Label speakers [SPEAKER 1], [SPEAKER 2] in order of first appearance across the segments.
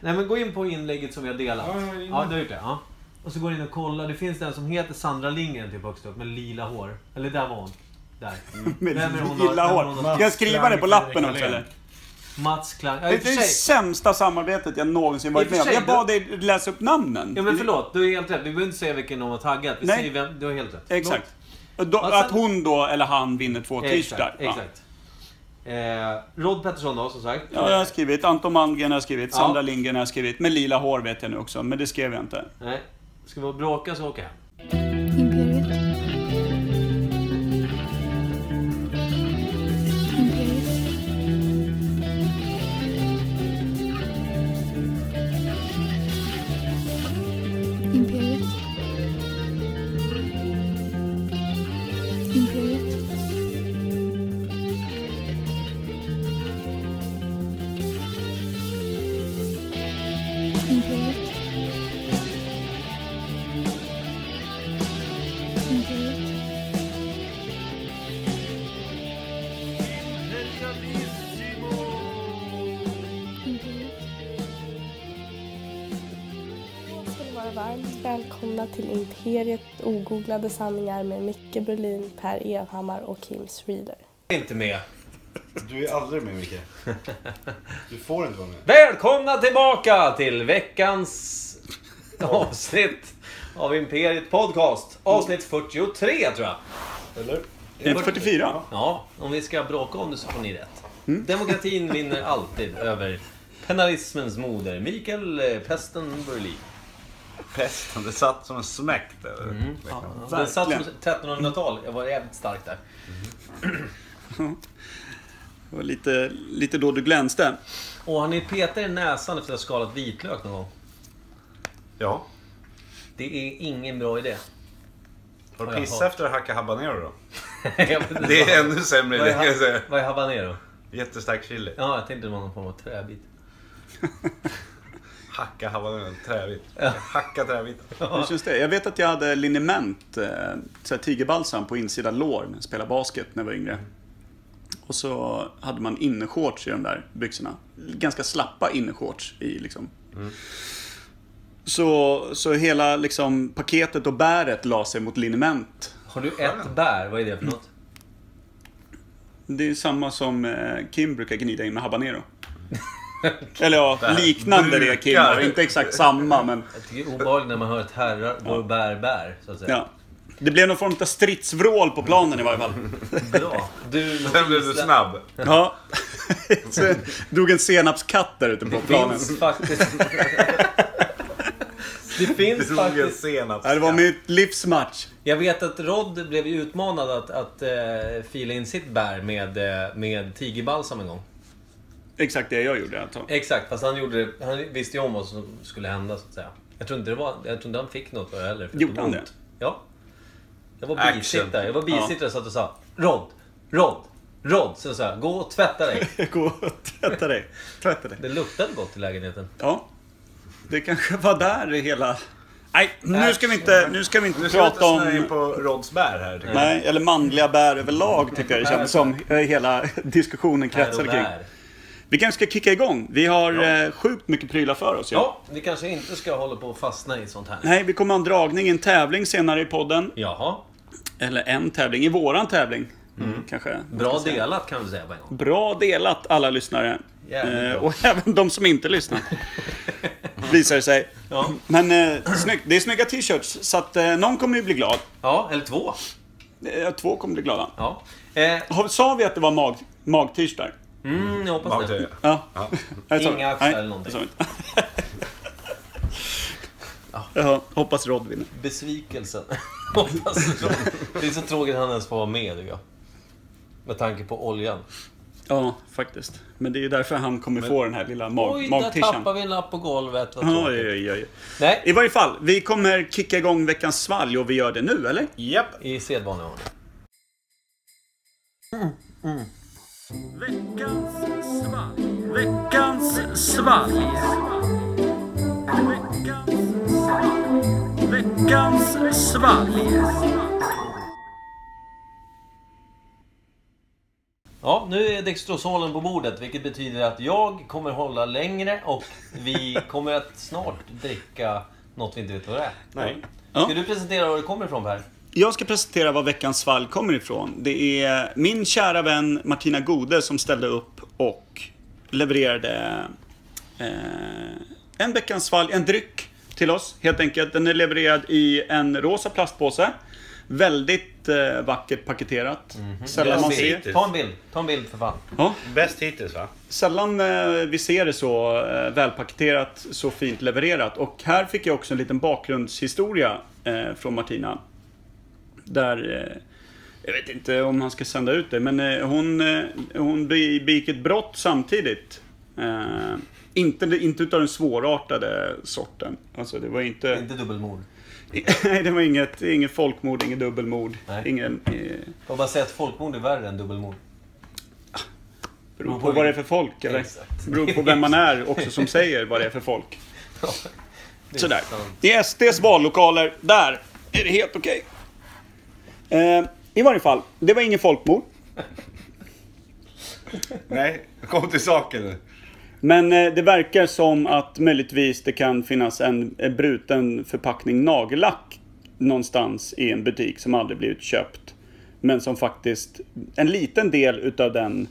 [SPEAKER 1] Nej men gå in på inlägget som vi har delat.
[SPEAKER 2] Ja, jag är inne.
[SPEAKER 1] Ja, du har gjort det. Ja. Och så går du in och kollar. Det finns den som heter Sandra Lindgren typ högst upp med lila hår. Eller där var hon. Där.
[SPEAKER 3] Med
[SPEAKER 1] Vem är hon då?
[SPEAKER 3] gilla
[SPEAKER 1] Vem är
[SPEAKER 3] hår.
[SPEAKER 1] hon då?
[SPEAKER 3] Ska jag skriva det på lappen också eller?
[SPEAKER 1] Mats Klang. Ja,
[SPEAKER 3] Det
[SPEAKER 1] i
[SPEAKER 3] är
[SPEAKER 1] och för
[SPEAKER 3] det
[SPEAKER 1] sig.
[SPEAKER 3] sämsta samarbetet jag någonsin
[SPEAKER 1] I
[SPEAKER 3] varit
[SPEAKER 1] och för
[SPEAKER 3] med om.
[SPEAKER 1] sig,
[SPEAKER 3] Jag bad dig läsa upp namnen.
[SPEAKER 1] Ja men förlåt, du är helt rätt. Vi behöver inte säga vilken någon har taggat. Vi
[SPEAKER 3] Nej.
[SPEAKER 1] säger vem, du har helt rätt.
[SPEAKER 3] Exakt. Då,
[SPEAKER 1] Och sen-
[SPEAKER 3] att hon då, eller han, vinner två
[SPEAKER 1] Förlåt.
[SPEAKER 3] t-shirtar.
[SPEAKER 1] Alltså- Exakt.
[SPEAKER 3] Ja.
[SPEAKER 1] exakt. Eh, Rod Pettersson då, som sagt.
[SPEAKER 3] Ja, jag har skrivit. Anton Malmgren har jag skrivit.
[SPEAKER 1] Ja.
[SPEAKER 3] Sandra Lindgren har jag skrivit. Med lila hår vet jag nu också, men det skrev jag inte.
[SPEAKER 1] Nej. Ska vi bråka så åker jag hem.
[SPEAKER 4] Imperiet. Imperiet. Imperiet. Imperiet. Imperiet. Imperiet. Imperiet.
[SPEAKER 5] Då ska ni vara varmt välkomna till Imperiet ogooglade sanningar med Micke Berlin, Per Evhammar och Kim Schreeder.
[SPEAKER 1] Jag är Inte med.
[SPEAKER 2] Du är aldrig med Micke. Du får inte vara med.
[SPEAKER 1] Välkomna tillbaka till veckans avsnitt av Imperiet Podcast. Avsnitt 43 tror jag.
[SPEAKER 2] Eller?
[SPEAKER 3] Det är 44.
[SPEAKER 1] Ja, om vi ska bråka om det så får ni rätt.
[SPEAKER 6] Mm.
[SPEAKER 1] Demokratin vinner alltid över penalismens moder, Mikael eh, Pesten Burlin.
[SPEAKER 6] Pesten, det satt som en smäck där.
[SPEAKER 1] Mm.
[SPEAKER 6] Liksom.
[SPEAKER 1] Den satt som
[SPEAKER 3] Verkligen.
[SPEAKER 1] 1300-tal. Jag var jävligt stark där.
[SPEAKER 3] Det var lite, lite då du glänste.
[SPEAKER 1] Och har ni petat i näsan efter att ha skalat vitlök någon gång?
[SPEAKER 6] Ja.
[SPEAKER 1] Det är ingen bra idé.
[SPEAKER 6] Har du
[SPEAKER 1] Ja,
[SPEAKER 6] pissat
[SPEAKER 1] jaha.
[SPEAKER 6] efter att hacka habanero då?
[SPEAKER 1] Jag vet inte
[SPEAKER 6] Det är
[SPEAKER 1] vad-
[SPEAKER 6] ännu sämre
[SPEAKER 1] vad
[SPEAKER 6] idé
[SPEAKER 1] är
[SPEAKER 6] kan jag säga.
[SPEAKER 1] ha- Vad är habanero?
[SPEAKER 6] Jättestark chili.
[SPEAKER 1] Ja, jag tänkte det var någon form av träbit.
[SPEAKER 6] Hacka habanero, träbit. Hacka träbiten.
[SPEAKER 3] Hur känns det? Jag vet att jag hade liniment, eh, så här tigerbalsam på insidan lår när jag spelade basket när jag var yngre. Och så hade man innershorts i de där byxorna. Ganska slappa innershorts i liksom. Så, så hela liksom, paketet och bäret la sig mot liniment.
[SPEAKER 1] Har du ett bär? Vad är det för något?
[SPEAKER 3] Det är samma som eh, Kim brukar gnida in med habanero. Eller ja, liknande det Kim
[SPEAKER 6] Brukar.
[SPEAKER 3] har. Inte exakt samma men...
[SPEAKER 1] Jag tycker det är obehagligt när man hör ett herrar går bär bär, så att säga.
[SPEAKER 3] Ja. Det blev någon form av stridsvrål på planen i varje fall.
[SPEAKER 1] Bra. Du,
[SPEAKER 6] Sen blev du snabb.
[SPEAKER 3] Ja. Så drog en senapskatt där ute på
[SPEAKER 1] Det
[SPEAKER 3] planen.
[SPEAKER 1] finns faktiskt... det
[SPEAKER 6] Du
[SPEAKER 1] finns
[SPEAKER 6] drog en
[SPEAKER 1] faktiskt...
[SPEAKER 6] senap.
[SPEAKER 3] Ja, Det var mitt livs match.
[SPEAKER 1] Jag vet att Rod blev ju utmanad att, att eh, fila in sitt bär med, eh, med tigerbalsam en gång.
[SPEAKER 3] Exakt det jag gjorde alltså.
[SPEAKER 1] Exakt, fast han, gjorde, det- han visste ju om vad som skulle hända så att säga. Jag tror inte, det var, jag tror inte han fick något för det heller. för
[SPEAKER 3] Gjorde
[SPEAKER 1] var
[SPEAKER 3] han det?
[SPEAKER 1] ont. Ja. Jag var
[SPEAKER 6] Action.
[SPEAKER 1] bisittare. Jag var bisittare och satt och sa Rod, Rod, Rod. Sen sa jag, gå och tvätta dig.
[SPEAKER 3] Gå och tvätta dig. Tvätta dig.
[SPEAKER 1] Det luktade gott i lägenheten.
[SPEAKER 3] Ja. Det kanske var där det hela... Nej, nu ska vi inte, nu ska vi inte
[SPEAKER 6] Nu ska vi inte
[SPEAKER 3] prata
[SPEAKER 6] snöa in
[SPEAKER 3] om...
[SPEAKER 6] på Rods bär här. tycker jag.
[SPEAKER 3] Nej, eller manliga bär överlag tycker jag det kändes som eh, hela diskussionen kretsade
[SPEAKER 1] Här och
[SPEAKER 3] kring.
[SPEAKER 1] där.
[SPEAKER 3] Vi kanske ska kicka igång. Vi har eh, sjukt mycket prylar för oss.
[SPEAKER 1] Ja, vi kanske inte ska hålla på och fastna i sånt här.
[SPEAKER 3] Nej, vi kommer ha en dragning, en tävling senare i podden.
[SPEAKER 1] Jaha,
[SPEAKER 3] Eller en tävling, i våran tävling. Kanske.
[SPEAKER 1] bra delat kan vi säga på en gång.
[SPEAKER 3] Bra delat alla lyssnare.
[SPEAKER 1] Jävligt
[SPEAKER 3] Eh,
[SPEAKER 1] bra.
[SPEAKER 3] och även de som inte lyssnar. Visar det sig.
[SPEAKER 1] Ja.
[SPEAKER 3] Men eh, snyggt. Det är snygga t-shirts. Så att eh, någon kommer ju bli glad.
[SPEAKER 1] Ja, eller två.
[SPEAKER 3] Eh, två kommer bli glada.
[SPEAKER 1] Ja. Eh,
[SPEAKER 3] Har, sa vi att det var mag, mag-t-shirtar?
[SPEAKER 1] mm, jag hoppas det.
[SPEAKER 6] Magtröja.
[SPEAKER 3] Ja.
[SPEAKER 6] Ja.
[SPEAKER 3] Nej, sa vi.
[SPEAKER 1] Inga axlar
[SPEAKER 3] Nej,
[SPEAKER 1] eller någonting.
[SPEAKER 3] sa vi inte. Ja, hoppas Rod vinner.
[SPEAKER 1] Besvikelsen. Hoppas det. det är så tråkigt att han ens får vara med tycker jag. Med tanke på oljan.
[SPEAKER 3] Ja, faktiskt. Men det är ju därför han kommer få den här lilla mag-
[SPEAKER 1] Oj, där
[SPEAKER 3] mag-t-shirten.
[SPEAKER 1] tappar vi en lapp på golvet. Vad
[SPEAKER 3] Oj,
[SPEAKER 1] tråkigt.
[SPEAKER 3] oj, oj. I
[SPEAKER 1] Nej,
[SPEAKER 3] varje fall, vi kommer kicka igång veckans svalg och vi gör det nu, eller?
[SPEAKER 6] Japp.
[SPEAKER 1] i sedvanlig ordning. Ja, Ja, nu är Dextrosolen på bordet, vilket betyder att jag kommer hålla längre och vi kommer att snart dricka något vi inte vet vad det är.
[SPEAKER 7] Nej.
[SPEAKER 3] Ja.
[SPEAKER 1] Ska du presentera var det kommer ifrån Per?
[SPEAKER 3] Jag ska presentera var veckans svalg kommer ifrån. Det är min kära vän Martina Gode som ställde upp och levererade eh, en veckans svalg, en dryck till oss helt enkelt. Den är levererad i en rosa plastpåse. Väldigt eh, vackert paketerat. Sällan
[SPEAKER 1] Ta
[SPEAKER 3] man
[SPEAKER 1] en
[SPEAKER 3] ser.
[SPEAKER 1] bild. Ta en bild, ta en bild för fan.
[SPEAKER 3] Ja.
[SPEAKER 7] Bäst hittills va?
[SPEAKER 3] Sällan eh, vi ser det så eh, välpaketerat, så fint levererat. Och här fick jag också en liten bakgrundshistoria eh, från Martina. Där, eh, jag vet inte om han ska sända ut det, men eh, hon, eh, hon be- begick ett brott samtidigt. Eh, inte, inte utav den svårartade sorten. Alltså det var inte...
[SPEAKER 1] Inte dubbelmord.
[SPEAKER 3] Nej, det var inget, inget folkmord, inget dubbelmord.
[SPEAKER 1] Nej.
[SPEAKER 3] Ingen... Eh,
[SPEAKER 1] Jag bara säga att folkmord är värre än dubbelmord.
[SPEAKER 3] beror på vad det är för folk, eller?
[SPEAKER 1] Exakt.
[SPEAKER 3] beror på vem man är också som säger vad det är för folk.
[SPEAKER 1] Det är liksom-
[SPEAKER 3] Sådär.
[SPEAKER 1] sant.
[SPEAKER 3] Det är SDs vallokaler. Där är det helt okej. Eh, I varje fall, det var ingen folkmord.
[SPEAKER 7] Nej, kom till saken nu.
[SPEAKER 3] Men eh, det verkar som att möjligtvis det kan finnas en en bruten förpackning nagellack någonstans i en butik som aldrig blivit köpt. Men som faktiskt, en liten del utav den,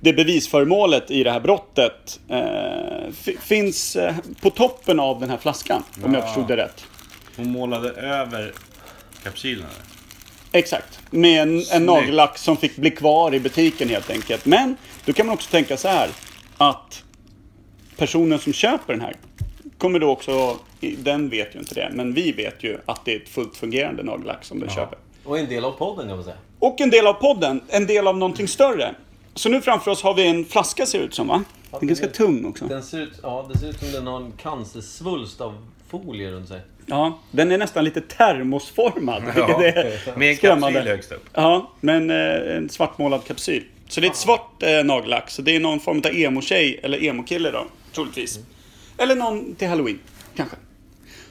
[SPEAKER 3] det bevisföremålet i det här brottet eh, fi- finns eh, på toppen av den här flaskan. Om jag förstod det rätt.
[SPEAKER 7] Hon målade över kapsylen. eller?
[SPEAKER 3] Exakt, med en, en nagellack som fick bli kvar i butiken helt enkelt. Men då kan man också tänka så här att personen som köper den här kommer då också, den vet ju inte det, men vi vet ju att det är ett fullt fungerande nagellack som den köper.
[SPEAKER 1] Och en del av podden kan man säga.
[SPEAKER 3] Och en del av podden, en del av någonting större. Så nu framför oss har vi en flaska ser det ut som va? Den är ganska
[SPEAKER 1] det-
[SPEAKER 3] tung också.
[SPEAKER 1] Den ser ut, ja, det ser ut som den har en cancersvulst av folie runt sig.
[SPEAKER 3] Ja, den är nästan lite termosformad.
[SPEAKER 6] Ja,
[SPEAKER 3] vilket är
[SPEAKER 6] med en
[SPEAKER 3] skrämmande.
[SPEAKER 6] kapsyl högst upp.
[SPEAKER 3] Ja, men eh, en svartmålad kapsyl. Så det är ett svart eh, nagellack. Så det är någon form av emo-tjej, eller emo-kille då, troligtvis. Eller någon till halloween, kanske.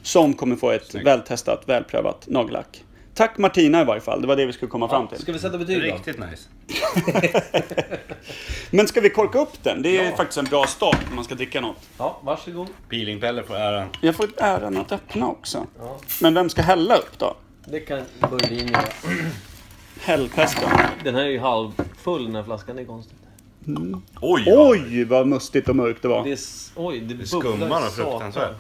[SPEAKER 3] Som kommer få ett vältestat, välprövat nagellack. Tack Martina i varje fall, det var det vi skulle komma fram till.
[SPEAKER 1] Ska vi sätta betyg då?
[SPEAKER 7] Riktigt nice.
[SPEAKER 3] Men ska vi korka upp den? Det är faktiskt en bra start om man ska dricka något.
[SPEAKER 1] Ja, varsågod.
[SPEAKER 7] Peelingpelle får äran.
[SPEAKER 3] Jag får äran att öppna också.
[SPEAKER 1] Ja.
[SPEAKER 3] Men vem ska hälla upp då?
[SPEAKER 1] Det kan Börjin göra.
[SPEAKER 3] Hällpesten.
[SPEAKER 1] Den här är ju halvfull den här flaskan, det är konstigt.
[SPEAKER 6] Oj!
[SPEAKER 3] Oj, vad mustigt och mörkt det
[SPEAKER 1] Det är,
[SPEAKER 3] var.
[SPEAKER 1] s- oj, det, det
[SPEAKER 7] skummar och fruktansvärt.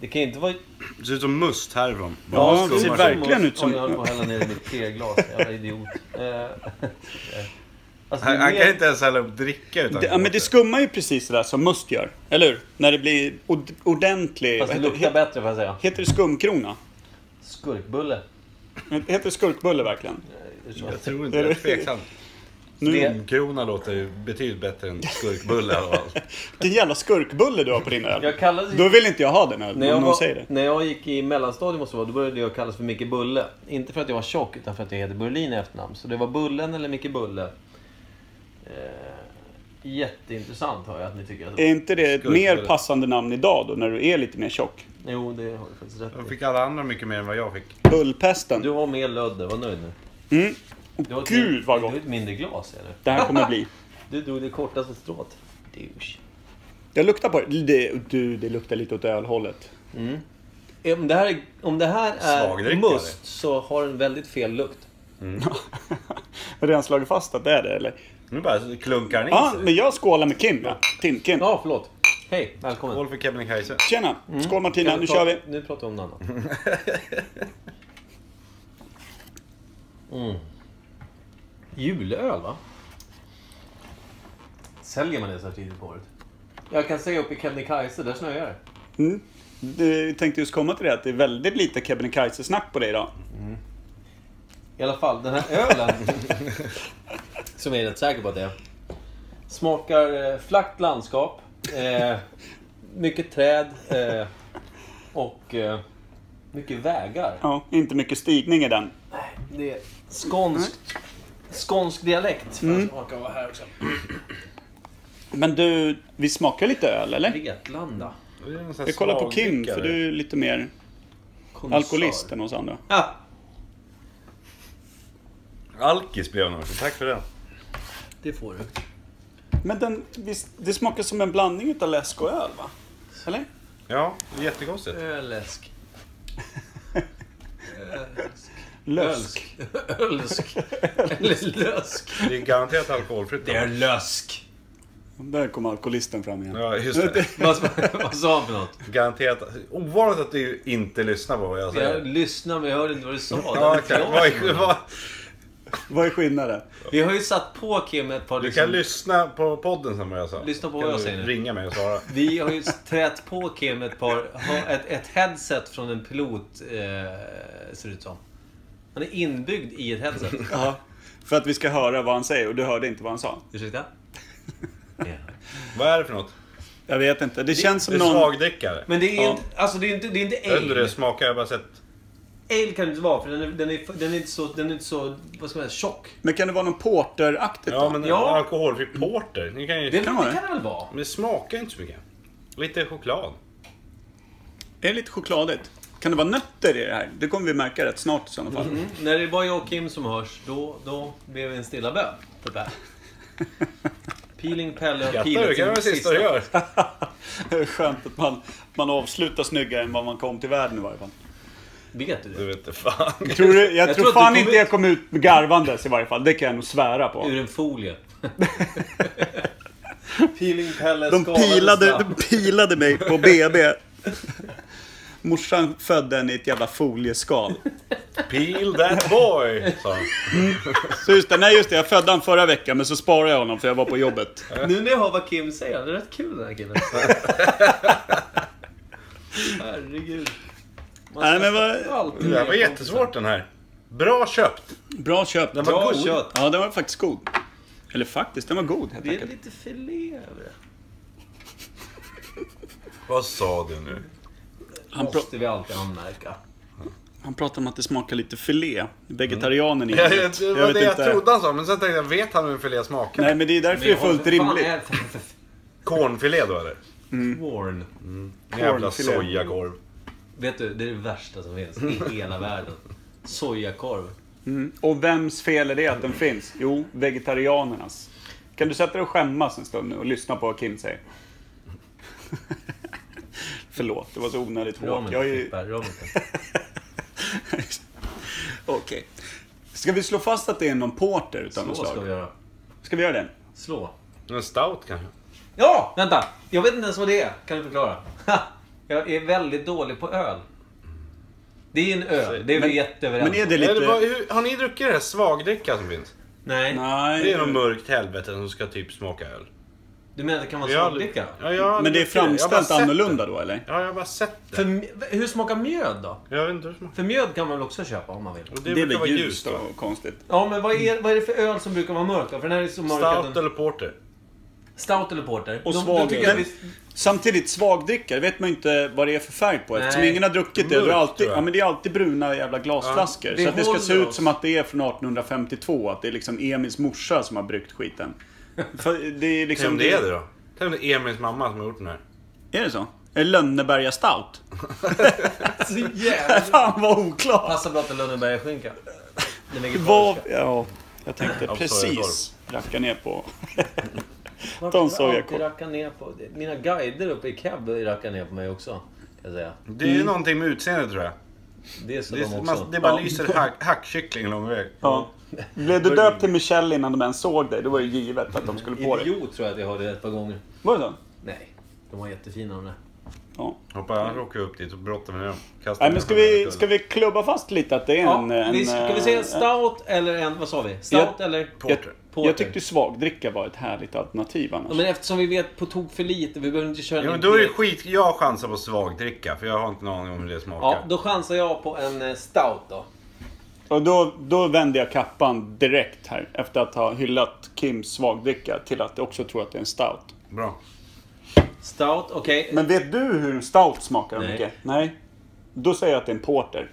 [SPEAKER 1] Det kan ju inte vara...
[SPEAKER 7] Det ser ut som must härifrån.
[SPEAKER 3] Ja, det ser
[SPEAKER 7] skummar.
[SPEAKER 3] verkligen ut
[SPEAKER 1] Oj, jag höll på
[SPEAKER 3] som...
[SPEAKER 1] att hälla ner mitt teglas. Jävla idiot. Eh, alltså, det
[SPEAKER 6] Han,
[SPEAKER 1] är
[SPEAKER 6] han kan
[SPEAKER 1] mer-
[SPEAKER 6] inte ens hälla upp dricka utan
[SPEAKER 3] Det, ja, men det skummar ju precis det där som must gör. Eller hur? När det blir od- ordentlig...
[SPEAKER 1] Fast det
[SPEAKER 3] heter-
[SPEAKER 1] luktar bättre får jag säga.
[SPEAKER 3] Heter det skumkrona?
[SPEAKER 1] Skurkbulle. Eh,
[SPEAKER 3] Heter det skurkbulle verkligen?
[SPEAKER 6] Jag tror inte det. Jag är tveksam. Skumkrona låter ju betydligt bättre än skurkbulle i alla fall.
[SPEAKER 3] Vilken jävla skurkbulle du har på din öl.
[SPEAKER 1] Jag kallades ju-
[SPEAKER 3] Då vill inte jag ha den ölen, om
[SPEAKER 1] När jag,
[SPEAKER 3] någon
[SPEAKER 1] var,
[SPEAKER 3] säger det.
[SPEAKER 1] när jag gick i mellanstadiet måste det vara, då började jag kallas för Micke Bulle. Inte för att jag var tjock, utan för att jag heter Berlin i efternamn. Så det var Bullen eller Micke Bulle. Eh, jätteintressant hör jag att ni tycker. Alltså, Att...
[SPEAKER 3] Är inte det ett mer
[SPEAKER 6] Skurkbulle.
[SPEAKER 3] passande namn idag då, när du är lite mer tjock?
[SPEAKER 1] Jo, det har du faktiskt rätt
[SPEAKER 6] Då
[SPEAKER 1] i.
[SPEAKER 6] fick alla andra mycket mer än vad jag fick.
[SPEAKER 3] Bullpesten.
[SPEAKER 1] Du har mer lödder, var nöjd nu. Du har ett
[SPEAKER 3] Mm. Gud,
[SPEAKER 1] min-
[SPEAKER 3] vad gott.
[SPEAKER 1] Du har ett mindre glas eller?
[SPEAKER 3] Det här kommer bli.
[SPEAKER 1] Du drog det kortaste strået. Douche.
[SPEAKER 3] Jag luktar på det. det. Du, det luktar lite åt ölhållet.
[SPEAKER 1] Om det här är, om det här är
[SPEAKER 6] Svagdrickare.
[SPEAKER 1] must så har den väldigt fel lukt.
[SPEAKER 3] Har du redan slagit fast att det är det eller?
[SPEAKER 6] Nu bara klunkar han in
[SPEAKER 3] Ja, ah,
[SPEAKER 6] sig.
[SPEAKER 3] men jag skålar med Kim ja. Tim, Kim.
[SPEAKER 1] Ja, förlåt. Hej, välkommen.
[SPEAKER 6] Skål för Kebnekaise.
[SPEAKER 3] Tjena! Skål Martina,
[SPEAKER 1] Kan
[SPEAKER 3] nu
[SPEAKER 1] ta-
[SPEAKER 3] kör vi.
[SPEAKER 1] Nu pratar vi om något annat. Mm. Julöl va? Säljer man det så här tidigt på året? Jag kan säga uppe i Kebnekaise, där snöar det.
[SPEAKER 3] Mm. Du tänkte just komma till det att det är väldigt lite Kebnekaise-snack på dig idag.
[SPEAKER 1] I alla fall, den här ölen, som jag är rätt säker på att det är, smakar eh, flackt landskap, eh, mycket träd eh, och eh, mycket vägar.
[SPEAKER 3] Ja, inte mycket stigning i den.
[SPEAKER 1] Det är skånsk, skånsk dialekt. För att smaka var här också.
[SPEAKER 3] Men du, vi smakar lite öl eller?
[SPEAKER 1] Vetlanda.
[SPEAKER 3] Jag kollar på Kim för du är lite mer
[SPEAKER 1] Konsör.
[SPEAKER 3] alkoholist än oss andra.
[SPEAKER 1] Ah,
[SPEAKER 6] Alkis blev han också. Tack för det.
[SPEAKER 1] det får du.
[SPEAKER 3] Men den, visst, det smakar som en blandning utav läsk och öl va? Eller?
[SPEAKER 6] Ja, jättekonstigt.
[SPEAKER 1] Öläsk.
[SPEAKER 3] Lösk.
[SPEAKER 1] Ölsk. Ölsk. Eller lösk.
[SPEAKER 6] Det är garanterat alkoholfritt.
[SPEAKER 1] Det är lösk.
[SPEAKER 3] Där kom alkoholisten fram igen.
[SPEAKER 6] Ja, just det.
[SPEAKER 1] Vad, vad sa han för något?
[SPEAKER 6] Garanterat. Ovanligt att du inte lyssnar på vad jag
[SPEAKER 1] Jag
[SPEAKER 6] säger.
[SPEAKER 1] lyssnade men jag hörde inte vad du sa.
[SPEAKER 6] Ja, exakt. Vad är- vad-
[SPEAKER 3] Vad är skillnaden?
[SPEAKER 1] Vi har ju satt på Kim ett par...
[SPEAKER 6] Du
[SPEAKER 1] liksom-
[SPEAKER 6] kan lyssna på podden som jag sa.
[SPEAKER 1] Lyssna på
[SPEAKER 6] Kan
[SPEAKER 1] vad jag
[SPEAKER 6] du
[SPEAKER 1] säger nu.
[SPEAKER 6] Ringa mig och svara.
[SPEAKER 1] Vi har ju trätt på Kim ett par... ha- Ett, ett headset från en pilot, eh, ser det ut som. Han är inbyggd i ett headset.
[SPEAKER 3] Ja. För att vi ska höra vad han säger och du hörde inte vad han sa.
[SPEAKER 1] Ursäkta? Ja.
[SPEAKER 6] Vad är det för något?
[SPEAKER 3] Jag vet inte. Det känns
[SPEAKER 6] Det
[SPEAKER 3] som
[SPEAKER 6] är
[SPEAKER 3] någon...
[SPEAKER 6] svagdäckare.
[SPEAKER 1] Men det är
[SPEAKER 3] Ja.
[SPEAKER 1] inte, alltså det är inte, det är inte
[SPEAKER 6] Jag vet inte hur
[SPEAKER 1] ale.
[SPEAKER 6] det smakar, jag har bara sett...
[SPEAKER 1] Ale kan det inte vara för den är, den är, den är inte så, den är inte så, vad ska man säga, tjock.
[SPEAKER 3] Men kan det vara någon porteraktigt
[SPEAKER 6] Ja,
[SPEAKER 3] då?
[SPEAKER 6] men
[SPEAKER 1] Ja.
[SPEAKER 6] alkoholfri porter. Ni kan ju...
[SPEAKER 1] Det,
[SPEAKER 6] det...
[SPEAKER 1] det
[SPEAKER 3] vara det.
[SPEAKER 1] kan det väl vara?
[SPEAKER 6] Men det smakar inte så mycket. Lite choklad.
[SPEAKER 3] Är det lite chokladigt? Kan det vara nötter i det här? Det kommer vi märka rätt snart i sådana fall.
[SPEAKER 1] Mm. När det bara jag och Kim som hörs, då, då blev vi en stilla bön för Per. Peeling Pelle har
[SPEAKER 6] Skrattar du?
[SPEAKER 1] pilat
[SPEAKER 6] kan det vara det sista du gör.
[SPEAKER 3] Det är skönt att man, man avslutar snyggare än vad man kom till världen i varje fall.
[SPEAKER 1] Vet du
[SPEAKER 6] Du
[SPEAKER 1] det?
[SPEAKER 6] vet inte fan.
[SPEAKER 3] Tror du, jag, tror,
[SPEAKER 1] tror att
[SPEAKER 3] fan
[SPEAKER 1] du
[SPEAKER 3] inte
[SPEAKER 1] kommer-
[SPEAKER 3] jag kom ut garvandes i varje fall. Det kan jag nog svära på.
[SPEAKER 1] Ur en folie. Peeling Pelle
[SPEAKER 3] De
[SPEAKER 1] skalade
[SPEAKER 3] pilade,
[SPEAKER 1] snabbt.
[SPEAKER 3] de pilade mig på BB. Morsan födde en i ett jävla folieskal.
[SPEAKER 6] Peel that boy, sa han.
[SPEAKER 3] Så just det, nej just det, jag födde han förra veckan men så sparade jag honom för jag var på jobbet.
[SPEAKER 1] Nu när jag hör vad Kim säger, han är rätt kul den här killen. Herregud. Man
[SPEAKER 3] Nej, men
[SPEAKER 1] skaffar
[SPEAKER 3] vad-
[SPEAKER 1] alltid
[SPEAKER 6] Det
[SPEAKER 1] nya
[SPEAKER 6] här var
[SPEAKER 1] kompisar.
[SPEAKER 6] jättesvårt den här. Bra köpt.
[SPEAKER 3] Bra köp.
[SPEAKER 6] Den var
[SPEAKER 1] Bra
[SPEAKER 6] god.
[SPEAKER 1] kött.
[SPEAKER 3] Ja, den var faktiskt god. Eller faktiskt, den var god helt
[SPEAKER 1] Det är
[SPEAKER 3] enkelt.
[SPEAKER 1] lite filé över det.
[SPEAKER 6] Vad sa du nu?
[SPEAKER 3] Han, pra-
[SPEAKER 1] Måste vi alltid anmärka.
[SPEAKER 3] han pratade om att det smakar lite filé. Vegetarianen i
[SPEAKER 6] Mm. Jag,
[SPEAKER 3] mig.
[SPEAKER 6] det var det jag trodde han sa, men sen tänkte jag, vet han hur filé smakar?
[SPEAKER 3] Nej, men det är därför det är fullt rimligt.
[SPEAKER 6] Cornfilé då eller?
[SPEAKER 1] Corn.
[SPEAKER 6] Jävla
[SPEAKER 3] Cornfilé.
[SPEAKER 6] sojakorv.
[SPEAKER 1] Vet du, det är det värsta som finns i hela världen. Sojakorv.
[SPEAKER 3] Och vems fel är det att den finns? Jo, vegetarianernas. Kan du sätta dig och skämmas en stund nu och lyssna på vad Kim säger? Förlåt, det var så onödigt
[SPEAKER 1] Rör
[SPEAKER 3] hårt.
[SPEAKER 1] mig
[SPEAKER 3] Jag är
[SPEAKER 1] inte,
[SPEAKER 3] ju...
[SPEAKER 1] Frippe, rör mig inte.
[SPEAKER 3] Okej. Ska vi slå fast att det är någon porter utan
[SPEAKER 1] Slå
[SPEAKER 3] något
[SPEAKER 1] ska vi
[SPEAKER 3] slag?
[SPEAKER 1] göra.
[SPEAKER 3] Ska vi göra det?
[SPEAKER 1] Slå.
[SPEAKER 6] En stout kanske?
[SPEAKER 1] Ja, vänta! Jag vet inte ens vad det är. Kan du förklara? Ha, Jag är väldigt dålig på öl. Det är en öl, det är
[SPEAKER 3] Men-
[SPEAKER 1] vi jätteöverens
[SPEAKER 3] Men är
[SPEAKER 1] om.
[SPEAKER 3] det
[SPEAKER 6] Eller vad,
[SPEAKER 3] lite...
[SPEAKER 6] hur, har ni druckit det här svagdricka som finns?
[SPEAKER 1] Nej,
[SPEAKER 3] Nej.
[SPEAKER 6] Det är något mörkt helvete som ska typ smaka öl.
[SPEAKER 1] du menar att det kan vara
[SPEAKER 6] Jag har aldrig-
[SPEAKER 1] svagdricka?
[SPEAKER 6] Ja, jag har
[SPEAKER 3] Men
[SPEAKER 6] aldrig
[SPEAKER 3] det är
[SPEAKER 6] druckit Jag har bara
[SPEAKER 3] framställt
[SPEAKER 6] sett
[SPEAKER 3] annorlunda då, eller?
[SPEAKER 6] det. Ja, jag har bara sett
[SPEAKER 1] För,
[SPEAKER 6] det.
[SPEAKER 1] m- hur smakar mjöd då?
[SPEAKER 6] Jag vet inte hur det smakar.
[SPEAKER 1] För mjöd kan man väl också köpa om man vill?
[SPEAKER 6] Och
[SPEAKER 3] Det, är
[SPEAKER 6] brukar
[SPEAKER 3] väl
[SPEAKER 6] vara
[SPEAKER 3] ljust
[SPEAKER 6] va?
[SPEAKER 3] och konstigt.
[SPEAKER 1] Ja, men vad är, vad är det för öl som brukar vara mörk då? För den här är så mörk att
[SPEAKER 6] Stout
[SPEAKER 1] den...
[SPEAKER 6] eller porter?
[SPEAKER 1] Stout eller porter?
[SPEAKER 3] Och
[SPEAKER 1] De-
[SPEAKER 3] svag
[SPEAKER 1] då tycker jag
[SPEAKER 3] öl.
[SPEAKER 1] vi-
[SPEAKER 3] Samtidigt, svagdricka, det vet man ju inte vad det är för färg på eftersom
[SPEAKER 1] Nej.
[SPEAKER 3] ingen har druckit det.
[SPEAKER 6] Mörkt,
[SPEAKER 3] Det är, alltid,
[SPEAKER 6] tror jag.
[SPEAKER 3] ja, men det är alltid bruna jävla glasflaskor.
[SPEAKER 1] det
[SPEAKER 3] så att det ska se
[SPEAKER 1] håller
[SPEAKER 3] ut
[SPEAKER 1] oss.
[SPEAKER 3] som att det är från 1852. Att det är liksom Emils morsa som har bryggt skiten. För det är
[SPEAKER 6] Tänk
[SPEAKER 3] liksom...
[SPEAKER 6] om det är det då? Tänk om det är Emils mamma som har gjort den här.
[SPEAKER 3] Är det så? Är det Lönneberga Stout?
[SPEAKER 1] Så jävla...
[SPEAKER 3] Fan vad oklart!
[SPEAKER 1] Passar bra till Lönnebergaskinka. Den
[SPEAKER 3] Vad...
[SPEAKER 1] vegetariska.
[SPEAKER 3] Ja, jag tänkte
[SPEAKER 6] sorry,
[SPEAKER 3] precis racka ner på...
[SPEAKER 1] Varför
[SPEAKER 3] de såg jag
[SPEAKER 1] alltid
[SPEAKER 3] kort.
[SPEAKER 1] racka ner på... Mina guider uppe i Keb rackar ner på mig också. Kan jag säga.
[SPEAKER 6] Det är någonting med utseendet tror jag.
[SPEAKER 1] Det är så
[SPEAKER 6] Det,
[SPEAKER 1] de
[SPEAKER 6] är,
[SPEAKER 1] också.
[SPEAKER 6] man, det bara
[SPEAKER 3] Ja.
[SPEAKER 6] lyser hack, hackkyckling lång väg.
[SPEAKER 3] Ja. Blev du döpt till Michelle innan de ens såg dig? Då var det givet att de skulle på dig.
[SPEAKER 1] Idiot tror jag att jag hörde ett par gånger.
[SPEAKER 3] Var det så?
[SPEAKER 1] Nej, de var jättefina de där.
[SPEAKER 3] Ja.
[SPEAKER 6] Hoppas han råkar upp dit och brottar med dem. Kastar
[SPEAKER 3] Nej,
[SPEAKER 6] ner
[SPEAKER 3] men ska
[SPEAKER 6] dem i
[SPEAKER 3] vi,
[SPEAKER 6] kullen.
[SPEAKER 3] ska vi klubba fast lite att det är
[SPEAKER 1] Ja,
[SPEAKER 3] en... en
[SPEAKER 1] vi, ska vi säga
[SPEAKER 3] eh,
[SPEAKER 1] stout eller en... Vad sa vi? Stout
[SPEAKER 3] Jag-
[SPEAKER 1] eller...
[SPEAKER 3] jag,
[SPEAKER 6] Porter.
[SPEAKER 1] Porter.
[SPEAKER 3] jag tyckte svagdricka var ett härligt alternativ annars.
[SPEAKER 1] Ja, men eftersom vi vet på tok för lite, vi behöver inte köra
[SPEAKER 6] Jo,
[SPEAKER 1] in
[SPEAKER 6] men då är det
[SPEAKER 1] på-
[SPEAKER 6] skit... Jag chansar på svagdricka, för jag har inte en aning om hur det smakar.
[SPEAKER 1] Ja, då chansar jag på en eh, stout då.
[SPEAKER 3] Och då, då vänder jag kappan direkt här efter att ha hyllat Kims svagdricka till att jag också tror att det är en stout.
[SPEAKER 6] Bra.
[SPEAKER 1] Stout, okej.
[SPEAKER 3] Men vet du hur en stout smakar
[SPEAKER 1] Nej.
[SPEAKER 3] Micke? Nej. Då säger jag att det är en porter.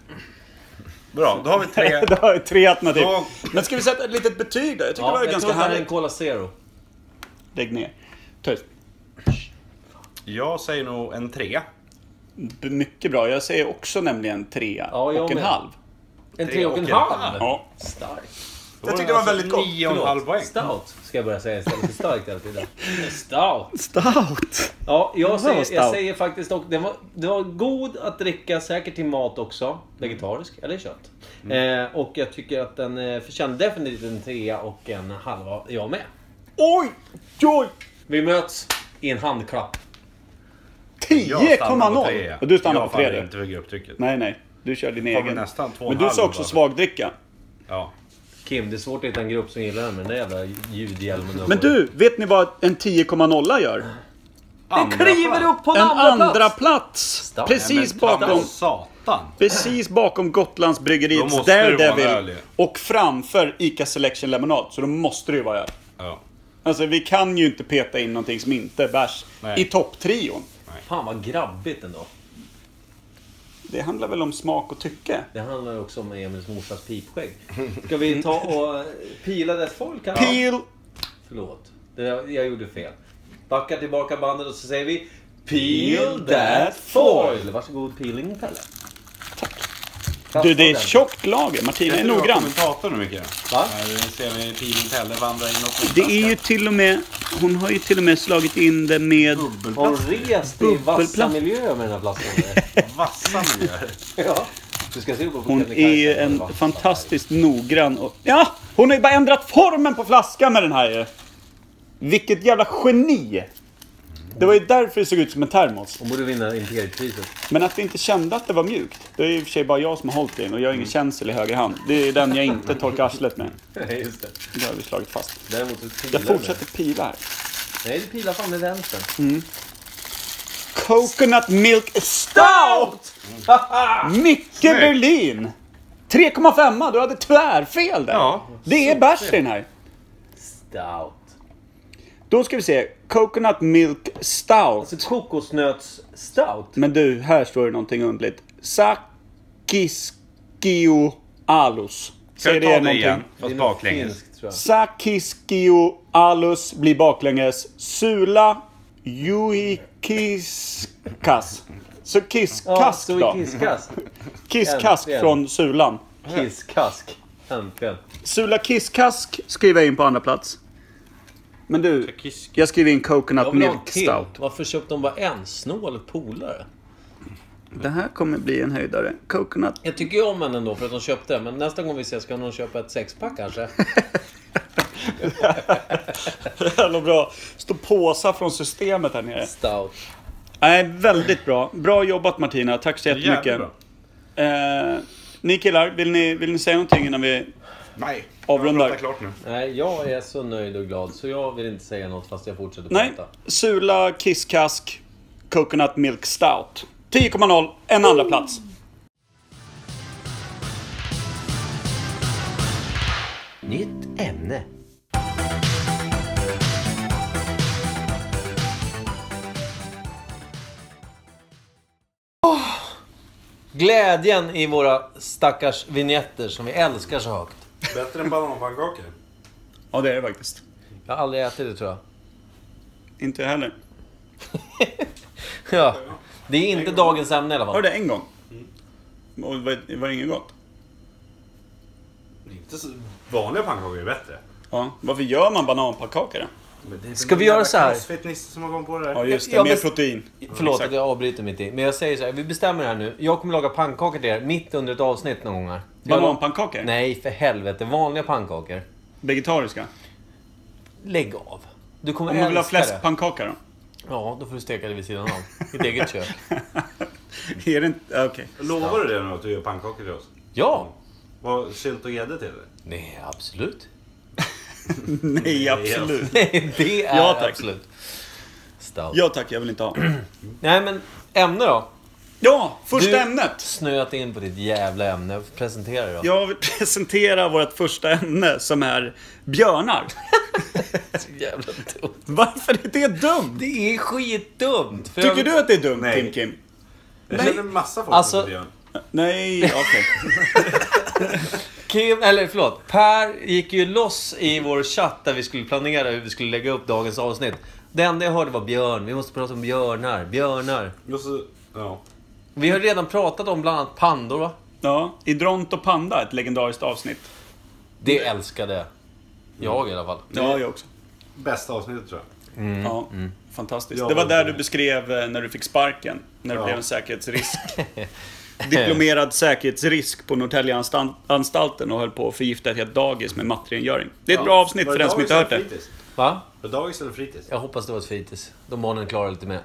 [SPEAKER 6] Bra, då har vi tre.
[SPEAKER 3] det har jag tre alternativ.
[SPEAKER 6] Ja.
[SPEAKER 3] Men ska vi sätta ett litet betyg då? Jag tycker
[SPEAKER 1] Ja,
[SPEAKER 3] det var
[SPEAKER 1] jag
[SPEAKER 3] ganska
[SPEAKER 1] tror att det här är en
[SPEAKER 3] härligt.
[SPEAKER 1] Cola Zero.
[SPEAKER 3] Lägg ner. Tyst.
[SPEAKER 6] Jag säger nog en tre.
[SPEAKER 3] B- Mycket bra. Jag säger också nämligen trea
[SPEAKER 1] Ja, jag
[SPEAKER 3] och en
[SPEAKER 1] med.
[SPEAKER 3] halv.
[SPEAKER 1] En
[SPEAKER 6] Tre
[SPEAKER 1] tre
[SPEAKER 6] och
[SPEAKER 1] och en
[SPEAKER 6] en
[SPEAKER 1] halv?
[SPEAKER 3] Ja.
[SPEAKER 1] Stark.
[SPEAKER 8] Jag tyckte det var väldigt gott.
[SPEAKER 9] alltså Nio och en halv poäng.
[SPEAKER 1] Stout ska jag börja säga istället för starkt hela tiden. Stout!
[SPEAKER 3] Stout!
[SPEAKER 1] Ja, jag
[SPEAKER 3] var
[SPEAKER 1] säger, jag
[SPEAKER 3] stout.
[SPEAKER 1] säger faktiskt också... Den var, den var god att dricka, säkert till mat också. Vegetarisk, eller kött. Eh, och jag tycker att den eh, förtjänar definitivt en trea och en halva, jag med.
[SPEAKER 3] Oj! Oj!
[SPEAKER 1] Vi möts i en handklapp.
[SPEAKER 9] Jag stannar på
[SPEAKER 3] 10,0!
[SPEAKER 9] trea.
[SPEAKER 3] Och du stannar
[SPEAKER 9] Jag
[SPEAKER 3] på
[SPEAKER 9] faller
[SPEAKER 3] 3
[SPEAKER 9] inte för grupptrycket.
[SPEAKER 3] Nej, nej. Du kör din
[SPEAKER 9] Kommer
[SPEAKER 3] egen.
[SPEAKER 9] nästan två och en
[SPEAKER 3] Men du
[SPEAKER 9] halv
[SPEAKER 3] sa också
[SPEAKER 9] bara.
[SPEAKER 3] svagdricka.
[SPEAKER 9] Ja.
[SPEAKER 1] Kim, det är svårt att hitta en grupp som gillar den med den där jävla ljudhjälmen har
[SPEAKER 3] Men
[SPEAKER 1] på dig.
[SPEAKER 3] du, vet ni vad en 10,0 gör?
[SPEAKER 1] Det kliver upp på en,
[SPEAKER 3] En
[SPEAKER 1] andra,
[SPEAKER 3] andra
[SPEAKER 1] plats.
[SPEAKER 3] plats!
[SPEAKER 1] Stout.
[SPEAKER 3] Precis
[SPEAKER 9] Men ta
[SPEAKER 3] bakom...
[SPEAKER 9] mig Satan.
[SPEAKER 3] Precis bakom Gotlands
[SPEAKER 9] Då
[SPEAKER 3] Bryggeriets
[SPEAKER 9] måste det vara en öl
[SPEAKER 3] Daredevil
[SPEAKER 9] ju.
[SPEAKER 3] och framför ICA Selection Lemonade. Så då måste det ju vara öl.
[SPEAKER 9] Ja.
[SPEAKER 3] Alltså vi kan ju inte peta in någonting som inte är bärs
[SPEAKER 9] Nej.
[SPEAKER 3] i topptrion.
[SPEAKER 1] Fan vad grabbigt ändå.
[SPEAKER 3] Det handlar väl om smak och tycke?
[SPEAKER 1] Det handlar också om Emils morsas pipskägg. Ska vi ta och eh, pila dess folk här?
[SPEAKER 3] Peel!
[SPEAKER 1] Förlåt. Det, där- jag gjorde fel. Backa tillbaka bandet och så säger vi Peel that foil! Varsågod peeling Pelle. Tack.
[SPEAKER 3] Du, det är ett tjockt lager. Martina är noggrann.
[SPEAKER 9] kommentator nu Micke.
[SPEAKER 1] Va?
[SPEAKER 9] När du ser mig i pilen Pelle vandra in och
[SPEAKER 3] Det är ju till och med... Hon har ju till och med slagit in det med...
[SPEAKER 1] Har hon rest i vassa
[SPEAKER 3] Bubbelplast.
[SPEAKER 1] miljöer med den här flaskan? eller?
[SPEAKER 9] vassa miljöer.
[SPEAKER 1] ja. Du ska se upp på
[SPEAKER 3] Hon är
[SPEAKER 1] Kebnekaise
[SPEAKER 3] ju
[SPEAKER 1] när det
[SPEAKER 3] en
[SPEAKER 1] var-
[SPEAKER 3] fantastiskt noggrann och... Ja! Hon har ju bara ändrat formen på flaskan med den här ju. Vilket jävla geni! Det var ju därför det såg ut som en termos.
[SPEAKER 1] Hon borde vinna Imperietpriset.
[SPEAKER 3] Men att vi inte kände att det var mjukt. Det är ju i och för sig bara jag som har hållit i den och jag har ingen känsel i höger hand. Det är den jag inte torkar arslet med.
[SPEAKER 1] Just det.
[SPEAKER 3] Det har vi slagit fast.
[SPEAKER 1] Däremot så pilar
[SPEAKER 3] Jag
[SPEAKER 1] du.
[SPEAKER 3] fortsätter pila här.
[SPEAKER 1] Nej, du pilar fan med vänstern.
[SPEAKER 3] Coconut Milk Stout! Micke Berlin! 3,5 du hade tvärfel där.
[SPEAKER 9] Ja.
[SPEAKER 3] det är bärs i den här.
[SPEAKER 1] Stout.
[SPEAKER 3] Då ska vi se. Coconut Milk Stout.
[SPEAKER 1] Alltså kokosnöts-stout.
[SPEAKER 3] Men du, här står det någonting underligt. Sakiskio alus.
[SPEAKER 9] Ska
[SPEAKER 3] Säger
[SPEAKER 9] du
[SPEAKER 3] det
[SPEAKER 9] ta det
[SPEAKER 3] någonting?
[SPEAKER 9] igen?
[SPEAKER 1] Det
[SPEAKER 9] Fast
[SPEAKER 1] är något
[SPEAKER 9] baklänges.
[SPEAKER 1] finskt, tror jag.
[SPEAKER 3] Sakiskio alus blir baklänges. Sula juikiskas. Så
[SPEAKER 1] Ja,
[SPEAKER 3] kiskask
[SPEAKER 1] så i
[SPEAKER 3] då.
[SPEAKER 1] kiskas.
[SPEAKER 3] Kiskask
[SPEAKER 1] Äntligen.
[SPEAKER 3] från Sulan.
[SPEAKER 1] Kisskask. Äntligen.
[SPEAKER 3] Sula Kisskask skriver jag in på andra plats. Men du, jag skriver in Coconut
[SPEAKER 1] Jag vill ha en
[SPEAKER 3] Milk
[SPEAKER 1] till.
[SPEAKER 3] Stout.
[SPEAKER 1] typ. Varför köpte de bara en? Snål polare.
[SPEAKER 3] Det här kommer bli en höjdare. Coconut.
[SPEAKER 1] Jag tycker ju om henne ändå för att de köpte. Men nästa gång vi ses ska någon köpa ett sexpack kanske.
[SPEAKER 3] Jävla bra. Står påsar från systemet här nere.
[SPEAKER 1] Stout.
[SPEAKER 3] Nej, väldigt bra. Bra jobbat Martina. Tack så
[SPEAKER 9] Jävligt
[SPEAKER 3] jättemycket.
[SPEAKER 9] bra.
[SPEAKER 3] Eh, ni killar, vill ni, vill ni säga någonting innan vi...
[SPEAKER 9] Nej.
[SPEAKER 3] Avrundar.
[SPEAKER 9] Jag pratar klart nu.
[SPEAKER 1] Nej, jag är så nöjd och glad så jag vill inte säga något fast jag fortsätter
[SPEAKER 3] Nej.
[SPEAKER 1] prata.
[SPEAKER 3] Sula Kisskask Coconut Milk Stout. 10,0. En andra plats.
[SPEAKER 10] Nytt ämne.
[SPEAKER 1] Glädjen i våra stackars vignetter som vi älskar så högt.
[SPEAKER 9] Bättre än bananpannkakor.
[SPEAKER 3] Ja, det är det faktiskt.
[SPEAKER 1] Jag har aldrig ätit det tror jag.
[SPEAKER 3] Inte jag heller.
[SPEAKER 1] Ja. Det är inte dagens ämne i alla
[SPEAKER 3] Har
[SPEAKER 1] fall.
[SPEAKER 3] det en gång? Och det var, det var inget gott?
[SPEAKER 9] Inte så... Vanliga pannkakor är bättre.
[SPEAKER 3] Ja. Varför gör man bananpannkaka då?
[SPEAKER 1] Ska vi göra så här?
[SPEAKER 9] Crossfit-nisse som har kommit på det där.
[SPEAKER 3] Ja just det,
[SPEAKER 1] Ja,
[SPEAKER 3] mer
[SPEAKER 1] men-
[SPEAKER 3] protein.
[SPEAKER 1] Förlåt
[SPEAKER 3] Mm, Exakt.
[SPEAKER 1] att jag avbryter mitt i. Men jag säger så här, vi bestämmer det här nu. Jag kommer laga pannkakor till er mitt under ett avsnitt någon gång här. Jag-
[SPEAKER 3] Bananpannkakor?
[SPEAKER 1] Nej, för helvete. Vanliga pannkakor.
[SPEAKER 3] Vegetariska?
[SPEAKER 1] Lägg av. Du kommer
[SPEAKER 3] Om man vill ha
[SPEAKER 1] älska det.
[SPEAKER 3] fläskpannkaka då?
[SPEAKER 1] Ja, då får du steka det vid sidan av. Ditt eget kök.
[SPEAKER 3] Är det inte... Okej.
[SPEAKER 9] Lovar du det nu att du gör pannkakor till oss?
[SPEAKER 1] Ja!
[SPEAKER 9] Vad, sylt och gädda till det?
[SPEAKER 1] Nej, absolut.
[SPEAKER 3] Nej, absolut.
[SPEAKER 1] Nej, det är
[SPEAKER 3] Ja, tack.
[SPEAKER 1] absolut. Stout.
[SPEAKER 3] Ja tack, jag vill inte ha.
[SPEAKER 1] Nej, men ämne då?
[SPEAKER 3] Ja, första
[SPEAKER 1] Du-
[SPEAKER 3] ämnet!
[SPEAKER 1] Snöat in på ditt jävla ämne. Presentera det då.
[SPEAKER 3] Jag vill presentera vårt första ämne som är björnar.
[SPEAKER 1] Så jävla dumt.
[SPEAKER 3] Varför är det dumt?
[SPEAKER 1] Det är skitdumt! För
[SPEAKER 3] Tycker
[SPEAKER 1] jag-
[SPEAKER 3] du att det är dumt,
[SPEAKER 9] Nej.
[SPEAKER 3] Tim Kim?
[SPEAKER 9] Jag känner en massa folk
[SPEAKER 1] Alltså-
[SPEAKER 9] som gör.
[SPEAKER 3] Nej, okej.
[SPEAKER 1] Kim, eller förlåt, Per gick ju loss i vår chatt där vi skulle planera hur vi skulle lägga upp dagens avsnitt. Det enda jag hörde var björn, vi måste prata om björnar, björnar.
[SPEAKER 9] Och så... Ja.
[SPEAKER 1] Vi har redan pratat om bland annat pandor va?
[SPEAKER 3] Ja, Idront och Panda, ett legendariskt avsnitt.
[SPEAKER 1] Det älskade jag i alla fall.
[SPEAKER 3] Ja, jag också.
[SPEAKER 6] Bästa avsnittet tror jag.
[SPEAKER 3] Ja, Fantastiskt.
[SPEAKER 6] Jag
[SPEAKER 3] det var
[SPEAKER 6] var
[SPEAKER 3] där
[SPEAKER 6] med.
[SPEAKER 3] du beskrev eh, när du fick sparken. När du
[SPEAKER 6] Ja.
[SPEAKER 3] blev en säkerhetsrisk. Diplomerad säkerhetsrisk på Norrtäljeanstalten och höll på att förgifta ett helt dagis med mattrengöring. Det är ett bra avsnitt
[SPEAKER 6] Var
[SPEAKER 3] för den som
[SPEAKER 6] dagis
[SPEAKER 3] inte hört
[SPEAKER 6] eller
[SPEAKER 3] det.
[SPEAKER 6] fritids?
[SPEAKER 1] Va?
[SPEAKER 6] Var det dagis eller fritids?
[SPEAKER 1] Jag hoppas det var ett fritids. De barnen klarar lite mer.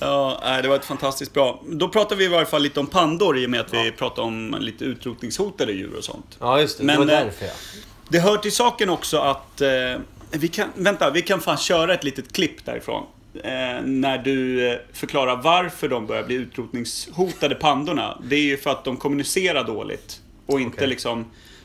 [SPEAKER 3] Ja, nej, det var ett fantastiskt bra. Då pratar vi i varje fall lite om pandor i och med att vi pratar om lite utrotningshotade djur och sånt.
[SPEAKER 1] Ja, just det.
[SPEAKER 3] Men,
[SPEAKER 1] det var
[SPEAKER 3] eh,
[SPEAKER 1] därför jag.
[SPEAKER 3] Det hör till saken också att eh, vi kan, vänta, vi kan fan köra ett litet klipp därifrån. Eh, när du eh, förklarar varför de börjar bli utrotningshotade pandorna. Det är ju för att de kommunicerar dåligt. Och inte
[SPEAKER 1] Okej.
[SPEAKER 3] liksom,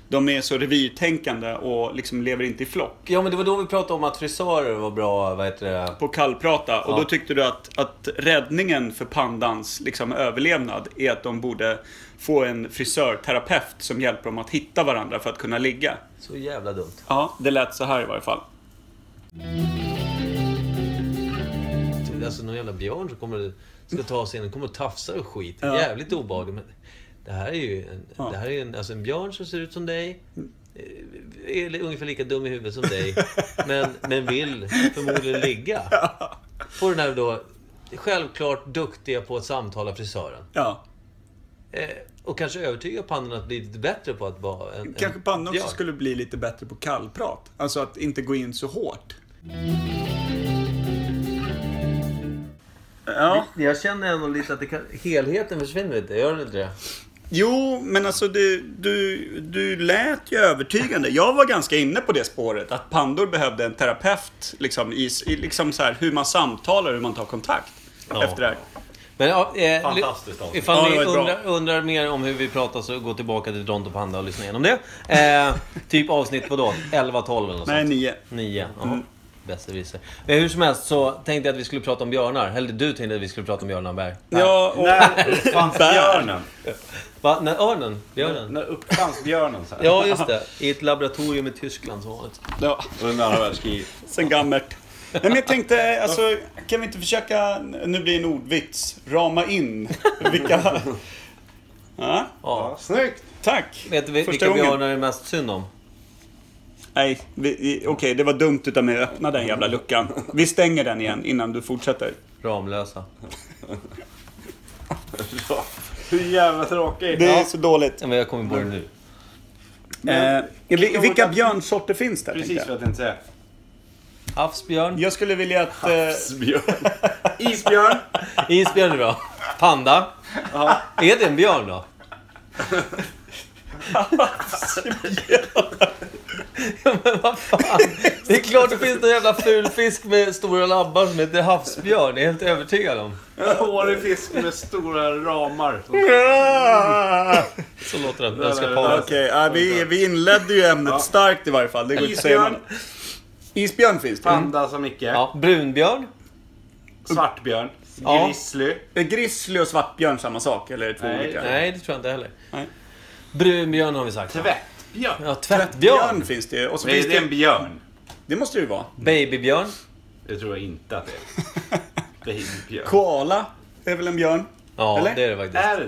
[SPEAKER 3] de är så revirtänkande och liksom lever inte i flock.
[SPEAKER 1] Ja, men det var då vi pratade om att frisörer var bra, vad heter det?
[SPEAKER 3] På kallprata. Och
[SPEAKER 1] Ja.
[SPEAKER 3] då tyckte du att, att räddningen för pandans liksom, överlevnad är att de borde få en frisörterapeut som hjälper dem att hitta varandra för att kunna ligga.
[SPEAKER 1] Så jävla dumt.
[SPEAKER 3] Ja, det lät så här i varje fall. Mm.
[SPEAKER 1] Alltså någon jävla björn som kommer, ska ta sig in, den kommer och tafsar och skit. Jävligt obehagligt. Men det här är ju en, det här är ju en, alltså en björn som ser ut som dig.
[SPEAKER 3] Mm.
[SPEAKER 1] eh, Är li- ungefär lika dum i huvudet som dig. Men, men vill förmodligen ligga. På den här då, självklart duktiga på att samtala frisören.
[SPEAKER 3] Ja.
[SPEAKER 1] Eh, och kanske övertyga pandan att bli lite bättre på att vara en...
[SPEAKER 3] Kanske
[SPEAKER 1] en
[SPEAKER 3] pannan också
[SPEAKER 1] björn.
[SPEAKER 3] skulle bli lite bättre på kallprat. Alltså att inte gå in så hårt. Ja.
[SPEAKER 1] Jag känner ändå lite att det kan, helheten försvinner lite, gör den inte det?
[SPEAKER 3] Jo, men alltså du, du, du lät ju övertygande. Jag var ganska inne på det spåret. Att pandor behövde en terapeut. Liksom, i, i, liksom så här, hur man samtalar, hur man tar kontakt. Efter det här.
[SPEAKER 1] Men, ja, eh,
[SPEAKER 6] Fantastiskt
[SPEAKER 1] li-
[SPEAKER 6] avsnitt.
[SPEAKER 1] Ifall
[SPEAKER 3] Ja,
[SPEAKER 1] ni
[SPEAKER 3] det var bra.
[SPEAKER 1] undrar, undrar mer om hur vi pratar så gå tillbaka till Dronto Panda och lyssna igenom det. Eh, typ avsnitt vadå? 11, 12 eller något
[SPEAKER 3] Nej, Mm.
[SPEAKER 1] sånt?
[SPEAKER 3] nio.
[SPEAKER 1] 9. Ja. Besserwisser. Men hur som helst så tänkte jag att vi skulle prata om björnar. Eller du tänkte att vi skulle prata om björnar Berg.
[SPEAKER 3] Ja, och,
[SPEAKER 6] När uppfanns björnen?
[SPEAKER 1] Va? Nej, örnen? Björnen?
[SPEAKER 6] När uppfanns björnen? Så här?
[SPEAKER 1] Ja, just det. I ett laboratorium i Tyskland som vanligt.
[SPEAKER 3] ja.
[SPEAKER 6] Under andra världskriget.
[SPEAKER 3] Sen gammalt. Nej, men jag tänkte, alltså, kan vi inte försöka, nu blir det en ordvits, rama in vilka... Ja,
[SPEAKER 6] Ja, snyggt!
[SPEAKER 3] tack!
[SPEAKER 1] Vet du vi-
[SPEAKER 3] Första
[SPEAKER 1] vilka
[SPEAKER 3] gången.
[SPEAKER 1] björnar är mest synd om?
[SPEAKER 3] Nej, vi- vi- okej, det var dumt utav mig att öppna den jävla luckan. Vi stänger den igen innan du fortsätter.
[SPEAKER 1] Ramlösa.
[SPEAKER 6] Hur jävla tråkigt.
[SPEAKER 3] Det är så dåligt.
[SPEAKER 1] Ja, Men jag kommer på det nu.
[SPEAKER 3] Eh, vi- vilka
[SPEAKER 6] ordet-
[SPEAKER 3] björnsorter finns där?
[SPEAKER 6] Precis
[SPEAKER 3] tänkte jag.
[SPEAKER 6] vad jag tänkte säga.
[SPEAKER 1] Havsbjörn.
[SPEAKER 3] jag skulle vilja att... Eh,
[SPEAKER 6] Isbjörn. Isbjörn.
[SPEAKER 1] Isbjörn är bra. Panda. Är det en björn då? Ja, men vad fan. Det är klart det finns någon jävla ful fisk med stora labbar som heter havsbjörn. Det är jag helt övertygad om.
[SPEAKER 6] Hårig fisk med stora ramar.
[SPEAKER 1] Så låter den. Den ska
[SPEAKER 3] Okej,
[SPEAKER 1] paras.
[SPEAKER 3] ja, vi, vi inledde ju ämnet starkt i varje fall. Det går inte att säga
[SPEAKER 6] Isbjörn.
[SPEAKER 3] något. Isbjörn finns det.
[SPEAKER 6] Panda som Micke.
[SPEAKER 1] Ja, brunbjörn.
[SPEAKER 6] Svartbjörn.
[SPEAKER 1] Ja.
[SPEAKER 6] Grizzly.
[SPEAKER 3] Är grizzly och svartbjörn samma sak? Eller är det två
[SPEAKER 6] Nej,
[SPEAKER 3] olika?
[SPEAKER 1] Nej, det tror jag inte heller.
[SPEAKER 3] Nej.
[SPEAKER 1] Brunbjörn har vi sagt.
[SPEAKER 6] Tvättbjörn.
[SPEAKER 1] Ja,
[SPEAKER 3] Björn
[SPEAKER 1] tvättbjörn.
[SPEAKER 3] finns det och så
[SPEAKER 6] Men är
[SPEAKER 3] finns
[SPEAKER 6] det en
[SPEAKER 3] det...
[SPEAKER 6] björn?
[SPEAKER 3] Det måste det ju vara.
[SPEAKER 1] Babybjörn.
[SPEAKER 6] Det tror jag inte att det är. Det är en björn.
[SPEAKER 3] Koala är väl en björn?
[SPEAKER 1] Ja,
[SPEAKER 3] Eller?
[SPEAKER 1] det är det faktiskt.
[SPEAKER 6] Är det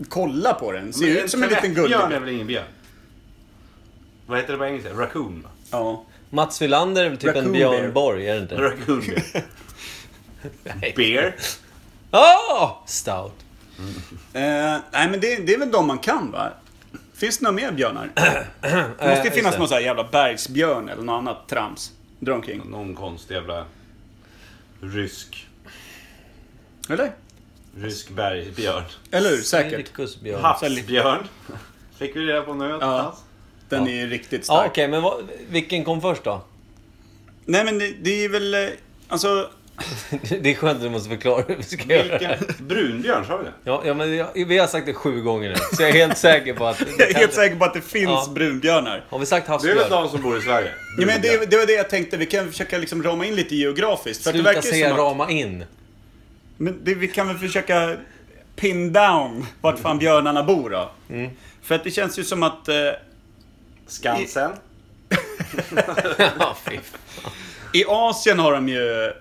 [SPEAKER 6] det?
[SPEAKER 3] Kolla på den. Ser
[SPEAKER 6] Men
[SPEAKER 3] ut som en liten gullig.
[SPEAKER 6] tvättbjörn är väl ingen björn? Vad heter det på engelska? Raccoon va?
[SPEAKER 3] Ja.
[SPEAKER 1] Mats Wilander är väl typ en
[SPEAKER 3] Raccoon bear.
[SPEAKER 1] Björn Borg, är det inte?
[SPEAKER 6] Raccoon bear. bear.
[SPEAKER 1] Ah! Stout.
[SPEAKER 3] Eh, nej men det, det är väl de man kan va? Finns det några mer björnar? det måste ju
[SPEAKER 1] just
[SPEAKER 3] finnas
[SPEAKER 1] det.
[SPEAKER 3] någon sån här jävla bergsbjörn eller något annat trams. Dra omkring.
[SPEAKER 6] Någon konstig jävla rysk,
[SPEAKER 3] Eller?
[SPEAKER 6] rysk bergbjörn.
[SPEAKER 3] Eller hur? Säkert.
[SPEAKER 1] Sirkusbjörn.
[SPEAKER 6] Havsbjörn. Fick vi reda på nu någonstans?
[SPEAKER 3] Den är ju riktigt
[SPEAKER 1] Ja,
[SPEAKER 3] stark.
[SPEAKER 1] okej, men vad, vilken kom först då?
[SPEAKER 3] Nej men det, det är väl... eh, Alltså...
[SPEAKER 1] Det är skönt att du måste förklara hur vi ska göra det.
[SPEAKER 6] Vilken? Brunbjörn, sa vi det?
[SPEAKER 1] Ja, ja, men jag, vi har sagt det sju gånger nu, så jag är helt säker på att...
[SPEAKER 3] Jag är helt säker på att det finns
[SPEAKER 1] Ja.
[SPEAKER 3] brunbjörnar.
[SPEAKER 1] Har vi sagt
[SPEAKER 6] Det är väl
[SPEAKER 1] havsbjörn?
[SPEAKER 6] de som bor i Sverige?
[SPEAKER 3] Ja, men det, det var det jag tänkte, vi kan försöka liksom rama in lite geografiskt. För att det
[SPEAKER 1] Sluta
[SPEAKER 3] verkar ju
[SPEAKER 1] säga
[SPEAKER 3] som att,
[SPEAKER 1] rama in.
[SPEAKER 3] men det, vi kan väl försöka pin down vart fan björnarna bor då. För att det känns ju som att eh,
[SPEAKER 6] Skansen.
[SPEAKER 1] Ja, fy
[SPEAKER 3] i Asien har de ju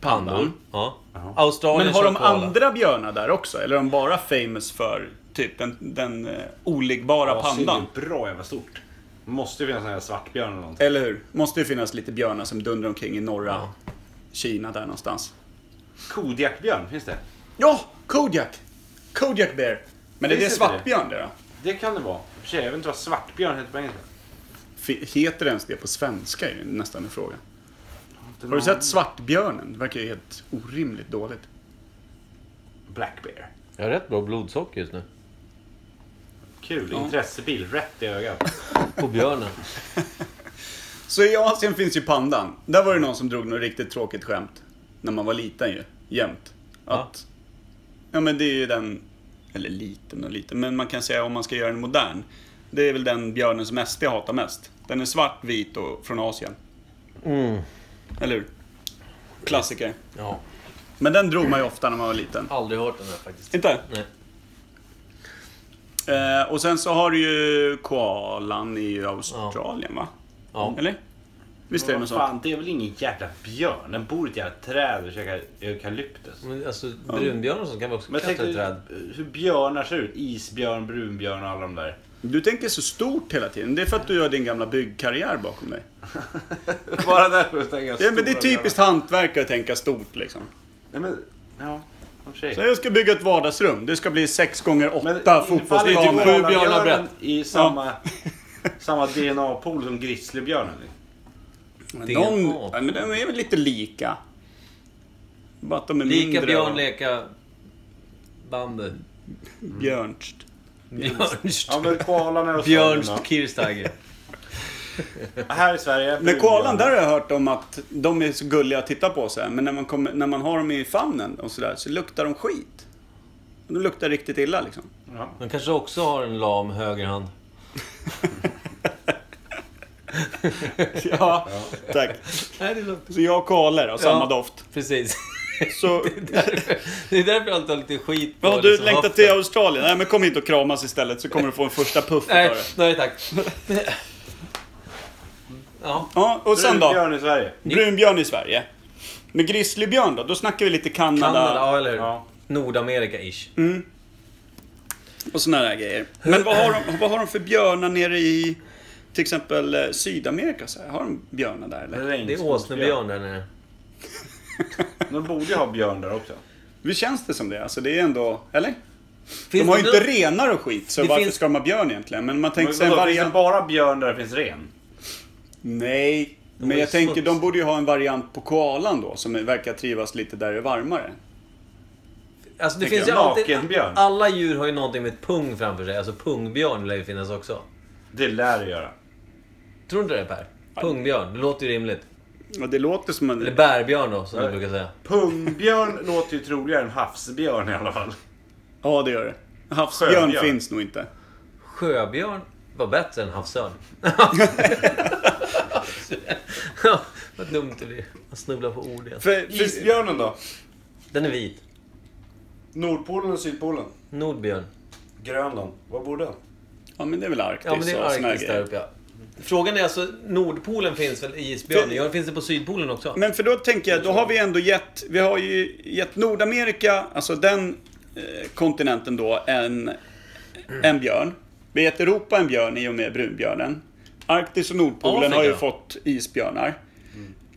[SPEAKER 1] pandan. Ja.
[SPEAKER 6] Ja.
[SPEAKER 1] Australien
[SPEAKER 3] Men har
[SPEAKER 1] kör
[SPEAKER 3] de
[SPEAKER 1] koala.
[SPEAKER 3] andra björnar där också? Eller är de bara famous för Typ den, den eh, oligbara pandan.
[SPEAKER 9] Synd, det är bra jävla stort. Måste ju finnas en svartbjörn eller någonting.
[SPEAKER 3] Eller hur? Måste ju finnas lite björnar som dundrar omkring i norra Kina där någonstans.
[SPEAKER 9] Kodjakbjörn, finns det?
[SPEAKER 3] Ja! Kodiak! Kodiak bear! Men är det
[SPEAKER 9] Finns
[SPEAKER 3] är
[SPEAKER 9] inte det?
[SPEAKER 3] svartbjörn det då?
[SPEAKER 9] Det kan det vara. I och för sig, jag vet inte vad svartbjörn heter på engelska.
[SPEAKER 3] F- Heter det ens det på svenska är ju nästan en fråga. Har du sett Svartbjörnen? Det verkar ju helt orimligt dåligt.
[SPEAKER 9] Black bear.
[SPEAKER 1] Jag har rätt bra blodsocker just nu.
[SPEAKER 9] Kul. Intressebil, rätt i ögat.
[SPEAKER 1] På björnen.
[SPEAKER 3] Så i Asien finns ju pandan. Där var det någon som drog något riktigt tråkigt skämt. När man var liten ju. Jämt. Att... Ja men det är ju den... Eller liten och liten. Men man kan säga om man ska göra den modern. Det är väl den björnen som SD hatar mest. Den är svart, vit och från Asien.
[SPEAKER 9] Mm.
[SPEAKER 3] Eller hur? Klassiker.
[SPEAKER 1] Ja.
[SPEAKER 3] Men den drog man ju ofta när man var liten.
[SPEAKER 1] Aldrig hört den här faktiskt.
[SPEAKER 3] Inte?
[SPEAKER 1] Nej.
[SPEAKER 3] Eh, och sen så har du ju koalan i Australien va?
[SPEAKER 1] Ja.
[SPEAKER 3] Eller? Visst är det något
[SPEAKER 9] Vad
[SPEAKER 3] sånt?
[SPEAKER 9] fan, det är väl ingen jävla björn? Den bor i ett jävla träd och käkar eukalyptus.
[SPEAKER 1] Men alltså brunbjörnar och sånt kan vi också
[SPEAKER 9] Men tänk
[SPEAKER 1] klättra i
[SPEAKER 9] dig
[SPEAKER 1] träd.
[SPEAKER 9] hur björnar ser ut. Isbjörn, brunbjörn och alla de där.
[SPEAKER 3] Du tänker så stort hela tiden. Det är för att du har din gamla byggkarriär bakom dig.
[SPEAKER 9] Bara därför tänker jag
[SPEAKER 3] Ja, men det är
[SPEAKER 9] stora
[SPEAKER 3] typiskt hantverkare att tänka stort liksom.
[SPEAKER 9] björnar. Nej, men, ja, i och för sig.
[SPEAKER 3] Så jag ska bygga ett vardagsrum. Det ska bli 6 gånger 8
[SPEAKER 9] Det är
[SPEAKER 3] fotbollsplaner.
[SPEAKER 9] typ
[SPEAKER 1] sju björnar
[SPEAKER 9] björnen i samma, samma DNA-pool som grizzlybjörnen.
[SPEAKER 3] Men
[SPEAKER 1] Det är
[SPEAKER 3] de,
[SPEAKER 1] en art.
[SPEAKER 3] ja, men de är väl lite lika? Bara att de är
[SPEAKER 1] Lika
[SPEAKER 3] mindre.
[SPEAKER 1] björn,
[SPEAKER 3] och-
[SPEAKER 1] leka bandy.
[SPEAKER 3] Björnst.
[SPEAKER 1] Björnst.
[SPEAKER 9] Ja, men koalan är
[SPEAKER 1] Björnst Kirsteiger.
[SPEAKER 9] Här i Sverige.
[SPEAKER 3] Men koalan, där har jag hört om att de är så gulliga att titta på så här. Men när man, kommer, när man har dem i famnen och sådär så luktar de skit. De luktar riktigt illa liksom.
[SPEAKER 9] Ja.
[SPEAKER 1] De kanske också har en lam högerhand.
[SPEAKER 3] Ja, tack.
[SPEAKER 1] Nej, det är lugnt.
[SPEAKER 3] Så jag och koalor har samma
[SPEAKER 1] Ja.
[SPEAKER 3] doft.
[SPEAKER 1] Precis.
[SPEAKER 3] Så,
[SPEAKER 1] Därför- det är därför jag alltid har lite skit på
[SPEAKER 3] vad har du
[SPEAKER 1] liksom
[SPEAKER 3] längtat
[SPEAKER 1] höften.
[SPEAKER 3] till Australien? Nej men kom hit och kramas istället så kommer du få en första puff utav
[SPEAKER 1] Nej,
[SPEAKER 3] det.
[SPEAKER 1] nej tack. Ja,
[SPEAKER 3] Ja, och sen då?
[SPEAKER 9] Björn i Sverige.
[SPEAKER 3] Brunbjörn i Sverige. Men grizzlybjörn då? Då snackar vi lite Kanada,
[SPEAKER 1] Kanada, ja eller hur?
[SPEAKER 9] eh, Ja. Mm.
[SPEAKER 1] Nordamerika-ish.
[SPEAKER 3] och sådana där grejer. Men vad har, de, vad har de för björnar nere i till exempel eh, Sydamerika? Så här? Har de björnar där eller?
[SPEAKER 1] Det är åsnebjörn där nere.
[SPEAKER 9] De borde ju ha björn där också.
[SPEAKER 3] Det känns det som det. Alltså det är ändå... Eller?
[SPEAKER 1] Finns
[SPEAKER 3] de har ju
[SPEAKER 1] det
[SPEAKER 3] inte
[SPEAKER 1] någon-
[SPEAKER 3] renar och skit, så
[SPEAKER 1] Det
[SPEAKER 3] varför
[SPEAKER 1] finns-
[SPEAKER 3] ska de ha björn egentligen? Men man
[SPEAKER 9] Men
[SPEAKER 3] tänker sig en
[SPEAKER 9] vadå, Finns det
[SPEAKER 3] variant...
[SPEAKER 9] bara björn där det finns ren?
[SPEAKER 3] Nej.
[SPEAKER 1] var
[SPEAKER 3] Men
[SPEAKER 1] ju
[SPEAKER 3] jag tänker,
[SPEAKER 1] smuts.
[SPEAKER 3] de borde ju ha en variant på koalan då, som verkar trivas lite där det är varmare.
[SPEAKER 1] Alltså det
[SPEAKER 3] Tänker
[SPEAKER 1] finns ju
[SPEAKER 9] jag.
[SPEAKER 1] alltid...
[SPEAKER 9] Nakenbjörn.
[SPEAKER 1] Alla djur har ju någonting med ett pung framför sig. Alltså pungbjörn lär ju finnas också.
[SPEAKER 9] Det lär det göra.
[SPEAKER 1] Tror du inte det Per? Pungbjörn, det låter ju rimligt.
[SPEAKER 3] Ja, det låter som
[SPEAKER 1] Eller
[SPEAKER 3] en...
[SPEAKER 1] bärbjörn då, som du
[SPEAKER 9] Nej.
[SPEAKER 1] brukar säga.
[SPEAKER 9] Pungbjörn låter ju troligare än havsbjörn i alla fall.
[SPEAKER 3] Ja, det gör det. Havsbjörn
[SPEAKER 9] Sjöbjörn.
[SPEAKER 3] finns nog inte.
[SPEAKER 1] Sjöbjörn var bättre än havsörn. Ja, Vad dumt det blir. Man snubblar på ord igen.
[SPEAKER 3] För, för,
[SPEAKER 6] Isbjörnen då?
[SPEAKER 1] Den är vit.
[SPEAKER 6] Nordpolen och Sydpolen?
[SPEAKER 1] Nordbjörn.
[SPEAKER 6] Grönland? Var bor den?
[SPEAKER 3] ja, men det är väl Arktis
[SPEAKER 1] Ja men det är
[SPEAKER 3] och såna här
[SPEAKER 1] Arktis där
[SPEAKER 3] grejer.
[SPEAKER 1] uppe ja. Frågan är alltså, Nordpolen finns väl i isbjörn? Ja, finns det på Sydpolen också?
[SPEAKER 3] Men för då tänker jag, då har vi ändå gett, vi har ju gett Nordamerika, alltså den eh, kontinenten då, en, en björn. Vi har gett Europa en björn i och med brunbjörnen. Arktis och Nordpolen
[SPEAKER 1] Afrika. Mm.
[SPEAKER 3] har ju fått isbjörnar.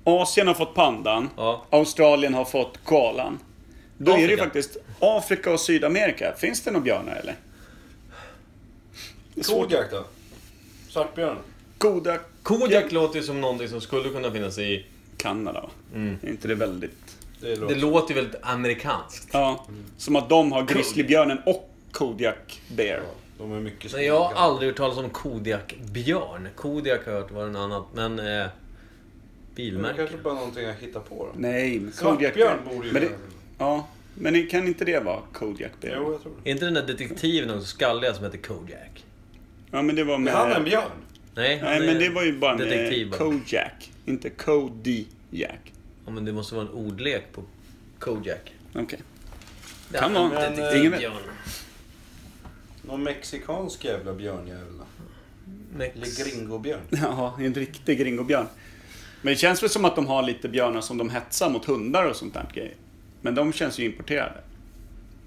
[SPEAKER 3] Asien har fått pandan.
[SPEAKER 1] Ja.
[SPEAKER 3] Australien har fått koalan. Då är det ju
[SPEAKER 1] Afrika.
[SPEAKER 3] faktiskt Afrika och Sydamerika. Finns det några björnar eller?
[SPEAKER 6] Kodiak då? Svartbjörn?
[SPEAKER 3] Goda
[SPEAKER 1] Kodiak låter ju som någonting som skulle kunna finnas i...
[SPEAKER 3] Kanada va?
[SPEAKER 1] Mm.
[SPEAKER 3] Är inte det väldigt...
[SPEAKER 6] Det
[SPEAKER 1] Det
[SPEAKER 6] låter...
[SPEAKER 1] låter ju väldigt amerikanskt.
[SPEAKER 3] Ja, som att de har grizzlybjörnen och Kodiak Bear.
[SPEAKER 6] De är mycket
[SPEAKER 1] Men jag har aldrig hört talas om Kodiak-björn. Kodiak har jag hört var en annat, men... Eh,
[SPEAKER 6] Det
[SPEAKER 1] bilmärke.
[SPEAKER 6] kanske bara är någonting jag hittar på då.
[SPEAKER 3] Nej, men Kodiak Bear.
[SPEAKER 6] Svartbjörn borde ju
[SPEAKER 3] Men det,
[SPEAKER 6] vara-
[SPEAKER 3] ja, men kan inte det vara Kodiak
[SPEAKER 6] Jo,
[SPEAKER 3] Bear?
[SPEAKER 6] jag tror det.
[SPEAKER 1] Är inte den där detektiven också skalliga som heter Kodiak?
[SPEAKER 3] Ja, men det var med...
[SPEAKER 6] Men han är en björn.
[SPEAKER 1] Nej, han
[SPEAKER 3] Nej,
[SPEAKER 1] är
[SPEAKER 3] men det var ju bara eh,
[SPEAKER 1] detektiv
[SPEAKER 3] med
[SPEAKER 1] bara.
[SPEAKER 3] Kojak. Inte Kodiak.
[SPEAKER 1] Ja, men det måste vara en ordlek på Kodiak.
[SPEAKER 3] Okej.
[SPEAKER 1] Ja,
[SPEAKER 3] Kan vara.
[SPEAKER 1] en
[SPEAKER 3] Men, eh, ingen vet.
[SPEAKER 1] detektivbjörn.
[SPEAKER 6] Någon mexikansk jävla björnjävel då?
[SPEAKER 1] Mex-
[SPEAKER 6] Eller gringobjörn?
[SPEAKER 3] Ja, en riktig gringobjörn. Men det känns väl som att de har lite björnar som de hetsar mot hundar och sånt där grejer. Men de känns ju importerade.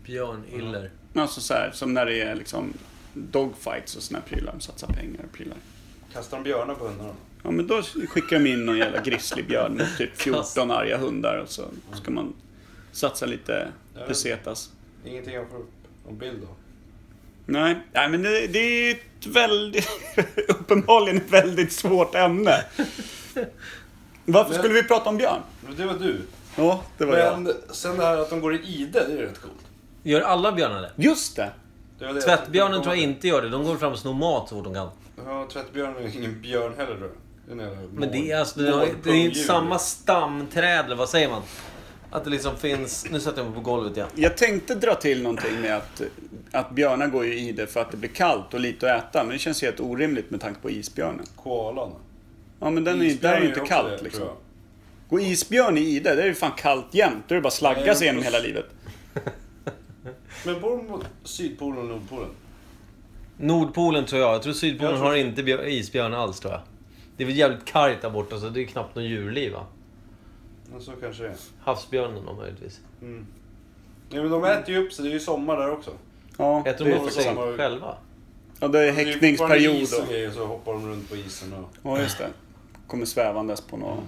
[SPEAKER 1] Björn Iller.
[SPEAKER 3] Alltså så här, som när det är liksom dogfights och såna här prylar. Satsa pengar och prylar.
[SPEAKER 6] Kastar de björnar på hundarna?
[SPEAKER 3] Ja, men då skickar de in någon jävla grizzlybjörn med typ 14 arga hundar och så ska man satsa lite pesetas.
[SPEAKER 6] Ingenting jag får upp någon bild av.
[SPEAKER 3] Nej, nej men det, det är ett väldigt, uppenbarligen ett väldigt svårt ämne. Varför skulle vi prata om björn?
[SPEAKER 6] Men det var du.
[SPEAKER 3] Ja, det var jag.
[SPEAKER 6] Men sen det här att de går i ide, det är ju rätt coolt.
[SPEAKER 1] Gör alla björnar det?
[SPEAKER 3] Just det!
[SPEAKER 6] Det var det jag
[SPEAKER 1] Tvättbjörnen
[SPEAKER 6] tänkte
[SPEAKER 1] tror jag
[SPEAKER 6] komma
[SPEAKER 1] inte gör det. De går fram och snor mat så fort de kan.
[SPEAKER 6] till. Ja, tvättbjörnen är ingen björn heller då. Det är en jävla
[SPEAKER 1] Men det är
[SPEAKER 6] mård-
[SPEAKER 1] alltså, det är, det är inte
[SPEAKER 6] mårdpungdjur.
[SPEAKER 1] samma stamträd, eller vad säger man? Att det liksom finns... Nu sätter jag mig på golvet igen.
[SPEAKER 3] Jag tänkte dra till någonting med att, att björnar går ju i det för att det blir kallt och lite att äta. Men det känns helt orimligt med tanke på isbjörnen.
[SPEAKER 6] Koalan.
[SPEAKER 3] Ja, men den är, där är ju inte
[SPEAKER 6] också det,
[SPEAKER 3] kallt
[SPEAKER 6] tror
[SPEAKER 3] liksom.
[SPEAKER 6] jag.
[SPEAKER 3] Gå isbjörn i Ide, där är det fan kallt jämt. Då är det bara att slagga
[SPEAKER 6] Nej,
[SPEAKER 3] sig genom
[SPEAKER 6] men-
[SPEAKER 3] hela livet.
[SPEAKER 6] Men bor de mot Sydpolen och Nordpolen?
[SPEAKER 1] Nordpolen tror jag. Jag tror Sydpolen
[SPEAKER 6] Jag tror-
[SPEAKER 1] har inte björ, isbjörn alls tror jag. Det är väl jävligt kargt där borta så det är knappt något djurliv va?
[SPEAKER 6] Ja, så kanske det är.
[SPEAKER 1] Havsbjörnen då möjligtvis.
[SPEAKER 6] Nej, men de äter ju upp sig, det är ju sommar där också.
[SPEAKER 3] Ja,
[SPEAKER 1] Jag tror
[SPEAKER 3] det
[SPEAKER 1] de
[SPEAKER 3] är
[SPEAKER 1] håller
[SPEAKER 3] faktiskt
[SPEAKER 1] sig
[SPEAKER 3] sant.
[SPEAKER 6] samma-
[SPEAKER 1] själva.
[SPEAKER 3] Ja, det är
[SPEAKER 6] Det är ju fortfarande
[SPEAKER 3] häckningsperiod.
[SPEAKER 6] is och
[SPEAKER 3] Och...
[SPEAKER 6] grejer, så hoppar de runt på isen och
[SPEAKER 3] Ja, just det. Kommer svävandes på något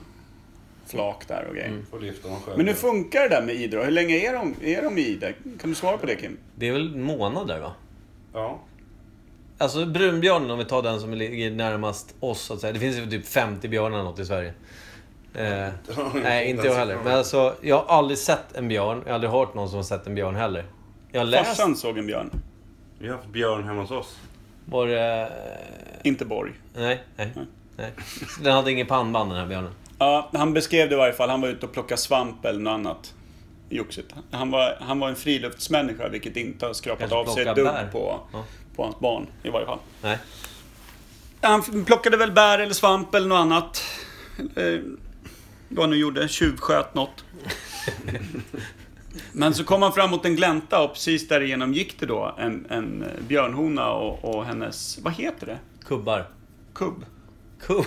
[SPEAKER 3] flak där och grejer.
[SPEAKER 6] får lyfta någon själv.
[SPEAKER 3] Men hur funkar det där med Ide då? Hur länge är de, är de i Ide? Kan du svara på det Kim?
[SPEAKER 1] Det är väl månader va?
[SPEAKER 6] Ja.
[SPEAKER 1] Alltså brunbjörnen, om vi tar den som ligger närmast oss så att säga. Det finns ju typ 50 björnar eller något i Sverige. Eh, nej, inte jag heller. Men alltså, jag har aldrig sett en björn. Jag har aldrig hört någon som har sett en björn heller. Jag har läst...
[SPEAKER 3] Farsan såg en björn,
[SPEAKER 6] Vi har haft björn hemma hos oss.
[SPEAKER 1] Var det...
[SPEAKER 3] inte Borg.
[SPEAKER 1] Nej, nej. nej. Den hade ingen pannband den här björnen.
[SPEAKER 3] Ja, han beskrev det i varje fall. Han var ute och plockade svamp eller något annat. Joxigt. Han var, han var en friluftsmänniska, vilket inte har skrapat
[SPEAKER 1] Kanske
[SPEAKER 3] av sig
[SPEAKER 1] plocka
[SPEAKER 3] ett dugg
[SPEAKER 1] bär.
[SPEAKER 3] på,
[SPEAKER 1] Ja.
[SPEAKER 3] på hans barn i varje fall.
[SPEAKER 1] Nej.
[SPEAKER 3] Han f- plockade väl bär eller svamp eller något annat. Eh, vad han nu gjorde. Tjuvsköt något. Men så kom han fram mot en glänta och precis därigenom gick det då en, en björnhona och, och hennes, vad heter det?
[SPEAKER 1] Kubbar.
[SPEAKER 3] Kubb.
[SPEAKER 1] Kubb?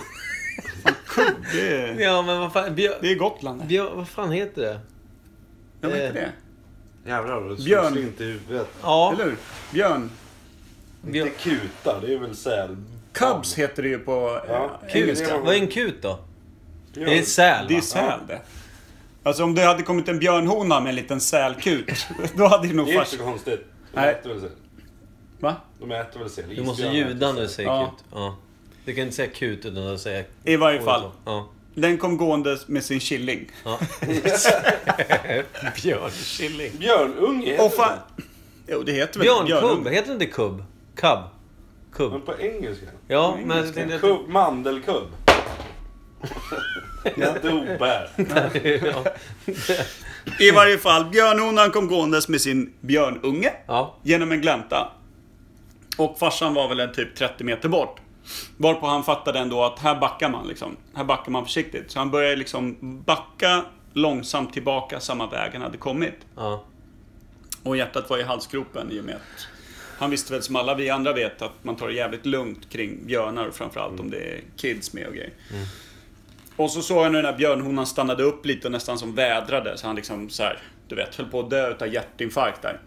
[SPEAKER 3] Det är,
[SPEAKER 1] Ja, men vad fan... Björ...
[SPEAKER 3] det är Gotland.
[SPEAKER 1] Björ... Vad fan heter det?
[SPEAKER 3] Jag vet det.
[SPEAKER 6] Jävlar vad det
[SPEAKER 3] Björn.
[SPEAKER 6] björn. inte i huvudet.
[SPEAKER 1] Ja.
[SPEAKER 3] Eller hur? Björn.
[SPEAKER 6] Det
[SPEAKER 1] Björ...
[SPEAKER 6] är kuta, det är väl säl.
[SPEAKER 3] Cubs heter det ju på eh,
[SPEAKER 6] Ja, kul.
[SPEAKER 3] engelska.
[SPEAKER 1] Vad är en kut då?
[SPEAKER 6] Björn.
[SPEAKER 1] Det är säl
[SPEAKER 3] Det är
[SPEAKER 1] va?
[SPEAKER 3] säl det. Alltså om det hade kommit en björnhona med en liten sälkut, då hade det nog
[SPEAKER 6] Det är inte
[SPEAKER 3] fars...
[SPEAKER 6] så konstigt. De
[SPEAKER 3] Nej.
[SPEAKER 6] äter väl säl.
[SPEAKER 3] Va?
[SPEAKER 6] De äter väl säl.
[SPEAKER 1] Du måste
[SPEAKER 6] Isbjörnar äter
[SPEAKER 1] ljuda när du
[SPEAKER 6] säl.
[SPEAKER 1] säger
[SPEAKER 3] Ja.
[SPEAKER 1] kut. Ja. Du kan inte säga kut utan att säga...
[SPEAKER 3] I varje fall.
[SPEAKER 1] Ja.
[SPEAKER 3] Den kom gående med sin killing.
[SPEAKER 1] ja. Björnkilling.
[SPEAKER 6] Björnunge heter
[SPEAKER 3] Och fan... Jo, det heter väl
[SPEAKER 1] Björnkubb,
[SPEAKER 3] björnunge.
[SPEAKER 1] heter det inte kubb? Kubb?
[SPEAKER 6] det. Men
[SPEAKER 1] Kubb.
[SPEAKER 6] på engelska.
[SPEAKER 1] Ja, men... jag tänkte att-
[SPEAKER 6] Kubb, mandelkubb. Jag dog bär.
[SPEAKER 1] ja.
[SPEAKER 3] I varje fall, björnhonan kom gåendes med sin björnunge.
[SPEAKER 1] ja.
[SPEAKER 3] genom en glänta. Och farsan var väl en typ 30 meter bort. Varpå han fattade ändå att här backar man liksom. Här backar man försiktigt. Så han började liksom backa långsamt tillbaka samma väg han hade kommit.
[SPEAKER 1] Ja.
[SPEAKER 3] Och hjärtat var i halsgropen i och med att han visste väl som alla vi andra vet att man tar det jävligt lugnt kring björnar och framförallt om det är kids med och grejer. Och så såg jag nu den här björnhonan stannade upp lite och nästan som vädrade så han liksom så här, du vet, höll på att dö utav hjärtinfarkt där.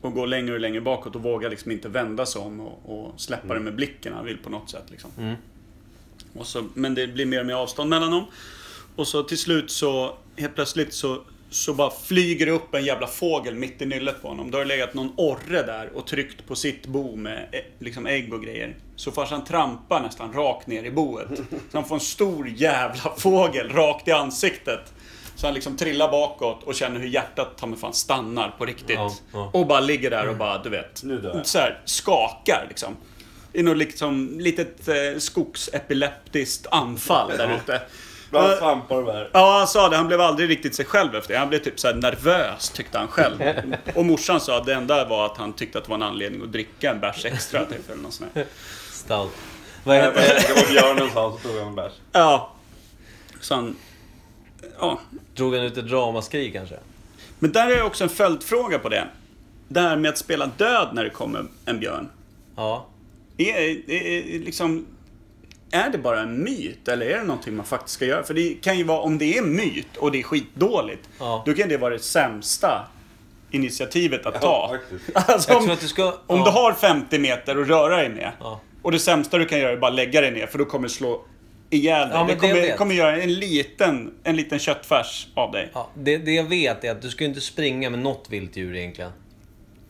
[SPEAKER 3] Och går längre och längre bakåt och vågar liksom inte vända sig om och, och släppa
[SPEAKER 1] Mm.
[SPEAKER 3] det med blicken han vill på något sätt liksom. Och så, men det blir mer och mer avstånd mellan dem. Och så till slut så, helt plötsligt så, så bara flyger det upp en jävla fågel mitt i nyllet på honom. Då har det legat någon orre där och tryckt på sitt bo med eh, liksom ägg och grejer. Så farsan trampar nästan rakt ner i boet. Så han får en stor jävla fågel rakt i ansiktet. Så han liksom trillar bakåt och känner hur hjärtat ta mig fan stannar på riktigt.
[SPEAKER 1] Ja, ja.
[SPEAKER 3] Och bara ligger där och bara, du vet,
[SPEAKER 6] Mm. Nu dör jag.
[SPEAKER 3] så här, skakar liksom. Det är nog liksom litet eh, skogsepileptiskt anfall där ute.
[SPEAKER 6] Bland
[SPEAKER 3] Eh,
[SPEAKER 6] svampar och bär.
[SPEAKER 3] Ja, han sa det. Han blev aldrig riktigt sig själv efter det. Han blev typ så här nervös, tyckte han själv. Och morsan sa att det enda var att han tyckte att det var en anledning att dricka en bärs extra, typ, eller något sånt där.
[SPEAKER 1] Stout. Vad heter det?
[SPEAKER 6] Det var björnen sa, så tog han en bärs.
[SPEAKER 3] Ja. Så han... Ja.
[SPEAKER 1] Drog han ut ett ramaskri kanske?
[SPEAKER 3] Men där är också en följdfråga på det. Det här med att spela död när det kommer en björn.
[SPEAKER 1] Ja.
[SPEAKER 3] Är, är, är, liksom, är det bara en myt eller är det någonting man faktiskt ska göra? För det kan ju vara, om det är en myt och det är skitdåligt,
[SPEAKER 1] Ja.
[SPEAKER 3] då kan det vara det sämsta initiativet att ta.
[SPEAKER 9] faktiskt.
[SPEAKER 3] Alltså,
[SPEAKER 1] Jag
[SPEAKER 3] om-
[SPEAKER 1] tror att du ska...
[SPEAKER 3] Om
[SPEAKER 1] ja.
[SPEAKER 3] du har 50 meter att röra dig med.
[SPEAKER 1] Ja.
[SPEAKER 3] Och det sämsta du kan göra är bara lägga dig ner för då kommer slå ihjäl dig.
[SPEAKER 1] Ja, men
[SPEAKER 3] det
[SPEAKER 1] det
[SPEAKER 3] kommer,
[SPEAKER 1] jag vet.
[SPEAKER 3] kommer göra en liten, en liten köttfärs av dig.
[SPEAKER 1] Ja, det, det jag vet är att du ska ju inte springa med något vilt djur egentligen.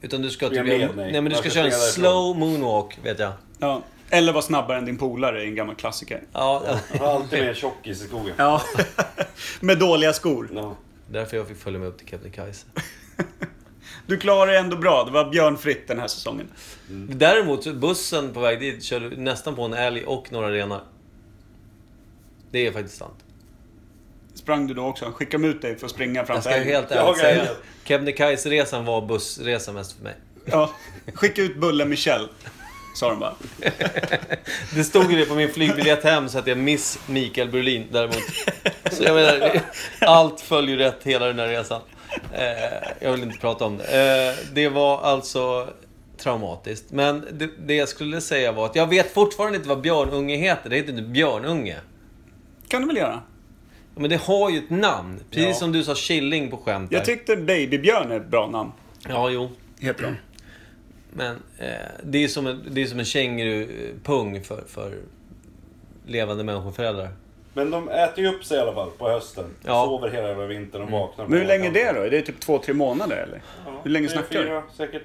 [SPEAKER 1] Utan du ska...
[SPEAKER 6] Springa
[SPEAKER 1] typ-
[SPEAKER 6] med,
[SPEAKER 1] nej,
[SPEAKER 6] nej.
[SPEAKER 1] men du
[SPEAKER 6] Man
[SPEAKER 1] ska
[SPEAKER 6] ska
[SPEAKER 1] köra en
[SPEAKER 6] springa därifrån.
[SPEAKER 1] slow moonwalk, vet jag.
[SPEAKER 3] Ja. Eller vara snabbare än din polare, en gammal klassiker.
[SPEAKER 1] Ja,
[SPEAKER 6] Han har alltid med en tjockis i skogen.
[SPEAKER 3] Ja. Med dåliga skor.
[SPEAKER 6] Ja.
[SPEAKER 1] därför jag fick följa med upp till Kebnekaise.
[SPEAKER 3] Du klarar dig ändå bra. Det var björnfritt den här säsongen.
[SPEAKER 1] Däremot, så bussen på väg dit körde nästan på en älg och några renar. Det är faktiskt sant.
[SPEAKER 3] Sprang du då också? Skickade de ut dig för att springa fram
[SPEAKER 1] Jag ska
[SPEAKER 3] till älgen?
[SPEAKER 1] helt
[SPEAKER 6] Jag
[SPEAKER 1] ärligt säga.
[SPEAKER 6] är-
[SPEAKER 1] Kebnekaiseresan var bussresan mest för mig.
[SPEAKER 3] Ja. Skicka ut Bulle Michel. Sa de bara.
[SPEAKER 1] Det stod ju det på min flygbiljett hem så att jag miss Mikael Berlin däremot. Så jag menar, det- allt följer rätt hela den här resan. Eh, jag vill inte prata om det. Eh, det var alltså traumatiskt. Men det, det jag skulle säga var att jag vet fortfarande inte vad björnunge heter. Det heter inte björnunge.
[SPEAKER 3] Kan du väl göra?
[SPEAKER 1] Ja, Men det har ju ett namn. Precis
[SPEAKER 3] Ja.
[SPEAKER 1] som du sa killing på skämt.
[SPEAKER 3] Jag
[SPEAKER 1] där.
[SPEAKER 3] tyckte Babybjörn är ett bra namn.
[SPEAKER 1] Ja, jo.
[SPEAKER 3] Heter de.
[SPEAKER 1] Men eh, det är som en, det är som en kängurupung för, för levande människoföräldrar.
[SPEAKER 6] Men de äter ju upp sig i alla fall på hösten.
[SPEAKER 1] Ja.
[SPEAKER 6] Sover hela jävla vintern
[SPEAKER 1] Mm.
[SPEAKER 6] och vaknar. på
[SPEAKER 3] Men hur länge är
[SPEAKER 6] vårkanten.
[SPEAKER 3] det då? Är det typ två, tre månader eller?
[SPEAKER 6] Ja,
[SPEAKER 3] Hur länge
[SPEAKER 6] tre,
[SPEAKER 3] snackar du?
[SPEAKER 6] fyra, Säkert.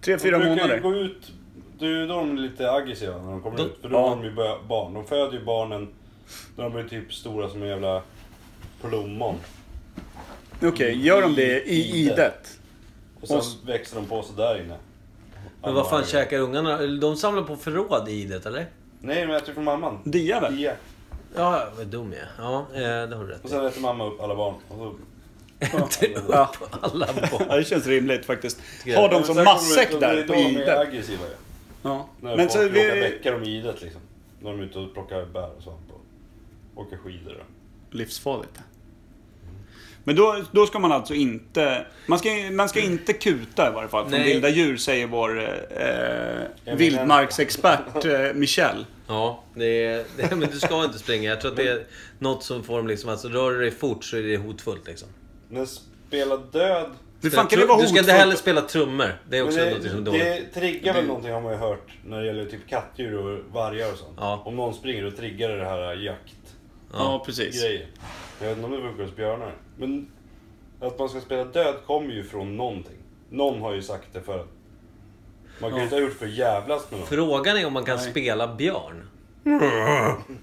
[SPEAKER 3] Tre, fyra
[SPEAKER 6] de brukar
[SPEAKER 3] månader?
[SPEAKER 6] ju gå ut. Det är ju då de är lite aggressiva när de kommer
[SPEAKER 1] De-
[SPEAKER 6] ut. För då
[SPEAKER 3] Ja.
[SPEAKER 6] har de ju bö- barn. De föder ju barnen när de blir typ stora som en jävla plommon.
[SPEAKER 3] Okej, gör de det i
[SPEAKER 6] Ide.
[SPEAKER 3] idet?
[SPEAKER 6] Och sen
[SPEAKER 3] Och s-
[SPEAKER 6] växer de på sig där inne.
[SPEAKER 1] Men vad fan käkar ungarna? Eller De samlar på förråd i det, eller?
[SPEAKER 6] Nej, de äter ju från mamman.
[SPEAKER 3] Dia väl?
[SPEAKER 6] Dia.
[SPEAKER 1] Ja, ja, vad dum jag är. Ja, eh, det har du rätt
[SPEAKER 6] Och
[SPEAKER 1] i.
[SPEAKER 6] sen äter mamma upp alla barn. Och så...
[SPEAKER 1] Äter upp alla barn.
[SPEAKER 3] Ja, det känns rimligt faktiskt.
[SPEAKER 1] jag.
[SPEAKER 3] Har de som
[SPEAKER 6] Sen kommer ut
[SPEAKER 3] matsäck
[SPEAKER 6] och
[SPEAKER 3] där
[SPEAKER 6] Det
[SPEAKER 3] på
[SPEAKER 6] är då de är
[SPEAKER 3] idet?
[SPEAKER 6] aggressiva ju.
[SPEAKER 3] Ja.
[SPEAKER 6] När
[SPEAKER 3] Men
[SPEAKER 6] folk
[SPEAKER 3] så
[SPEAKER 6] plockar
[SPEAKER 3] vi...
[SPEAKER 6] bäckar om idet liksom. När de är ute och plockar bär och svamp och åker skidor.
[SPEAKER 3] Livsfarligt. Men då, då ska man alltså inte... Man ska, man ska inte kuta i varje fall. Från
[SPEAKER 1] Nej.
[SPEAKER 3] vilda djur säger vår eh,
[SPEAKER 6] men-
[SPEAKER 3] vildmarksexpert eh, Michel.
[SPEAKER 1] Ja, det är, det, men du ska inte springa. Jag tror att det är något som får dem liksom... Alltså, rör du dig fort så är det hotfullt liksom.
[SPEAKER 6] Men spela död.
[SPEAKER 3] Hur fan kan det
[SPEAKER 1] Tru-
[SPEAKER 3] vara
[SPEAKER 1] du ska inte
[SPEAKER 3] hotfullt?
[SPEAKER 1] heller spela trummor. Det är
[SPEAKER 6] Men
[SPEAKER 1] också något som är
[SPEAKER 6] det,
[SPEAKER 1] dåligt.
[SPEAKER 6] det triggar väl någonting har man ju hört när det gäller typ kattdjur och vargar och sånt.
[SPEAKER 1] Ja.
[SPEAKER 6] Om någon springer då triggar det det här jaktgrejen.
[SPEAKER 3] Ja, precis.
[SPEAKER 6] Jag vet inte om det brukar hos björnar. Men att man ska spela död kommer ju från någonting. Någon har ju sagt det för att man kan ju inte ha gjort för jävlas med någon.
[SPEAKER 1] Frågan är om man kan spela björn.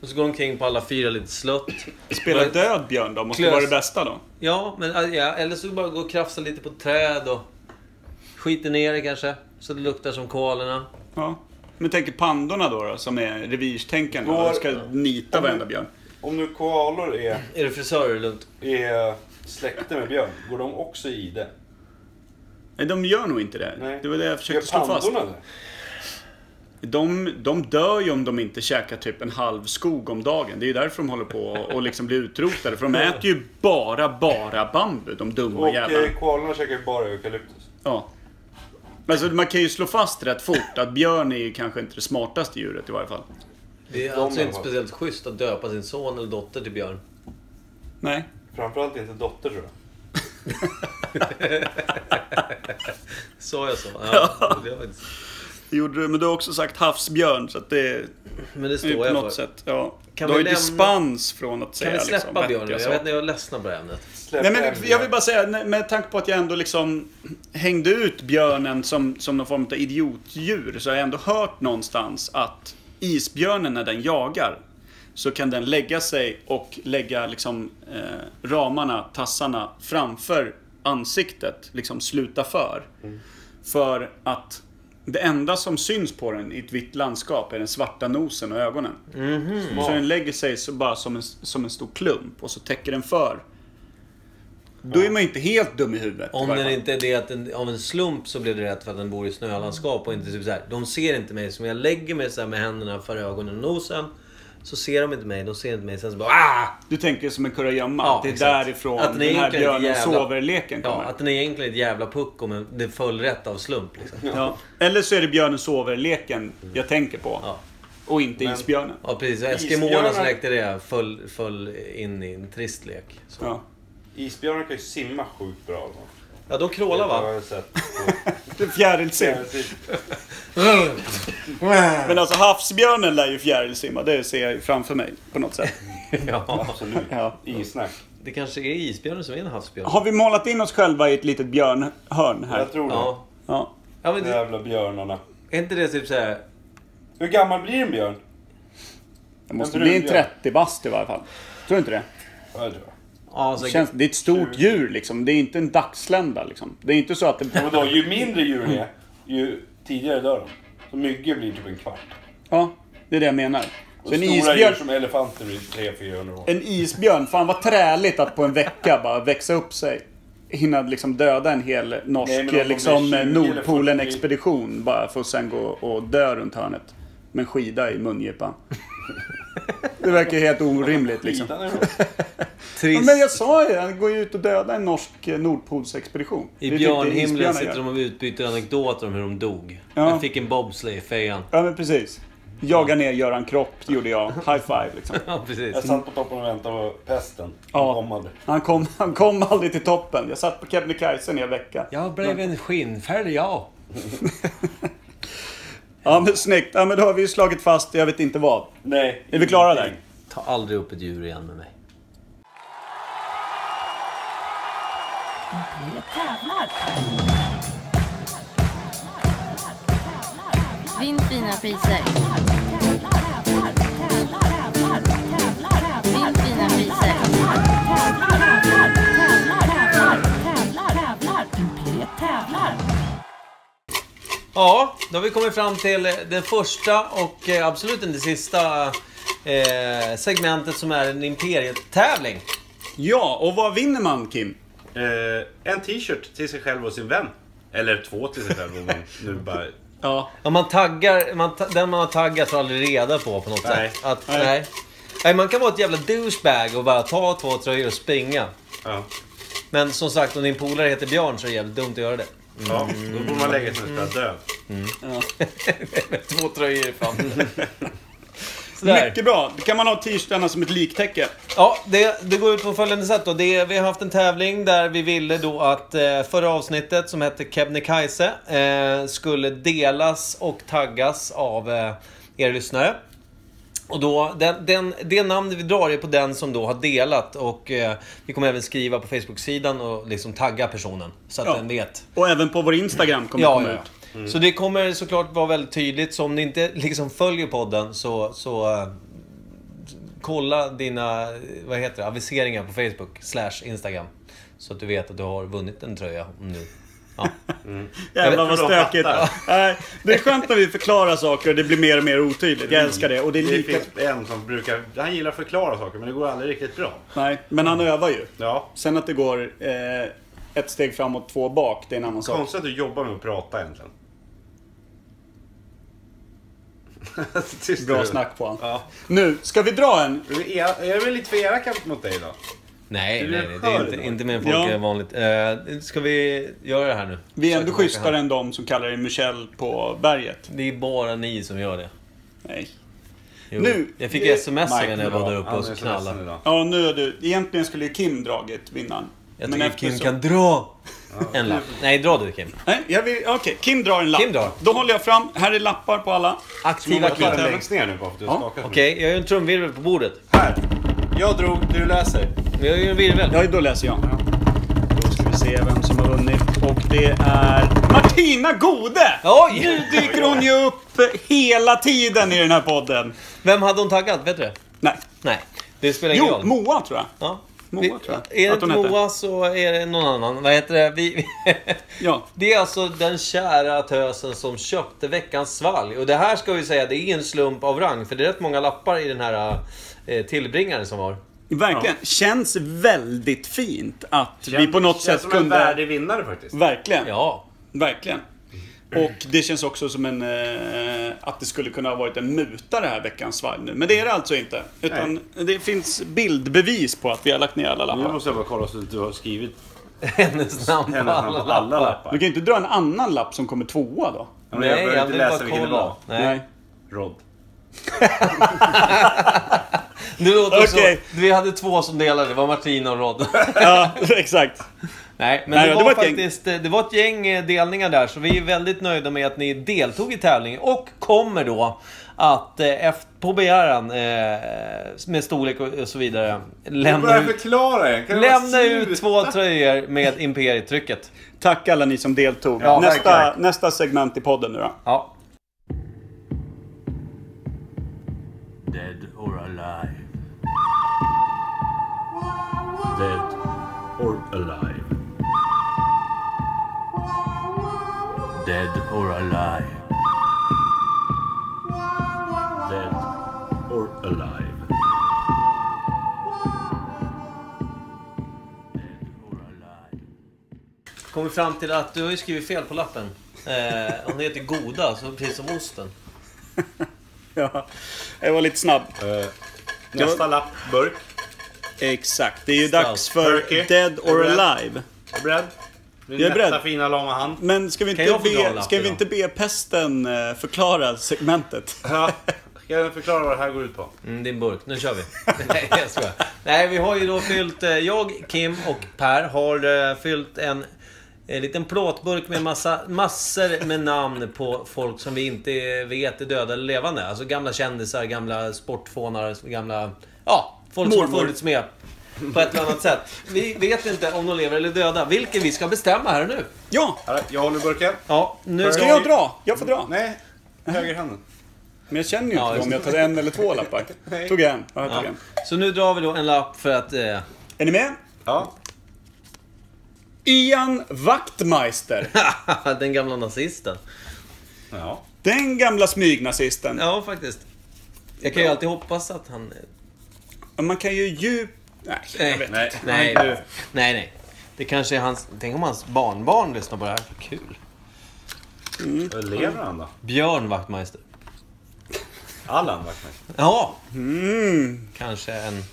[SPEAKER 1] Och så går de omkring på alla fyra lite slött.
[SPEAKER 3] Spela död björn då, måste
[SPEAKER 1] Klös.
[SPEAKER 3] vara det bästa då.
[SPEAKER 1] Ja, men äh, ja, eller så bara gå och krafsa lite på träd och skiter ner det kanske. Så det luktar som kolorna.
[SPEAKER 3] Ja. Men tänk pandorna då, då som är revirstänkande
[SPEAKER 6] Går-
[SPEAKER 3] och ska nita varenda björn.
[SPEAKER 6] Om nu koalor är,
[SPEAKER 1] Är du frisör är det lugnt.
[SPEAKER 6] är släkte med björn, går de också i det?
[SPEAKER 3] Nej, de gör nog inte det.
[SPEAKER 6] Nej.
[SPEAKER 3] Det var det jag försökte slå
[SPEAKER 6] Gör
[SPEAKER 3] fast.
[SPEAKER 6] pandorna det?
[SPEAKER 3] De, de dör ju om de inte käkar typ en halv skog om dagen. Det är ju därför de håller på och liksom blir utrotade. För de äter ju bara, bara bambu, de dumma
[SPEAKER 6] Och
[SPEAKER 3] jävlarna.
[SPEAKER 6] eh, koalorna käkar ju bara eukalyptus.
[SPEAKER 3] Ja. Alltså, man kan ju slå fast rätt fort att björn är ju kanske inte det smartaste djuret i varje fall.
[SPEAKER 1] Det är
[SPEAKER 6] De
[SPEAKER 1] alltså
[SPEAKER 6] är
[SPEAKER 1] inte
[SPEAKER 6] bra.
[SPEAKER 1] speciellt schysst att döpa sin son eller dotter till björn.
[SPEAKER 3] Nej.
[SPEAKER 6] Framförallt inte dotter tror jag.
[SPEAKER 1] Sa jag så? Ja, det var inte...
[SPEAKER 3] Det gjorde du, men du har också sagt havsbjörn, så att det
[SPEAKER 1] Men det står
[SPEAKER 3] är på
[SPEAKER 1] jag för.
[SPEAKER 3] något sätt... Ja.
[SPEAKER 1] Kan
[SPEAKER 3] du har
[SPEAKER 1] vi
[SPEAKER 3] ju
[SPEAKER 1] lämna-
[SPEAKER 3] dispens från att
[SPEAKER 1] Kan
[SPEAKER 3] säga liksom,
[SPEAKER 1] vi släppa
[SPEAKER 3] vettiga
[SPEAKER 1] björn nu? Jag
[SPEAKER 3] saker.
[SPEAKER 1] vet inte, jag är ledsen på det här ämnet.
[SPEAKER 6] Släpp
[SPEAKER 3] Nej, men
[SPEAKER 6] hem
[SPEAKER 3] jag
[SPEAKER 6] björn.
[SPEAKER 3] vill bara säga, nej, med tanke på att jag ändå liksom hängde ut björnen som, som någon form av idiotdjur, så har jag ändå hört någonstans att isbjörnen när den jagar, så kan den lägga sig och lägga liksom, eh, ramarna, tassarna, framför ansiktet. Liksom sluta för. För att det enda som syns på den i ett vitt landskap är den svarta nosen och ögonen. Så den lägger sig så bara som en, som en stor klump och så täcker den för. Då är man ju inte helt dum i huvudet. i
[SPEAKER 1] Om
[SPEAKER 3] varje
[SPEAKER 1] den
[SPEAKER 3] fall.
[SPEAKER 1] inte är det att den, av en slump så blev det rätt för att den bor i snölandskap och inte typ så här. De ser inte mig. Så om jag lägger mig så här med händerna för ögonen och nosen. Så ser de inte mig. De ser inte mig. Sen så bara ah!
[SPEAKER 3] Du tänker som en kurragömma.
[SPEAKER 1] Ja,
[SPEAKER 3] att det är
[SPEAKER 1] exakt.
[SPEAKER 3] därifrån
[SPEAKER 1] Att
[SPEAKER 3] den,
[SPEAKER 1] den
[SPEAKER 3] här
[SPEAKER 1] egentligen är
[SPEAKER 3] björnen
[SPEAKER 1] jävla-
[SPEAKER 3] sover-leken
[SPEAKER 1] Ja,
[SPEAKER 3] kommer.
[SPEAKER 1] att den är egentligen ett jävla pucko men det föll rätt av slump liksom.
[SPEAKER 3] Ja. Eller så är det björnen sover-leken jag tänker på.
[SPEAKER 1] Ja.
[SPEAKER 3] Och inte isbjörnen.
[SPEAKER 1] Ja precis, Eskimoerna som
[SPEAKER 6] Isbjörnar-
[SPEAKER 1] lekte det föll, föll in i en trist lek. Så.
[SPEAKER 3] Ja.
[SPEAKER 6] Isbjörnar kan ju simma sjukt bra. alltså.
[SPEAKER 1] Ja, de
[SPEAKER 11] Det
[SPEAKER 1] krålar
[SPEAKER 11] har
[SPEAKER 1] va?
[SPEAKER 11] jag sett på
[SPEAKER 3] Fjärilsim.
[SPEAKER 11] Precis.
[SPEAKER 3] Men alltså havsbjörnen lär ju fjärilsimma. Det ser jag ju framför mig på något sätt.
[SPEAKER 1] Ja.
[SPEAKER 11] Absolut.
[SPEAKER 3] Ja.
[SPEAKER 11] Inget snack.
[SPEAKER 1] Det kanske är isbjörnen som är en havsbjörn.
[SPEAKER 3] Har vi målat in oss själva i ett litet björnhörn här?
[SPEAKER 11] Jag tror det.
[SPEAKER 1] Ja.
[SPEAKER 3] Ja.
[SPEAKER 1] ja men
[SPEAKER 11] De
[SPEAKER 1] det,
[SPEAKER 11] jävla björnarna.
[SPEAKER 1] är inte det typ såhär...
[SPEAKER 11] Hur gammal blir en björn?
[SPEAKER 3] Det måste
[SPEAKER 11] En
[SPEAKER 3] bli en
[SPEAKER 11] brunbjörn.
[SPEAKER 3] 30 bast i varje fall. Tror du inte det?
[SPEAKER 11] Ja, det tror jag.
[SPEAKER 1] Ja,
[SPEAKER 11] Alltså,
[SPEAKER 3] Det,
[SPEAKER 1] så,
[SPEAKER 3] känns, det är ett
[SPEAKER 11] Mm.
[SPEAKER 3] stort djur liksom. Det är inte en dagslända liksom. Det är inte så att det...
[SPEAKER 11] Men då, ju mindre djur det är, ju tidigare dör de. Så myggor blir typ en kvart.
[SPEAKER 3] Ja, det är det jag menar. Så en
[SPEAKER 11] Stora
[SPEAKER 3] isbjörn,
[SPEAKER 11] djur som elefanter blir 300-400 år.
[SPEAKER 3] en isbjörn, fan vad träligt att på en vecka bara växa upp sig. Hinna liksom döda en hel norsk
[SPEAKER 11] Nej, men om de blir
[SPEAKER 3] liksom,
[SPEAKER 11] 20 eller 40.
[SPEAKER 3] Nordpolen-expedition bara för att sen gå och dö runt hörnet. Med en skida i mungipan. Det verkar helt orimligt liksom.
[SPEAKER 11] Skidan är rolig.
[SPEAKER 1] trist.
[SPEAKER 3] Men jag sa ju, han går ju ut och dödar en norsk eh, Nordpolsexpedition. Det
[SPEAKER 1] I
[SPEAKER 3] tyckte
[SPEAKER 1] björnhimlen
[SPEAKER 3] isbjörnar
[SPEAKER 1] sitter
[SPEAKER 3] gör.
[SPEAKER 1] de och utbyter anekdoter om hur de dog.
[SPEAKER 3] Ja.
[SPEAKER 1] Jag fick en bobsleigh, fejan.
[SPEAKER 3] Ja men precis. Jaga ner Göran Kropp gjorde jag. High five liksom.
[SPEAKER 1] Ja, precis.
[SPEAKER 11] Jag satt på toppen och väntade på pesten.
[SPEAKER 3] Ja.
[SPEAKER 11] Ja. Kom aldrig.
[SPEAKER 3] Han kom, han kom aldrig till toppen. Jag satt på Kebnekaise i en vecka.
[SPEAKER 1] Jag blev en skinnfärg, ja.
[SPEAKER 3] Ja men snyggt. Ja men då har vi ju slagit fast, jag vet inte vad.
[SPEAKER 11] Nej.
[SPEAKER 3] Är vi klara där?
[SPEAKER 1] Ta aldrig upp ett djur igen med mig.
[SPEAKER 12] Vinn fina priser. Vinn fina priser.
[SPEAKER 1] Ja, då har vi kommit fram till eh, det första och eh, absolut inte det sista eh, segmentet som är en imperietävling.
[SPEAKER 3] Ja, och vad vinner man Kim?
[SPEAKER 6] Eh, en t-shirt till sig själv och sin vän. Eller två till sig själv om man nu bara...
[SPEAKER 3] Ja.
[SPEAKER 1] Ja, man taggar, man ta, den man har taggat tar aldrig reda på på något
[SPEAKER 6] Nej.
[SPEAKER 1] sätt. Att,
[SPEAKER 3] Nej.
[SPEAKER 1] nej. Nej. man kan vara ett jävla douchebag och bara ta två tröjor och springa.
[SPEAKER 6] Ja.
[SPEAKER 1] Men som sagt, om din polare heter Björn så är det jävligt dumt att göra det.
[SPEAKER 6] ja. Då borde man lägga sig och spela död.
[SPEAKER 1] två tröjor fan. Sådär.
[SPEAKER 3] Mycket bra. Då kan man ha t-shirtarna som ett liktäcke.
[SPEAKER 1] Ja, det, det går ut på följande sätt då. Det, vi har haft en tävling där vi ville då att eh, förra avsnittet som hette Kebnekaise eh, skulle delas och taggas av eh, er lyssnare. Och då, den, den, det namn vi drar är på den som då har delat och eh, vi kommer även skriva på Facebook-sidan och liksom tagga personen så att
[SPEAKER 3] Ja.
[SPEAKER 1] den vet.
[SPEAKER 3] Och även på vår Instagram kommer det
[SPEAKER 1] Ja,
[SPEAKER 3] komma
[SPEAKER 1] ja.
[SPEAKER 3] ut.
[SPEAKER 1] ja. Så det kommer såklart vara väldigt tydligt. Så om ni inte liksom följer podden så, så eh, kolla dina eh, vad heter det, aviseringar på Facebook slash Instagram. Så att du vet att du har vunnit en tröja. Om du... ja.
[SPEAKER 3] Jävlar vad
[SPEAKER 6] inte om
[SPEAKER 3] stökigt.
[SPEAKER 6] de
[SPEAKER 3] Nej, det är skönt när vi förklarar saker och det blir mer och mer otydligt. Jag älskar det. Och det är
[SPEAKER 6] Det
[SPEAKER 3] lika...
[SPEAKER 6] finns en som brukar... Han gillar att förklara saker men det går aldrig riktigt bra.
[SPEAKER 3] Nej, men han övar ju.
[SPEAKER 6] Ja.
[SPEAKER 3] Sen att det går eh, ett steg framåt, två bak, det är en annan sak.
[SPEAKER 6] Konstigt att du jobbar med att prata egentligen. Tyst
[SPEAKER 3] Bra
[SPEAKER 6] nu.
[SPEAKER 3] snack på han.
[SPEAKER 6] Ja.
[SPEAKER 3] Nu, ska vi dra en?
[SPEAKER 6] Är vi el- Är vi lite för elaka mot dig då?
[SPEAKER 1] Nej,
[SPEAKER 6] Du
[SPEAKER 1] nej,
[SPEAKER 6] är
[SPEAKER 1] nej, det är
[SPEAKER 6] skör
[SPEAKER 1] inte,
[SPEAKER 6] då.
[SPEAKER 1] inte mer folk
[SPEAKER 3] Ja.
[SPEAKER 1] än vanligt. Eh, ska vi göra det här nu?
[SPEAKER 3] Vi är
[SPEAKER 1] Försöka
[SPEAKER 3] ändå
[SPEAKER 1] tillbaka
[SPEAKER 3] schysstare
[SPEAKER 1] här.
[SPEAKER 3] än de som kallar dig Michel på berget.
[SPEAKER 1] Det är bara ni som gör det.
[SPEAKER 3] Nej.
[SPEAKER 1] Jo.
[SPEAKER 3] Nu-
[SPEAKER 1] jag fick
[SPEAKER 3] det-
[SPEAKER 1] sms av er
[SPEAKER 3] Mike,
[SPEAKER 1] när jag var
[SPEAKER 3] bra.
[SPEAKER 1] där uppe
[SPEAKER 6] Han är
[SPEAKER 1] och
[SPEAKER 6] så ledsen
[SPEAKER 1] knallade.
[SPEAKER 6] idag.
[SPEAKER 3] Ja, nu är du... Egentligen skulle ju Kim dragit vinnaren.
[SPEAKER 1] Jag
[SPEAKER 3] Men
[SPEAKER 1] tycker
[SPEAKER 3] efter
[SPEAKER 1] Kim
[SPEAKER 3] så-
[SPEAKER 1] kan dra en lapp. Nej, dra du Kim.
[SPEAKER 3] Nej, jag vill... Okej, Kim drar en lapp.
[SPEAKER 1] Kim drar.
[SPEAKER 3] Då håller jag fram. Här är lappar på alla.
[SPEAKER 1] Aktiva
[SPEAKER 6] Vad fan
[SPEAKER 1] klipp.
[SPEAKER 6] läggs ner nu bara för att du
[SPEAKER 3] Ja,
[SPEAKER 6] skakar så mycket?
[SPEAKER 1] Okej, jag gör en trumvirvel på bordet.
[SPEAKER 6] Här! Jag drog, du läser.
[SPEAKER 1] Jag gör en virvel.
[SPEAKER 3] Ja, då läser jag. Då ska vi se vem som har vunnit. Och det är Martina Gode!
[SPEAKER 1] Oj!
[SPEAKER 3] Nu dyker hon ju upp hela tiden i den här podden.
[SPEAKER 1] Vem hade hon taggat? Vet du det?
[SPEAKER 3] Nej.
[SPEAKER 1] Nej, det spelar ingen
[SPEAKER 3] Jo,
[SPEAKER 1] roll.
[SPEAKER 3] Moa tror jag.
[SPEAKER 1] ja.
[SPEAKER 3] Moa,
[SPEAKER 1] Vi-
[SPEAKER 3] tror jag.
[SPEAKER 1] Är det
[SPEAKER 3] Att
[SPEAKER 1] inte
[SPEAKER 3] hon heter.
[SPEAKER 1] Moa så är det någon annan. Vad heter det? Vi...
[SPEAKER 3] Ja.
[SPEAKER 1] det är alltså den kära tösen som köpte veckans svalg. Och det här ska vi säga, det är en slump av rang. För det är rätt många lappar i den här eh, tillbringaren som var.
[SPEAKER 3] Verkligen. Känns väldigt fint att vi på något
[SPEAKER 6] Känns
[SPEAKER 3] sätt
[SPEAKER 6] som en
[SPEAKER 3] kunde...
[SPEAKER 6] värdig vinnare faktiskt.
[SPEAKER 3] Verkligen.
[SPEAKER 1] Ja.
[SPEAKER 3] Verkligen. Och det känns också som en... Eh, att det skulle kunna ha varit en muta det här veckans svalg nu. Men det är det alltså inte. Utan det finns bildbevis på att vi har lagt ner alla
[SPEAKER 6] Nu
[SPEAKER 3] lappar.
[SPEAKER 6] måste jag bara kolla så att du har skrivit
[SPEAKER 1] Hennes namn på
[SPEAKER 6] hennes namn
[SPEAKER 1] alla
[SPEAKER 6] på
[SPEAKER 1] lappar.
[SPEAKER 6] alla
[SPEAKER 3] Du
[SPEAKER 6] lappar.
[SPEAKER 3] kan ju inte dra en annan lapp som kommer tvåa då.
[SPEAKER 6] Men jag behöver inte läsa vilken det var.
[SPEAKER 1] Nej.
[SPEAKER 6] Rod.
[SPEAKER 1] Du låter
[SPEAKER 3] Okej.
[SPEAKER 1] så. Vi hade två som delade. Det var Martina och Rod.
[SPEAKER 3] Ja, exakt.
[SPEAKER 1] Nej, men
[SPEAKER 3] Nej,
[SPEAKER 1] det,
[SPEAKER 3] det
[SPEAKER 1] var
[SPEAKER 3] var ett gäng.
[SPEAKER 1] faktiskt, det var ett gäng eh, delningar där, så vi är väldigt nöjda med att ni deltog i tävlingen och kommer då att eh, efter, på begäran, eh, med storlek och och så vidare, lämna
[SPEAKER 13] Börja
[SPEAKER 1] ut,
[SPEAKER 13] förklara det. Kan det vara
[SPEAKER 1] lämna ut två tröjor med Imperietrycket.
[SPEAKER 3] Tack alla ni som deltog.
[SPEAKER 1] Ja, tack,
[SPEAKER 3] nästa,
[SPEAKER 1] tack.
[SPEAKER 3] nästa segment i podden nu då.
[SPEAKER 1] Ja.
[SPEAKER 2] Dead or alive. Dead or alive. Dead or alive. Dead or alive.
[SPEAKER 1] Kommer fram till att du har ju skrivit fel på lappen. Eh, hon heter Goda, så precis som osten.
[SPEAKER 3] Ja, jag var lite snabb.
[SPEAKER 6] Eh,
[SPEAKER 1] nästa
[SPEAKER 3] lapp, burk. Exakt. Det är ju dags för
[SPEAKER 6] Turkey.
[SPEAKER 3] Dead
[SPEAKER 6] Är du
[SPEAKER 3] or
[SPEAKER 6] beredd?
[SPEAKER 3] Alive.
[SPEAKER 6] Är du beredd? Min
[SPEAKER 3] Jag är beredd.
[SPEAKER 6] nätta fina långa hand.
[SPEAKER 3] Men ska vi
[SPEAKER 6] Kan
[SPEAKER 3] inte,
[SPEAKER 6] jag få dra en
[SPEAKER 3] be,
[SPEAKER 6] lapp
[SPEAKER 3] ska vi
[SPEAKER 6] idag?
[SPEAKER 3] inte be pesten eh, förklara segmentet?
[SPEAKER 6] Ja. Ska jag förklara vad det här går ut på?
[SPEAKER 1] Mm, din burk. Nu kör vi. Nej, jag skojar. Nej, vi har ju då fyllt... eh, Jag, Kim och Per har eh, fyllt en, en liten plåtburk med massa, massor med namn på folk som vi inte vet är döda eller levande. Alltså gamla kändisar, gamla sportfånar, gamla... Ja, folk som
[SPEAKER 3] Mormor.
[SPEAKER 1] har funnits med på ett eller annat sätt. Vi vet inte om de lever eller är döda, vilken vi ska bestämma här och nu.
[SPEAKER 3] Ja!
[SPEAKER 6] Jag håller burken.
[SPEAKER 1] Ja, nu
[SPEAKER 3] Ska jag dra? Jag får dra.
[SPEAKER 6] Nej, högerhanden.
[SPEAKER 3] Men jag känner ju inte
[SPEAKER 1] Ja, just
[SPEAKER 3] om jag
[SPEAKER 1] det.
[SPEAKER 3] tar en eller två lappar. Tog jag en? Ja, jag tog
[SPEAKER 1] Ja.
[SPEAKER 3] en.
[SPEAKER 1] Så nu drar vi då en lapp för att... Eh...
[SPEAKER 3] Är ni med?
[SPEAKER 6] Ja.
[SPEAKER 3] Ian Wachtmeister.
[SPEAKER 1] Den gamla nazisten.
[SPEAKER 6] Ja.
[SPEAKER 3] Den gamla smygnazisten.
[SPEAKER 1] Ja, faktiskt. Jag kan ju alltid hoppas att han...
[SPEAKER 3] Man kan ju djup... Nej, jag vet
[SPEAKER 1] Nej,
[SPEAKER 3] inte.
[SPEAKER 1] nej, nej, nej. Det kanske är hans... Tänk om hans barnbarn lyssnar på det här. Kul.
[SPEAKER 3] Mm.
[SPEAKER 6] Lever han då?
[SPEAKER 1] Björn Wachtmeister.
[SPEAKER 6] Allan Wachtmeister.
[SPEAKER 1] Ja.
[SPEAKER 3] Mm.
[SPEAKER 1] Kanske en...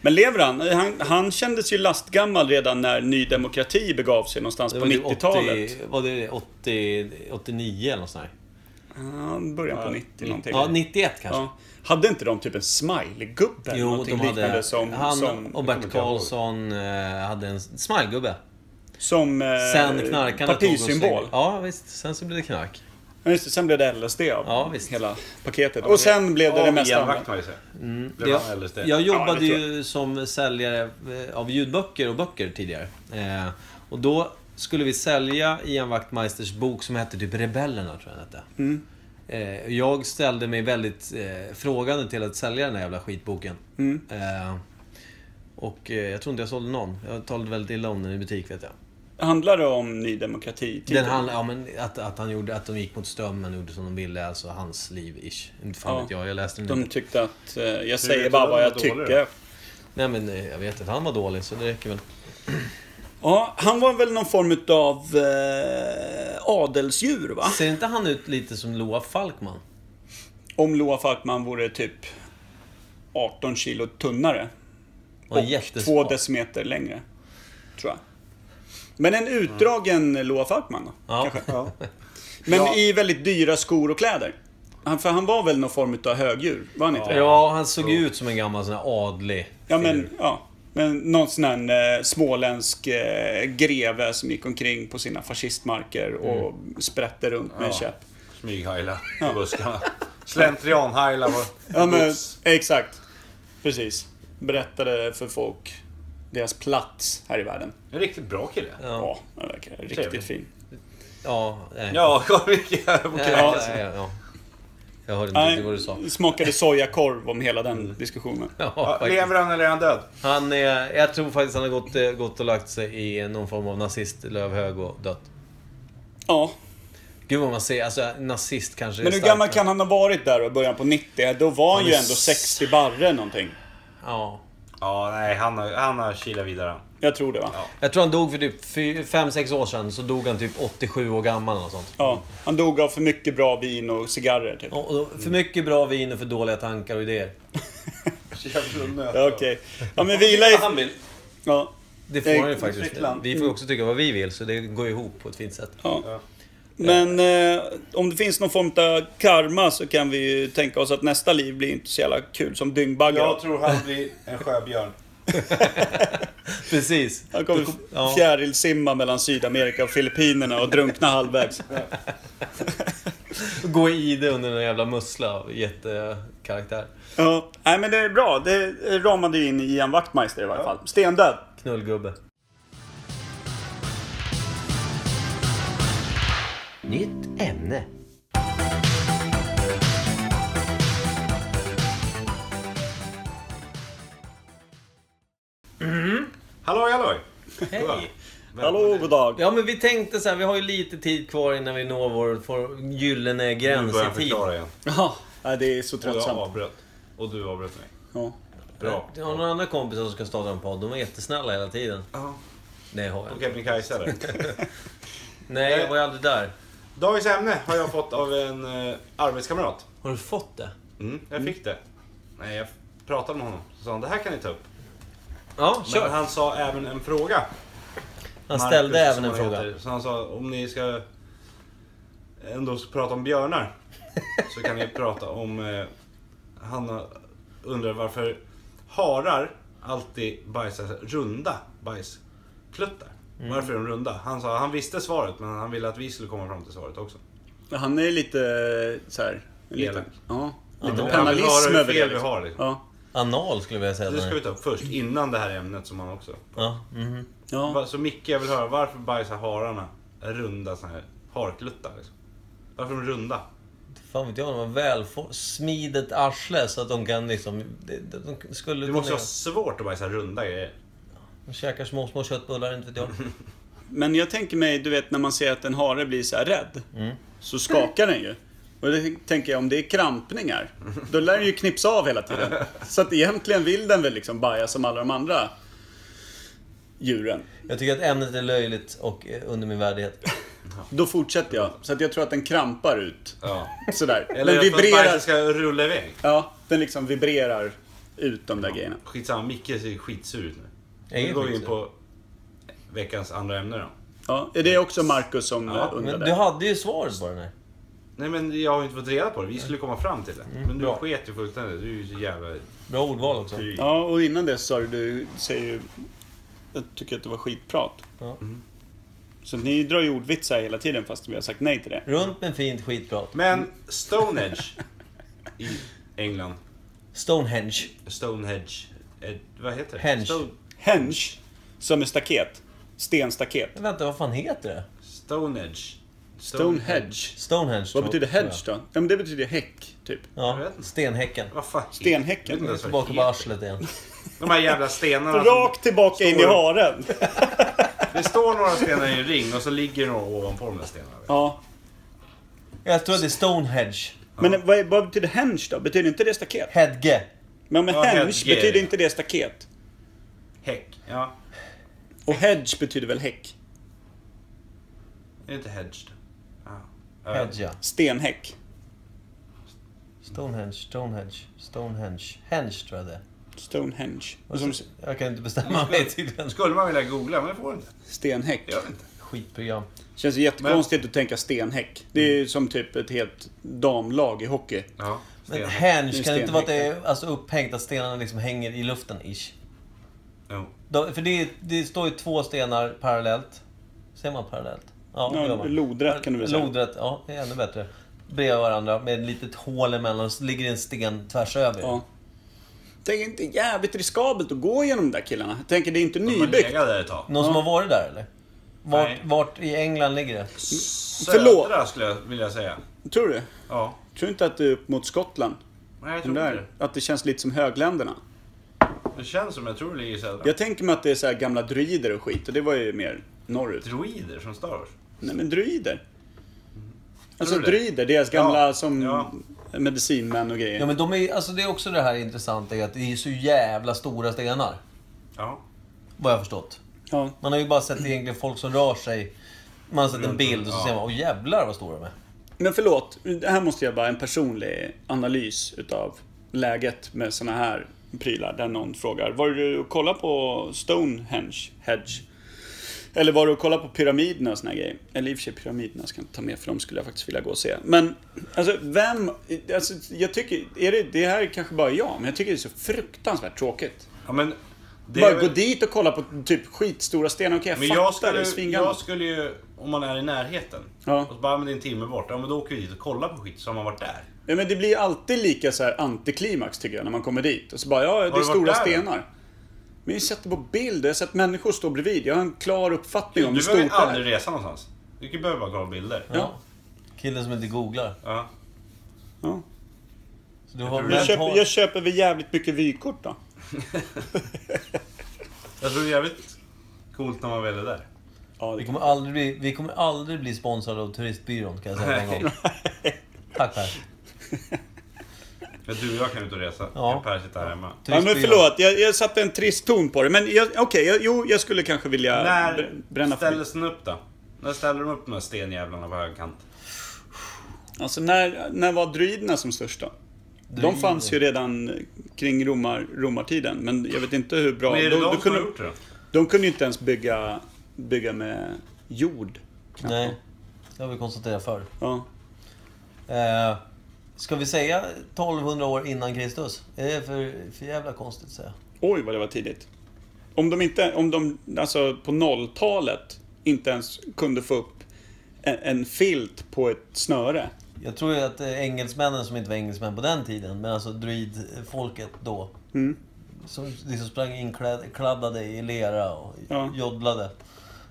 [SPEAKER 3] Men lever han? han? Han kändes ju lastgammal redan när Ny Demokrati begav sig någonstans
[SPEAKER 1] Det
[SPEAKER 3] på
[SPEAKER 1] var ju
[SPEAKER 3] 90-talet.
[SPEAKER 1] 80 Var det 80, 89 eller något sånt där?
[SPEAKER 3] Ja, början på
[SPEAKER 1] Ja,
[SPEAKER 3] 90 någonting.
[SPEAKER 1] ja, 91 kanske.
[SPEAKER 3] Hade inte de typ en smiley-gubbe? eller
[SPEAKER 1] Jo,
[SPEAKER 3] någonting
[SPEAKER 1] de hade...
[SPEAKER 3] liknande som,
[SPEAKER 1] han
[SPEAKER 3] som,
[SPEAKER 1] och Bert Karlsson eh, hade en smilegubbe.
[SPEAKER 3] Som eh,
[SPEAKER 1] Sen knarkarna tog och slängde-
[SPEAKER 3] partisymbol.
[SPEAKER 1] Ja, visst. Sen så blev det knark.
[SPEAKER 3] Ja, just det. Sen blev det LSD av
[SPEAKER 1] Ja, visst.
[SPEAKER 3] hela paketet. Och sen blev det det mesta andra.
[SPEAKER 1] Mm,
[SPEAKER 3] Blev
[SPEAKER 1] jag-
[SPEAKER 3] han LSD?
[SPEAKER 1] Jag
[SPEAKER 3] Ja,
[SPEAKER 1] jobbade
[SPEAKER 3] det tror
[SPEAKER 1] ju som säljare eh, av ljudböcker och böcker tidigare. Eh, och då skulle vi sälja Ian Wachtmeisters bok som hette typ Rebellerna, tror jag den hette.
[SPEAKER 3] Mm.
[SPEAKER 1] Eh, jag ställde mig väldigt eh, frågande till att sälja den här jävla skitboken.
[SPEAKER 3] Mm.
[SPEAKER 1] Eh, och eh, jag tror inte jag sålde någon. Jag talade väldigt illa om den i butik, vet jag.
[SPEAKER 3] Handlar det om Ny Demokrati?
[SPEAKER 1] Den handlar, ja, men att, att, han gjorde, att de gick mot strömmen och gjorde som de ville. Alltså hans liv-ish. Inte fan
[SPEAKER 3] Ja.
[SPEAKER 1] vet jag, jag läste den
[SPEAKER 3] De
[SPEAKER 1] inte.
[SPEAKER 3] tyckte att... Eh, jag säger bara vad jag tycker.
[SPEAKER 1] Nej men eh, jag vet att han var dålig, så det räcker väl.
[SPEAKER 3] Ja, han var väl någon form utav eh, adelsdjur va?
[SPEAKER 1] Ser inte han ut lite som Loa Falkman?
[SPEAKER 3] Om Loa Falkman vore typ 18 kilo tunnare.
[SPEAKER 1] Och
[SPEAKER 3] Och,
[SPEAKER 1] jättesmal.
[SPEAKER 3] två decimeter längre. Tror jag. Men en utdragen Loa Falkman då? Kanske. Men
[SPEAKER 1] Ja.
[SPEAKER 3] i väldigt dyra skor och kläder. Han, för han var väl någon form utav högdjur? Var han inte det?
[SPEAKER 1] Ja, han såg ju ut som en gammal sån här adlig.
[SPEAKER 3] Ja men, ja. Men någon sån här eh, småländsk eh, greve som gick omkring på sina fascistmarker och sprätte runt med en
[SPEAKER 6] Ja.
[SPEAKER 3] käpp.
[SPEAKER 6] Smyghajla i buskarna. Slentrianhajla var...
[SPEAKER 3] Ja men, exakt. Precis. Berättade för folk deras plats här i världen.
[SPEAKER 6] En riktigt bra kille.
[SPEAKER 3] Ja, han verkar riktigt
[SPEAKER 6] Trevlig.
[SPEAKER 3] fin.
[SPEAKER 1] Ja, nej.
[SPEAKER 6] Ja, kolla vilka...
[SPEAKER 1] Nej,
[SPEAKER 6] Ja.
[SPEAKER 1] nej, nej, ja. Jag hörde inte
[SPEAKER 3] Nej,
[SPEAKER 1] riktigt vad du sa. Mm.
[SPEAKER 3] smakade sojakorv om hela den diskussionen.
[SPEAKER 1] Ja, faktiskt.
[SPEAKER 6] Lever han eller är han död?
[SPEAKER 1] han är, jag tror faktiskt han har gått, eh, gått och lagt sig i någon form av nazistlövhög och dött.
[SPEAKER 3] Ja.
[SPEAKER 1] Gud vad man ser, alltså nazist kanske
[SPEAKER 3] Men
[SPEAKER 1] är
[SPEAKER 3] hur
[SPEAKER 1] starkt,
[SPEAKER 3] gammal kan han ha varit där i början på 90? Då var han
[SPEAKER 1] Han
[SPEAKER 3] ju
[SPEAKER 1] är
[SPEAKER 3] ändå
[SPEAKER 1] s-
[SPEAKER 3] 60 barre någonting.
[SPEAKER 1] Ja.
[SPEAKER 6] Ja, nej, han har, han har kilat vidare.
[SPEAKER 3] Jag tror det va?
[SPEAKER 1] Jag tror han dog för typ 5-6 år sedan, så dog han typ 87 år gammal eller sånt.
[SPEAKER 3] Ja, han dog av för mycket bra vin och cigarrer typ.
[SPEAKER 1] Och- och För mycket bra vin och för dåliga tankar och idéer.
[SPEAKER 6] Jävla nöt.
[SPEAKER 3] Ja, Okej. Ja men vila i...
[SPEAKER 6] Han vill.
[SPEAKER 3] Ja.
[SPEAKER 1] Det får
[SPEAKER 3] Eh,
[SPEAKER 1] han ju faktiskt.
[SPEAKER 3] Tyskland.
[SPEAKER 1] Vi
[SPEAKER 6] Mm.
[SPEAKER 1] får ju också tycka vad vi vill, så det går ihop på ett fint sätt.
[SPEAKER 3] Ja. Men eh, om det finns någon form av karma så kan vi ju tänka oss att nästa liv blir inte så jävla kul som dyngbaggar.
[SPEAKER 6] Jag tror han blir en sjöbjörn.
[SPEAKER 1] Precis.
[SPEAKER 3] Han kommer
[SPEAKER 1] Du kom-
[SPEAKER 3] f- fjärilsimma mellan Sydamerika och Filippinerna och drunkna halvvägs.
[SPEAKER 1] Gå i det under en jävla mussla av jättekaraktär.
[SPEAKER 3] Ja, nej men det är bra. Det ramade ju in Ian Wachtmeister i varje fall. Stendöd.
[SPEAKER 1] Knullgubbe.
[SPEAKER 2] Nytt ämne.
[SPEAKER 1] Mm.
[SPEAKER 6] Halloj, halloj!
[SPEAKER 1] Hej!
[SPEAKER 3] Hallå, god dag.
[SPEAKER 1] Ja, men vi tänkte så här, vi har ju lite tid kvar innan vi når vår vår gyllene
[SPEAKER 6] Nu
[SPEAKER 1] gräns
[SPEAKER 6] börjar
[SPEAKER 1] i
[SPEAKER 6] jag
[SPEAKER 1] tid.
[SPEAKER 6] förklara igen.
[SPEAKER 3] Ja, det är så
[SPEAKER 6] Och jag
[SPEAKER 3] tröttsamt.
[SPEAKER 6] avbröt. Och du avbröt mig.
[SPEAKER 3] Ja.
[SPEAKER 6] Bra.
[SPEAKER 1] Jag har några andra kompisar som ska starta en podd. De är jättesnälla hela tiden.
[SPEAKER 6] Ja.
[SPEAKER 1] Nej, har jag
[SPEAKER 6] Och Kebnekaise eller?
[SPEAKER 1] Nej, jag var ju aldrig där.
[SPEAKER 6] Dagens ämne har jag fått av en eh, arbetskamrat.
[SPEAKER 1] Har du fått det?
[SPEAKER 6] Mm, jag fick det. Nej, jag pratade med honom. Så sa han, det här kan ni ta upp.
[SPEAKER 1] Ja,
[SPEAKER 6] Men
[SPEAKER 1] kör.
[SPEAKER 6] han sa även en fråga.
[SPEAKER 1] Han
[SPEAKER 6] Marcus,
[SPEAKER 1] ställde även
[SPEAKER 6] som
[SPEAKER 1] en
[SPEAKER 6] han
[SPEAKER 1] fråga.
[SPEAKER 6] heter. Så han sa, om ni ska ändå prata om björnar. så kan ni prata om... Eh, han undrar varför harar alltid bajsar runda bajskluttar.
[SPEAKER 3] Mm.
[SPEAKER 6] Varför är de runda? Han sa, han visste svaret men han ville att vi skulle komma fram till svaret också.
[SPEAKER 3] Han är lite eh, så här... Lite,
[SPEAKER 6] Elak.
[SPEAKER 3] ja,
[SPEAKER 6] Ja,
[SPEAKER 3] lite
[SPEAKER 6] men han vill höra
[SPEAKER 3] penalism
[SPEAKER 6] hur
[SPEAKER 3] över det.
[SPEAKER 6] fel vi
[SPEAKER 3] liksom.
[SPEAKER 6] har, liksom.
[SPEAKER 3] Ja.
[SPEAKER 1] Anal skulle jag vilja säga.
[SPEAKER 6] Det ska vi ta upp först, innan det här ämnet som han också...
[SPEAKER 1] Ja.
[SPEAKER 6] Va- Så Micke, jag vill höra, varför bajsar hararna runda såna här harkluttar? Liksom? Varför är de runda?
[SPEAKER 1] Fan vet jag, de har välfor- smidigt arsle så att de kan liksom... De, de, de skulle
[SPEAKER 6] Det måste
[SPEAKER 1] kunna-
[SPEAKER 6] vara svårt att bajsa runda grejer.
[SPEAKER 1] De käkar små, små köttbullar, inte vet jag.
[SPEAKER 3] Men jag tänker mig, du vet när man ser att en hare blir så här rädd.
[SPEAKER 1] Mm.
[SPEAKER 3] Så skakar den ju. Och det tänker jag, om det är krampningar, då lär den ju knipsa av hela tiden. Så att egentligen vill den väl liksom baja som alla de andra djuren.
[SPEAKER 1] Jag tycker att ämnet är löjligt och eh, under min värdighet.
[SPEAKER 3] Då fortsätter jag. Så att jag tror att den krampar ut.
[SPEAKER 6] Ja.
[SPEAKER 3] Sådär.
[SPEAKER 6] Eller
[SPEAKER 3] den
[SPEAKER 6] att
[SPEAKER 3] vibrerar.
[SPEAKER 6] bajset ska rulla iväg.
[SPEAKER 3] Ja, den liksom vibrerar ut de där grejerna.
[SPEAKER 6] Skitsamma, Micke ser skitsur ut nu.
[SPEAKER 3] Jag är
[SPEAKER 6] Nu går vi in
[SPEAKER 3] skitsur.
[SPEAKER 6] på veckans andra ämne då.
[SPEAKER 3] Ja, är det också Marcus som
[SPEAKER 6] Ja,
[SPEAKER 3] eh, undrade?
[SPEAKER 6] men du
[SPEAKER 1] hade ju svaret på den här.
[SPEAKER 6] Nej men jag har ju inte fått reda på det, vi skulle komma fram till det. men du
[SPEAKER 3] Mm, bra.
[SPEAKER 6] sket ju fullständigt, du är ju så jävla...
[SPEAKER 1] Bra ordval också.
[SPEAKER 3] Ja, och innan det så sa du, du säger ju... Jag tycker att det var skitprat. Mm.
[SPEAKER 1] Ja.
[SPEAKER 3] Så ni drar ju ordvitsar hela tiden fast vi har sagt nej till det.
[SPEAKER 1] Runt men fint skitprat.
[SPEAKER 6] Men Stonehenge i England.
[SPEAKER 1] Stonehenge.
[SPEAKER 6] Stonehenge. Eh, vad heter det?
[SPEAKER 3] Henge.
[SPEAKER 6] Stone...
[SPEAKER 3] Henge, som är staket. Stenstaket.
[SPEAKER 1] Vänta, vad fan heter det?
[SPEAKER 6] Stonehenge.
[SPEAKER 3] Stonehenge.
[SPEAKER 1] Stonehenge.
[SPEAKER 3] Vad
[SPEAKER 1] tror-
[SPEAKER 3] betyder
[SPEAKER 1] tror
[SPEAKER 3] hedge då? Ja, men det betyder häck, typ.
[SPEAKER 1] Ja, stenhäcken.
[SPEAKER 6] Vad fan?
[SPEAKER 3] Stenhäcken.
[SPEAKER 1] Jag är tillbaka på arslet igen.
[SPEAKER 6] De här jävla stenarna.
[SPEAKER 3] Rakt tillbaka in i
[SPEAKER 6] står-
[SPEAKER 3] haren.
[SPEAKER 6] Det står några stenar i en ring och så ligger några ovanpå de där stenarna.
[SPEAKER 3] Ja.
[SPEAKER 1] Jag tror att det är Stonehenge.
[SPEAKER 3] Men vad, är- vad betyder henge då? Betyder inte det staket?
[SPEAKER 1] Hedge.
[SPEAKER 3] Men, men
[SPEAKER 6] Ja,
[SPEAKER 3] henge
[SPEAKER 6] hedge.
[SPEAKER 3] betyder inte det staket?
[SPEAKER 6] Häck. Ja.
[SPEAKER 3] Och hedge betyder väl häck?
[SPEAKER 6] Är det inte hedged? Ja.
[SPEAKER 1] Hedge, ja.
[SPEAKER 3] Stenhäck.
[SPEAKER 1] Stonehenge, Stonehenge, Stonehenge. Henge tror jag det är.
[SPEAKER 3] Stonehenge.
[SPEAKER 1] Och så- Jag kan inte bestämma mig tydligen.
[SPEAKER 6] Skulle man vilja googla, men det får inte.
[SPEAKER 3] Stenhäck.
[SPEAKER 1] Skitprogram.
[SPEAKER 3] Känns ju jättekonstigt att tänka stenhäck. Det
[SPEAKER 6] Mm.
[SPEAKER 3] är ju som typ ett helt damlag i hockey.
[SPEAKER 6] Ja.
[SPEAKER 1] Men
[SPEAKER 3] Sten-
[SPEAKER 1] henge,
[SPEAKER 3] Det är
[SPEAKER 1] kan det inte vara att det
[SPEAKER 3] stenhäcken.
[SPEAKER 1] är alltså, upphängt att stenarna liksom hänger i luften, ish?
[SPEAKER 6] Jo.
[SPEAKER 1] De, för det, det står ju två stenar parallellt. Ser man parallellt? det
[SPEAKER 3] Ja,
[SPEAKER 1] gör man.
[SPEAKER 3] lodrätt kan du väl säga.
[SPEAKER 1] Lodrätt, ja. Det är ännu bättre. Bredvid varandra med ett litet hål emellan och så ligger det en sten tvärs över.
[SPEAKER 3] Ja. Det är inte jävligt riskabelt att gå igenom de där killarna. Jag tänker, det är inte
[SPEAKER 6] Man
[SPEAKER 3] nybyggt.
[SPEAKER 6] legat där ett tag.
[SPEAKER 1] Någon som har varit där eller? Vart,
[SPEAKER 6] Nej.
[SPEAKER 1] vart i England ligger det?
[SPEAKER 3] Förlåt.
[SPEAKER 6] Södra skulle jag vilja säga.
[SPEAKER 3] Tror du?
[SPEAKER 6] Ja.
[SPEAKER 3] Tror inte att det är upp mot Skottland?
[SPEAKER 6] Nej, jag
[SPEAKER 3] De
[SPEAKER 6] tror
[SPEAKER 3] där,
[SPEAKER 6] inte
[SPEAKER 3] att det känns lite som högländerna.
[SPEAKER 6] det. Det känns som jag tror det ligger i södra.
[SPEAKER 3] Jag tänker mig att det är så här gamla druider och skit och det var ju mer norrut.
[SPEAKER 6] Droider från Star Wars.
[SPEAKER 3] Nej men druider. Alltså
[SPEAKER 1] Mm. du det?
[SPEAKER 3] druider, deras gamla som medicinmän och grejer.
[SPEAKER 1] Ja, men de är, alltså, det är också det här intressanta i att det är så jävla stora stenar.
[SPEAKER 6] Ja.
[SPEAKER 1] Vad jag har förstått.
[SPEAKER 3] Ja.
[SPEAKER 1] Man har ju bara sett egentligen folk som rör sig. Man har sett en bild och så
[SPEAKER 3] ja.
[SPEAKER 1] ser man, åh jävlar vad stora de är.
[SPEAKER 3] Men förlåt, det här måste jag bara en personlig analys utav läget med såna här prylar där någon frågar Var du och kollade på Stonehenge? Hedge? Eller var du och kollade på pyramiderna och såna här grejer? Eller i och för sig pyramiderna ska jag inte ta med för de skulle jag faktiskt vilja gå och se. Men alltså vem... Alltså, jag tycker... Är det, det här är kanske bara jag, men jag tycker det är så fruktansvärt tråkigt.
[SPEAKER 6] Ja, men Det
[SPEAKER 3] Bara
[SPEAKER 6] är-
[SPEAKER 3] gå dit och kolla på typ skitstora stenar. Okej,
[SPEAKER 6] Men
[SPEAKER 3] jag fattar.
[SPEAKER 6] jag
[SPEAKER 3] det är
[SPEAKER 6] skulle,
[SPEAKER 3] svingammalt.
[SPEAKER 6] jag skulle ju, om man är i närheten, och så bara, men det är en timme bort. Ja, men då åker vi dit och kollar på skit, så har man varit där.
[SPEAKER 3] Ja, men det blir ju alltid lika så här antiklimax tycker jag när man kommer dit. Och så bara, ja, det är
[SPEAKER 6] du varit
[SPEAKER 3] stora
[SPEAKER 6] där, då?
[SPEAKER 3] stenar. Men jag har sett det på bild, jag har sett människor stå bredvid. Jag har en klar uppfattning om
[SPEAKER 6] Du
[SPEAKER 3] hur stort
[SPEAKER 6] behöver
[SPEAKER 3] det
[SPEAKER 6] ju
[SPEAKER 3] är.
[SPEAKER 6] aldrig resa någonstans. Du behöver bara kolla bilder.
[SPEAKER 3] Ja.
[SPEAKER 1] Killen som inte googlar.
[SPEAKER 6] Ja.
[SPEAKER 3] Ja.
[SPEAKER 1] Så du har
[SPEAKER 3] Jag köper,
[SPEAKER 1] mental...
[SPEAKER 3] jag köper väl jävligt mycket vykort då.
[SPEAKER 6] Jag tror det är jävligt coolt när man väl är där.
[SPEAKER 1] Vi kommer aldrig bli, vi kommer aldrig bli sponsrade av Turistbyrån kan jag säga en
[SPEAKER 6] Nej.
[SPEAKER 1] gång. Tack Per.
[SPEAKER 6] Men du och jag kan ut och resa.
[SPEAKER 1] Ja.
[SPEAKER 6] Ja. Per sitter här hemma.
[SPEAKER 3] Ja, men förlåt, jag, jag satte en trist ton på det. Men jag- okej, jag, jo, jag skulle kanske vilja
[SPEAKER 6] När
[SPEAKER 3] br- bränna förbi.
[SPEAKER 6] ställs den upp då? När ställer de upp de här stenjävlarna på högkant?
[SPEAKER 3] Alltså när, när var druiderna som största? De
[SPEAKER 6] Druider.
[SPEAKER 3] fanns ju redan kring romar, romartiden, men jag vet inte hur bra...
[SPEAKER 6] Men är det
[SPEAKER 3] de,
[SPEAKER 6] de
[SPEAKER 3] de,
[SPEAKER 6] som
[SPEAKER 3] kunde,
[SPEAKER 6] har gjort det då?
[SPEAKER 3] de kunde ju inte ens bygga, bygga med jord. knappt.
[SPEAKER 1] Nej, det har vi konstaterat förr.
[SPEAKER 3] Ja.
[SPEAKER 1] Eh, ska vi säga 1200 år innan Kristus? Är det för, för jävla konstigt att säga?
[SPEAKER 3] Oj, vad det var tidigt. Om de inte, om de, alltså på nolltalet, inte ens kunde få upp en, en filt på ett snöre.
[SPEAKER 1] Jag tror ju att eh, engelsmännen som inte var engelsmän på den tiden, men alltså druidfolket då.
[SPEAKER 3] Mm.
[SPEAKER 1] Som liksom sprang inkladdade i lera och joddlade.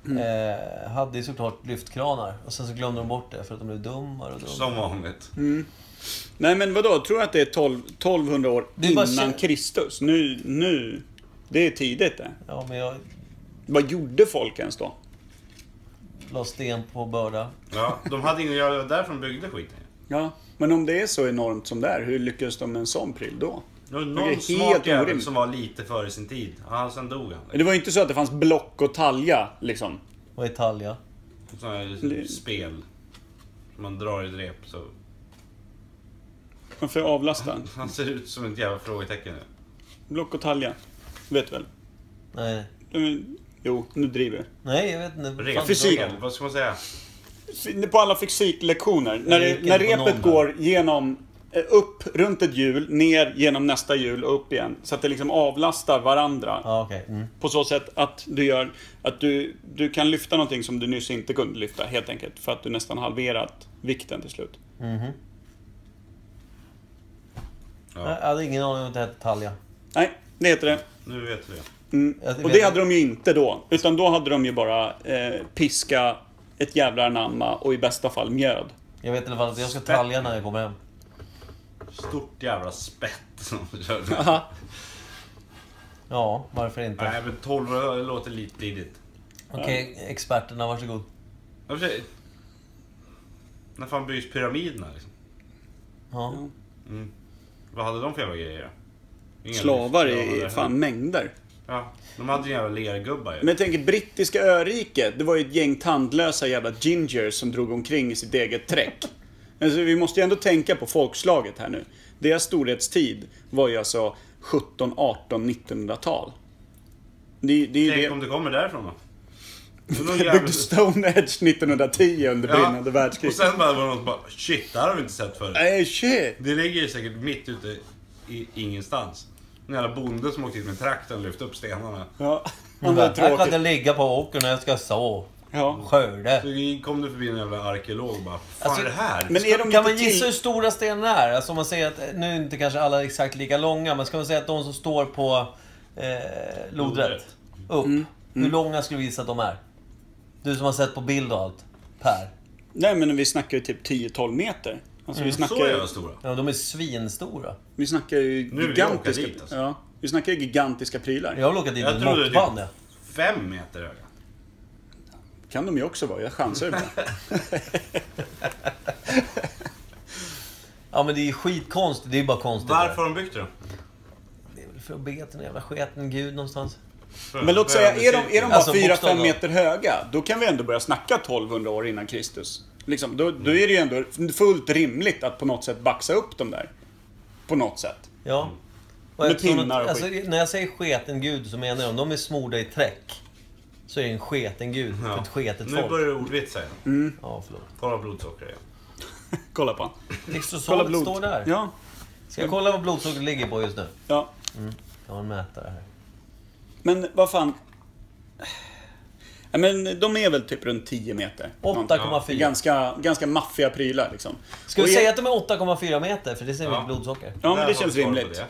[SPEAKER 3] Mm.
[SPEAKER 1] Eh, hade ju såklart lyftkranar. Och sen så glömde de bort det för att de blev dummare och dummare.
[SPEAKER 6] Som vanligt.
[SPEAKER 3] Mm. Nej men vadå, tror du att det är 12, 1200 år
[SPEAKER 1] Det är bara
[SPEAKER 3] innan
[SPEAKER 1] kä-
[SPEAKER 3] Kristus? Nu, nu, det är tidigt det.
[SPEAKER 1] Ja, men jag
[SPEAKER 3] Vad gjorde folk ens då?
[SPEAKER 1] la sten på börda.
[SPEAKER 6] Ja, de hade inget att göra. Det var därför de byggde skiten.
[SPEAKER 3] Ja, men om det är så enormt som det är, hur lyckades de med en sån pryl då?
[SPEAKER 6] Det var
[SPEAKER 3] Det är
[SPEAKER 6] någon
[SPEAKER 3] helt
[SPEAKER 6] smart jävel
[SPEAKER 3] orimligt.
[SPEAKER 6] som var lite före sin tid. Ja, sen dog han.
[SPEAKER 3] Det var ju inte så att det fanns block och talja liksom.
[SPEAKER 1] Vad är talja?
[SPEAKER 6] Sådana här
[SPEAKER 3] Det-
[SPEAKER 6] liksom spel. Som Man drar i ett rep så...
[SPEAKER 3] Man får avlasta.
[SPEAKER 6] Han ser ut som ett jävla frågetecken nu.
[SPEAKER 3] Block och talja. Vet väl?
[SPEAKER 1] Nej.
[SPEAKER 3] Mm, Jo, nu driver jag.
[SPEAKER 1] Nej, jag vet inte.
[SPEAKER 6] Rep.
[SPEAKER 1] Fan,
[SPEAKER 3] Fysik.
[SPEAKER 1] frågan.
[SPEAKER 6] Vad ska man säga?
[SPEAKER 3] På alla fysiklektioner, när,
[SPEAKER 1] Jag
[SPEAKER 3] det,
[SPEAKER 1] gick
[SPEAKER 3] när
[SPEAKER 1] inte på
[SPEAKER 3] repet
[SPEAKER 1] någon
[SPEAKER 3] går genom, eh, upp runt ett hjul, ner genom nästa hjul och upp igen. Så att det liksom avlastar varandra.
[SPEAKER 1] Ja, okej. Mm.
[SPEAKER 3] På så sätt att du gör att du, du kan lyfta någonting som du nyss inte kunde lyfta helt enkelt. För att du nästan halverat vikten till slut.
[SPEAKER 1] Mhm. Jag hade ingen aning om att det hette talja.
[SPEAKER 3] Nej, det heter det.
[SPEAKER 6] Nu vet vi det.
[SPEAKER 3] Mm.
[SPEAKER 1] Jag vet
[SPEAKER 3] Och det hade de ju inte då. Utan då hade de ju bara eh, piska ett jävla anamma och i bästa fall mjöd.
[SPEAKER 1] Jag vet i alla fall att jag ska talja när jag kommer hem.
[SPEAKER 6] Stort jävla spett som de körde.
[SPEAKER 1] Ja, varför inte?
[SPEAKER 6] Nej, men 1200 det låter lite tidigt.
[SPEAKER 1] Okej, experterna, varsågod.
[SPEAKER 6] Ja, för sig. När fan byggs pyramiderna liksom?
[SPEAKER 1] Ja.
[SPEAKER 6] Mm. Vad hade de för jävla grejer? Inga
[SPEAKER 3] Slavar
[SPEAKER 6] lyft. Ja,
[SPEAKER 3] i
[SPEAKER 6] det-
[SPEAKER 3] fan mängder.
[SPEAKER 6] Ja, de hade ju jävla lergubbar ju.
[SPEAKER 3] Men jag tänker brittiska öriket, det var ju ett gäng tandlösa jävla gingers som drog omkring i sitt eget träck. Alltså, vi måste ju ändå tänka på folkslaget här nu. Deras storhetstid var ju alltså 17, 18, 1900-tal. Det, det är ju
[SPEAKER 6] Tänk
[SPEAKER 3] det...
[SPEAKER 6] om det kommer därifrån då? Det var någon jävla-
[SPEAKER 3] Byggde Stone Edge 1910 under brinnande
[SPEAKER 6] Och
[SPEAKER 3] världskrig.
[SPEAKER 6] sen bara var det någon som bara shit, det här har vi inte sett förut.
[SPEAKER 3] Nej, shit!
[SPEAKER 6] Det ligger ju säkert mitt ute i ingenstans. En jävla bonde som åkte hit med traktorn och lyfte upp stenarna.
[SPEAKER 3] Ja,
[SPEAKER 1] Men bara, här kan det ligga på åkern när jag ska så.
[SPEAKER 3] Ja.
[SPEAKER 1] Skörde.
[SPEAKER 6] Så kom du förbi en jävla arkeolog och bara, fan är det här?
[SPEAKER 1] kan man gissa hur stora stenarna är? Alltså om man säger att, nu är inte kanske alla exakt lika långa, men ska man säga att de som står på eh, lodrätt, upp. Hur långa skulle du gissa att de är? Du som har sett på bild och allt. Per.
[SPEAKER 3] Nej, men vi snackar ju typ 10-12 meter. Alltså,
[SPEAKER 1] Mm.
[SPEAKER 3] vi snackar ju...
[SPEAKER 1] Ja, de är svinstora.
[SPEAKER 3] Vi snackar ju
[SPEAKER 1] Nu vill jag
[SPEAKER 3] gigantiska...
[SPEAKER 1] åka dit, alltså.
[SPEAKER 3] ja, vi snackar ju gigantiska prylar.
[SPEAKER 1] Jag vill åka dit med Jag en trodde det- moped, ja.
[SPEAKER 6] typ Fem meter höga.
[SPEAKER 3] kan de ju också vara. Jag chansar ju bara.
[SPEAKER 1] Ja men det är ju skitkonstigt, det är ju bara konstigt.
[SPEAKER 6] Varför har de byggt det då?
[SPEAKER 1] Det är väl för att be till en jävla sketen gud någonstans.
[SPEAKER 3] Men låt säga, är de, är de bara
[SPEAKER 1] Alltså,
[SPEAKER 3] 4-5
[SPEAKER 1] bokstavligen.
[SPEAKER 3] meter höga, då kan vi ändå börja snacka 1200 år innan Kristus. Liksom, då, då är det ju ändå fullt rimligt att på något sätt baxa upp dem där. På något sätt.
[SPEAKER 1] Ja.
[SPEAKER 3] Mm. Med
[SPEAKER 1] jag tror att-
[SPEAKER 3] pinnar och
[SPEAKER 1] alltså,
[SPEAKER 3] skit.
[SPEAKER 1] När jag säger sketen gud så menar jag om de är smorda i träck. Så är det en sketen gud för ett sketet
[SPEAKER 6] Nu
[SPEAKER 1] folk.
[SPEAKER 6] börjar det ordvitsa igen.
[SPEAKER 3] Mm.
[SPEAKER 1] Ja, förlåt.
[SPEAKER 6] Kolla blodsocker igen.
[SPEAKER 3] Kolla på han.
[SPEAKER 1] Exosolet
[SPEAKER 3] blod.
[SPEAKER 1] står där.
[SPEAKER 3] Ja.
[SPEAKER 1] Ska jag kolla vad blodsockret ligger på just nu?
[SPEAKER 3] Ja.
[SPEAKER 1] Mm. Jag har en mätare här.
[SPEAKER 3] Men vad fan. Ja, men de är väl typ runt 10 meter.
[SPEAKER 1] 8,4.
[SPEAKER 3] Ganska, ganska maffiga prylar liksom.
[SPEAKER 1] Ska
[SPEAKER 3] Och
[SPEAKER 1] vi
[SPEAKER 3] är-
[SPEAKER 1] säga att de är 8,4 meter? För det ser vi i blodsocker.
[SPEAKER 3] Ja, men det känns rimligt.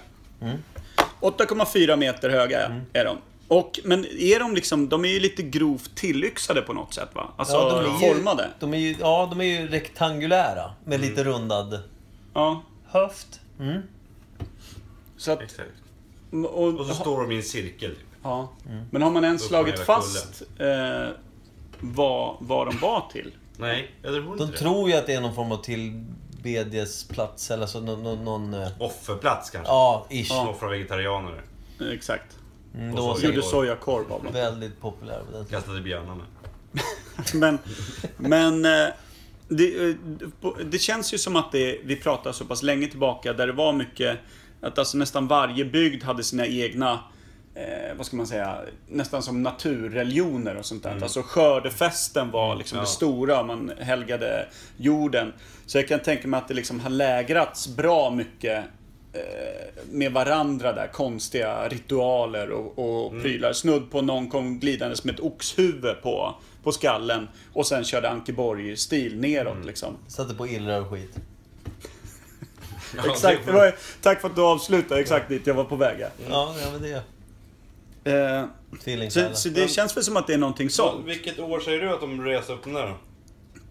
[SPEAKER 3] 8,4 meter höga
[SPEAKER 1] Mm.
[SPEAKER 3] är de. Och, men är de liksom, de är ju lite grovt tillyxade på något sätt va? Alltså
[SPEAKER 1] Ja, de är ju-
[SPEAKER 3] formade.
[SPEAKER 1] De är ju, ja, de är ju rektangulära. Med
[SPEAKER 3] Mm.
[SPEAKER 1] lite rundad
[SPEAKER 3] ja.
[SPEAKER 1] höft. Mm.
[SPEAKER 3] Så att, och,
[SPEAKER 6] Och så står de i en cirkel. Typ.
[SPEAKER 3] Ja. Men har man ens
[SPEAKER 6] Upp på
[SPEAKER 3] slagit
[SPEAKER 6] hela
[SPEAKER 3] fast eh, vad, vad de var till?
[SPEAKER 6] Nej, eller hon
[SPEAKER 1] De tror ju att det är någon form av tillbedjesplats eller så, någon... någon, någon eh,
[SPEAKER 6] Offerplats kanske.
[SPEAKER 1] Ja, ish.
[SPEAKER 6] Ja. Offra vegetarianer.
[SPEAKER 3] Exakt.
[SPEAKER 1] Mm,
[SPEAKER 6] Och
[SPEAKER 1] då
[SPEAKER 6] sojakorv.
[SPEAKER 3] Gjorde sojakorv av dem.
[SPEAKER 1] Väldigt populär på den tiden.
[SPEAKER 6] Kastade björnarna.
[SPEAKER 3] Men, men eh, det, eh, på- det känns ju som att det, vi pratar så pass länge tillbaka där det var mycket att alltså nästan varje bygd hade sina egna Eh, vad ska man säga? Nästan som naturreligioner och sånt där. Alltså skördefesten var liksom
[SPEAKER 6] Ja.
[SPEAKER 3] det stora. Man helgade jorden. Så jag kan tänka mig att det liksom har lägrats bra mycket eh, med varandra där. Konstiga ritualer och, och prylar. Snudd på någon kom glidandes med ett oxhuvud på, på skallen. Och sen körde Ankeborg-stil neråt liksom.
[SPEAKER 1] Satte på illrör och skit.
[SPEAKER 3] Exakt, det var, tack för att du avslutade exakt dit jag var på väg.
[SPEAKER 1] Ja, ja men det...
[SPEAKER 3] Eh, så,
[SPEAKER 1] Tvillingkallar.
[SPEAKER 3] så det känns väl som att det är någonting sånt.
[SPEAKER 6] Vilket år säger du att de reser upp den där då?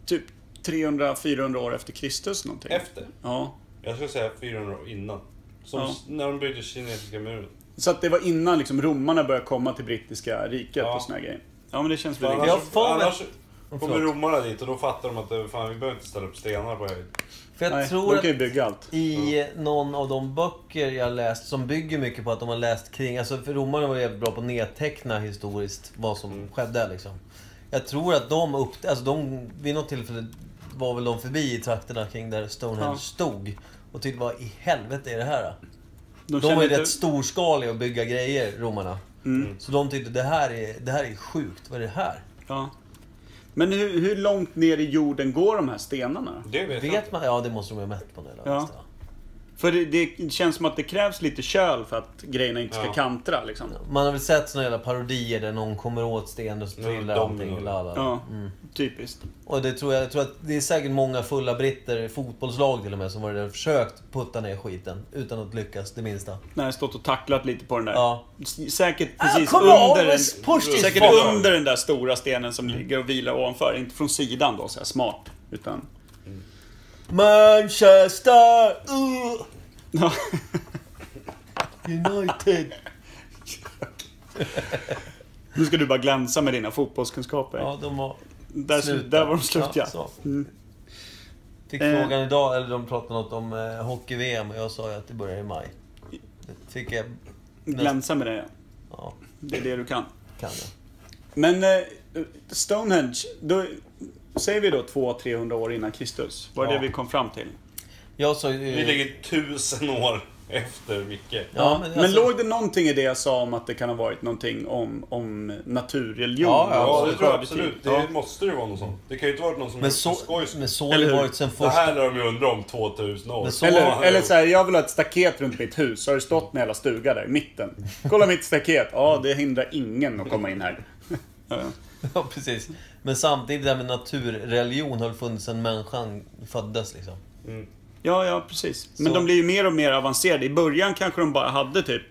[SPEAKER 3] Typ 300-400 år efter Kristus någonting.
[SPEAKER 6] Efter?
[SPEAKER 3] Ja.
[SPEAKER 6] Jag skulle säga 400 år innan. Som
[SPEAKER 3] Ja.
[SPEAKER 6] s- när de byggde kinesiska muren.
[SPEAKER 3] Så att det var innan liksom romarna började komma till brittiska riket och såna här grejer. Ja men det känns väl
[SPEAKER 6] Annars,
[SPEAKER 3] rimligt.
[SPEAKER 6] annars kommer
[SPEAKER 3] Förlåt.
[SPEAKER 6] romarna dit och då fattar de att eh, fan, vi behöver inte ställa upp stenar på höjd.
[SPEAKER 1] För jag
[SPEAKER 3] Nej,
[SPEAKER 1] tror
[SPEAKER 3] de kan ju
[SPEAKER 1] att
[SPEAKER 3] bygga allt.
[SPEAKER 1] i någon av de böcker jag läst som bygger mycket på att de har läst kring... Alltså för romarna var jävligt bra på att nedteckna historiskt vad som
[SPEAKER 3] Mm.
[SPEAKER 1] skedde liksom. Jag tror att de upp... Alltså de... Vid något tillfälle var väl de förbi i trakterna kring där Stonehenge
[SPEAKER 3] Ja.
[SPEAKER 1] stod. Och tyckte vad i helvete är det här då?
[SPEAKER 3] De
[SPEAKER 1] De,
[SPEAKER 3] känner
[SPEAKER 1] var ju
[SPEAKER 3] inte-
[SPEAKER 1] rätt storskaliga att bygga grejer, romarna.
[SPEAKER 3] Mm.
[SPEAKER 1] Så de tyckte det här är, det här är sjukt, vad är det här?
[SPEAKER 3] Ja. Men hur, hur långt ner i jorden går de här stenarna?
[SPEAKER 6] Det vet, jag.
[SPEAKER 1] Vet man? Ja, det måste de ha mätt på nu.
[SPEAKER 3] Ja. För det, det känns som att det krävs lite köl för att grejerna inte ska
[SPEAKER 6] Ja.
[SPEAKER 3] kantra liksom.
[SPEAKER 1] Man har väl sett såna jävla parodier där någon kommer åt sten och så
[SPEAKER 6] Ja,
[SPEAKER 1] trillar
[SPEAKER 6] de-
[SPEAKER 1] allting. Bla, bla.
[SPEAKER 3] Ja,
[SPEAKER 1] Mm.
[SPEAKER 3] typiskt.
[SPEAKER 1] Och det tror jag, jag tror att det är säkert många fulla britter, fotbollslag till och med, som var där och försökt putta ner skiten. Utan att lyckas det minsta.
[SPEAKER 3] När jag stått och tacklat lite på den där.
[SPEAKER 1] Ja.
[SPEAKER 3] S- Säkert precis
[SPEAKER 1] come on,
[SPEAKER 3] under, den,
[SPEAKER 1] let's push this
[SPEAKER 3] säkert
[SPEAKER 1] forward.
[SPEAKER 3] under den där stora stenen som
[SPEAKER 1] Mm.
[SPEAKER 3] ligger och vilar ovanför. Inte från sidan då, så här smart. Utan...
[SPEAKER 1] Manchester uh,
[SPEAKER 3] Ja.
[SPEAKER 1] United.
[SPEAKER 3] nu ska du bara glänsa med dina fotbollskunskaper.
[SPEAKER 1] Ja, de var
[SPEAKER 3] där,
[SPEAKER 1] slut
[SPEAKER 3] där var de slut ja.
[SPEAKER 1] så.
[SPEAKER 3] Mm.
[SPEAKER 1] Fick
[SPEAKER 3] Eh.
[SPEAKER 1] frågan idag, eller de pratade något om eh, hockey-VM och jag sa ju att det börjar i maj. Det Fick jag...
[SPEAKER 3] Glänsa med det ja.
[SPEAKER 1] Ja,
[SPEAKER 3] Det är det du kan.
[SPEAKER 1] kan jag.
[SPEAKER 3] Men eh, Stonehenge, då säger vi då 200-300 år innan Kristus. Var det
[SPEAKER 1] Ja.
[SPEAKER 3] det vi kom fram till?
[SPEAKER 1] Jag sa ju...
[SPEAKER 6] Vi ligger tusen år efter Micke.
[SPEAKER 1] Eh. Ja,
[SPEAKER 3] men,
[SPEAKER 1] men, alltså,
[SPEAKER 3] låg det någonting i det jag sa om att det kan ha varit någonting om, om naturreligion?
[SPEAKER 1] Ja, ja,
[SPEAKER 6] Ja,
[SPEAKER 3] och
[SPEAKER 6] det tror jag
[SPEAKER 3] skördetid?
[SPEAKER 6] absolut. Det
[SPEAKER 3] Ja.
[SPEAKER 6] måste ju vara något sånt. Det kan ju inte varit någon som
[SPEAKER 1] typ- men
[SPEAKER 6] gjort
[SPEAKER 1] så,
[SPEAKER 6] för skojs
[SPEAKER 1] men så har
[SPEAKER 3] Eller
[SPEAKER 1] det
[SPEAKER 3] hur?
[SPEAKER 1] varit sen
[SPEAKER 6] Det
[SPEAKER 1] första...
[SPEAKER 6] här lär de ju undra om 2000 år.
[SPEAKER 1] Men så-
[SPEAKER 3] Eller,
[SPEAKER 6] Ja,
[SPEAKER 3] eller
[SPEAKER 6] jo.
[SPEAKER 3] så här, jag vill ha ett staket runt mitt hus. Har det stått en jävla stuga där i mitten? Kolla mitt staket. Ja, det hindrar ingen att komma in här. Ja, ja.
[SPEAKER 1] Ja, precis. Men samtidigt, det här med naturreligion har funnits sedan människan föddes liksom.
[SPEAKER 3] Ja, ja, precis. Men
[SPEAKER 1] Så-
[SPEAKER 3] de blir ju mer och mer avancerade. I början kanske de bara hade typ...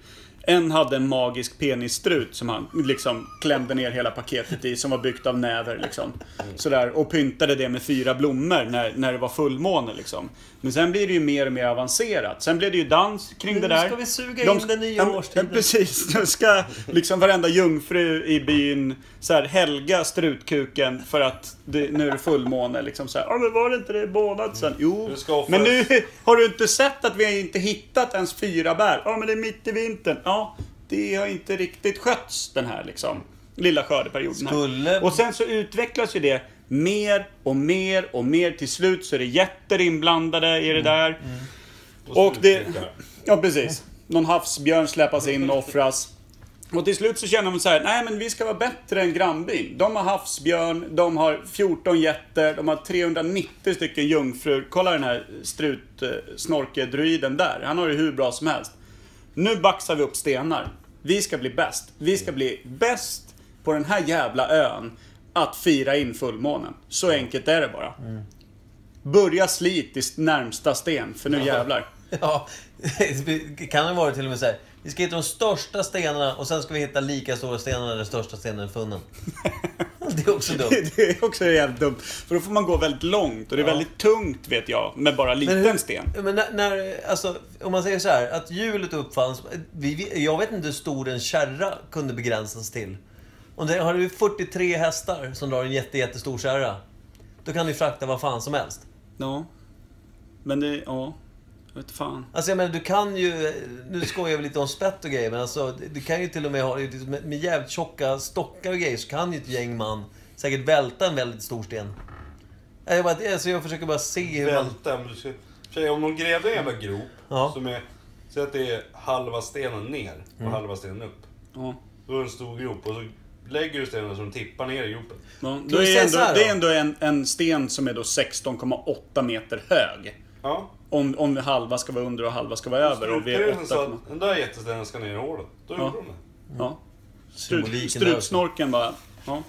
[SPEAKER 3] En hade en magisk penisstrut som han liksom klämde ner hela paketet i, som var byggt av näver liksom. Sådär, och pyntade det med fyra blommor när, när det var fullmåne liksom. Men sen blir det ju mer och mer avancerat. Sen blev det ju dans kring det
[SPEAKER 1] Nu
[SPEAKER 3] där.
[SPEAKER 1] ska vi suga in
[SPEAKER 3] sk-
[SPEAKER 1] den nya
[SPEAKER 3] ja, men-
[SPEAKER 6] typ.
[SPEAKER 1] årstiden.
[SPEAKER 3] ja, Precis, de ska liksom varenda jungfru i byn så här, helga strutkuken för att det, nu är det fullmåne liksom så här. Ja men var det inte det i månad sen? Jo,
[SPEAKER 6] Mm. Du ska offra-
[SPEAKER 3] men nu har du inte sett att vi inte hittat ens fyra bär? Ja, men det är mitt i vintern. Ja, det har inte riktigt skötts den här liksom lilla skördeperioden. här.
[SPEAKER 1] Skulle-
[SPEAKER 3] Och sen så utvecklas ju det mer och mer och mer. Till slut så är det jätter inblandade i det
[SPEAKER 6] Mm.
[SPEAKER 3] där. Och det...
[SPEAKER 6] slutkukar.
[SPEAKER 3] Ja, precis. Någon havsbjörn släpas in och offras. Och till slut så känner de så här, nej men vi ska vara bättre än grannbyn. De har havsbjörn, de har 14 getter, de har 390 stycken jungfrur. Kolla den här strutsnorkedruiden där, han har det hur bra som helst. Nu baxar vi upp stenar. Vi ska bli bäst. Vi ska bli bäst på den här jävla ön att fira in fullmånen. Så enkelt är det bara. Börja slit i närmsta sten, för nu jävlar.
[SPEAKER 1] Ja, det kan det vara till och med så här. Vi ska hitta de största stenarna och sen ska vi hitta lika stora stenar där största stenen är funnen. Det är också dumt.
[SPEAKER 3] det är också jävligt dumt. För då får man gå väldigt långt och det är väldigt tungt vet jag, med bara liten sten.
[SPEAKER 1] Men när, när, alltså, om man säger så här, att hjulet uppfanns. Vi, vi, jag vet inte hur stor en kärra kunde begränsas till. Om det har du 43 hästar som drar en jätte, jättestor kärra. Då kan du frakta vad fan som helst.
[SPEAKER 3] Ja. Men det, ja. Jag vet fan.
[SPEAKER 1] Alltså jag menar, du kan ju... Nu skojar vi lite om spett och grejer, men alltså, du kan ju till och med ha... Med med jävligt tjocka stockar och grejer så kan ju ett gäng man säkert välta en väldigt stor sten. Nej, Jag, bara, alltså jag försöker bara se hur man...
[SPEAKER 6] Välta, men du ska... Tjej, om de grävde en jävla grop,
[SPEAKER 1] Ja.
[SPEAKER 6] som är... Säg att det är halva stenen ner och
[SPEAKER 3] Mm.
[SPEAKER 6] halva stenen upp.
[SPEAKER 3] Ja.
[SPEAKER 6] Då är det en stor grop och så lägger du stenen så de tippar ner i gropen.
[SPEAKER 3] Ja, då är ändå, det är ändå en, en sten som är då 16,8 meter hög.
[SPEAKER 6] Ja.
[SPEAKER 3] Om, om halva ska vara under och halva ska vara över. Och vi är
[SPEAKER 6] Strutstenen sa
[SPEAKER 3] 8,
[SPEAKER 6] att den där jättestenen ska ner i hålet. Då
[SPEAKER 3] Ja.
[SPEAKER 6] gjorde de det.
[SPEAKER 3] ja.
[SPEAKER 6] Symboliken
[SPEAKER 3] Strut,
[SPEAKER 6] där också.
[SPEAKER 3] strutsnorken bara. Ja.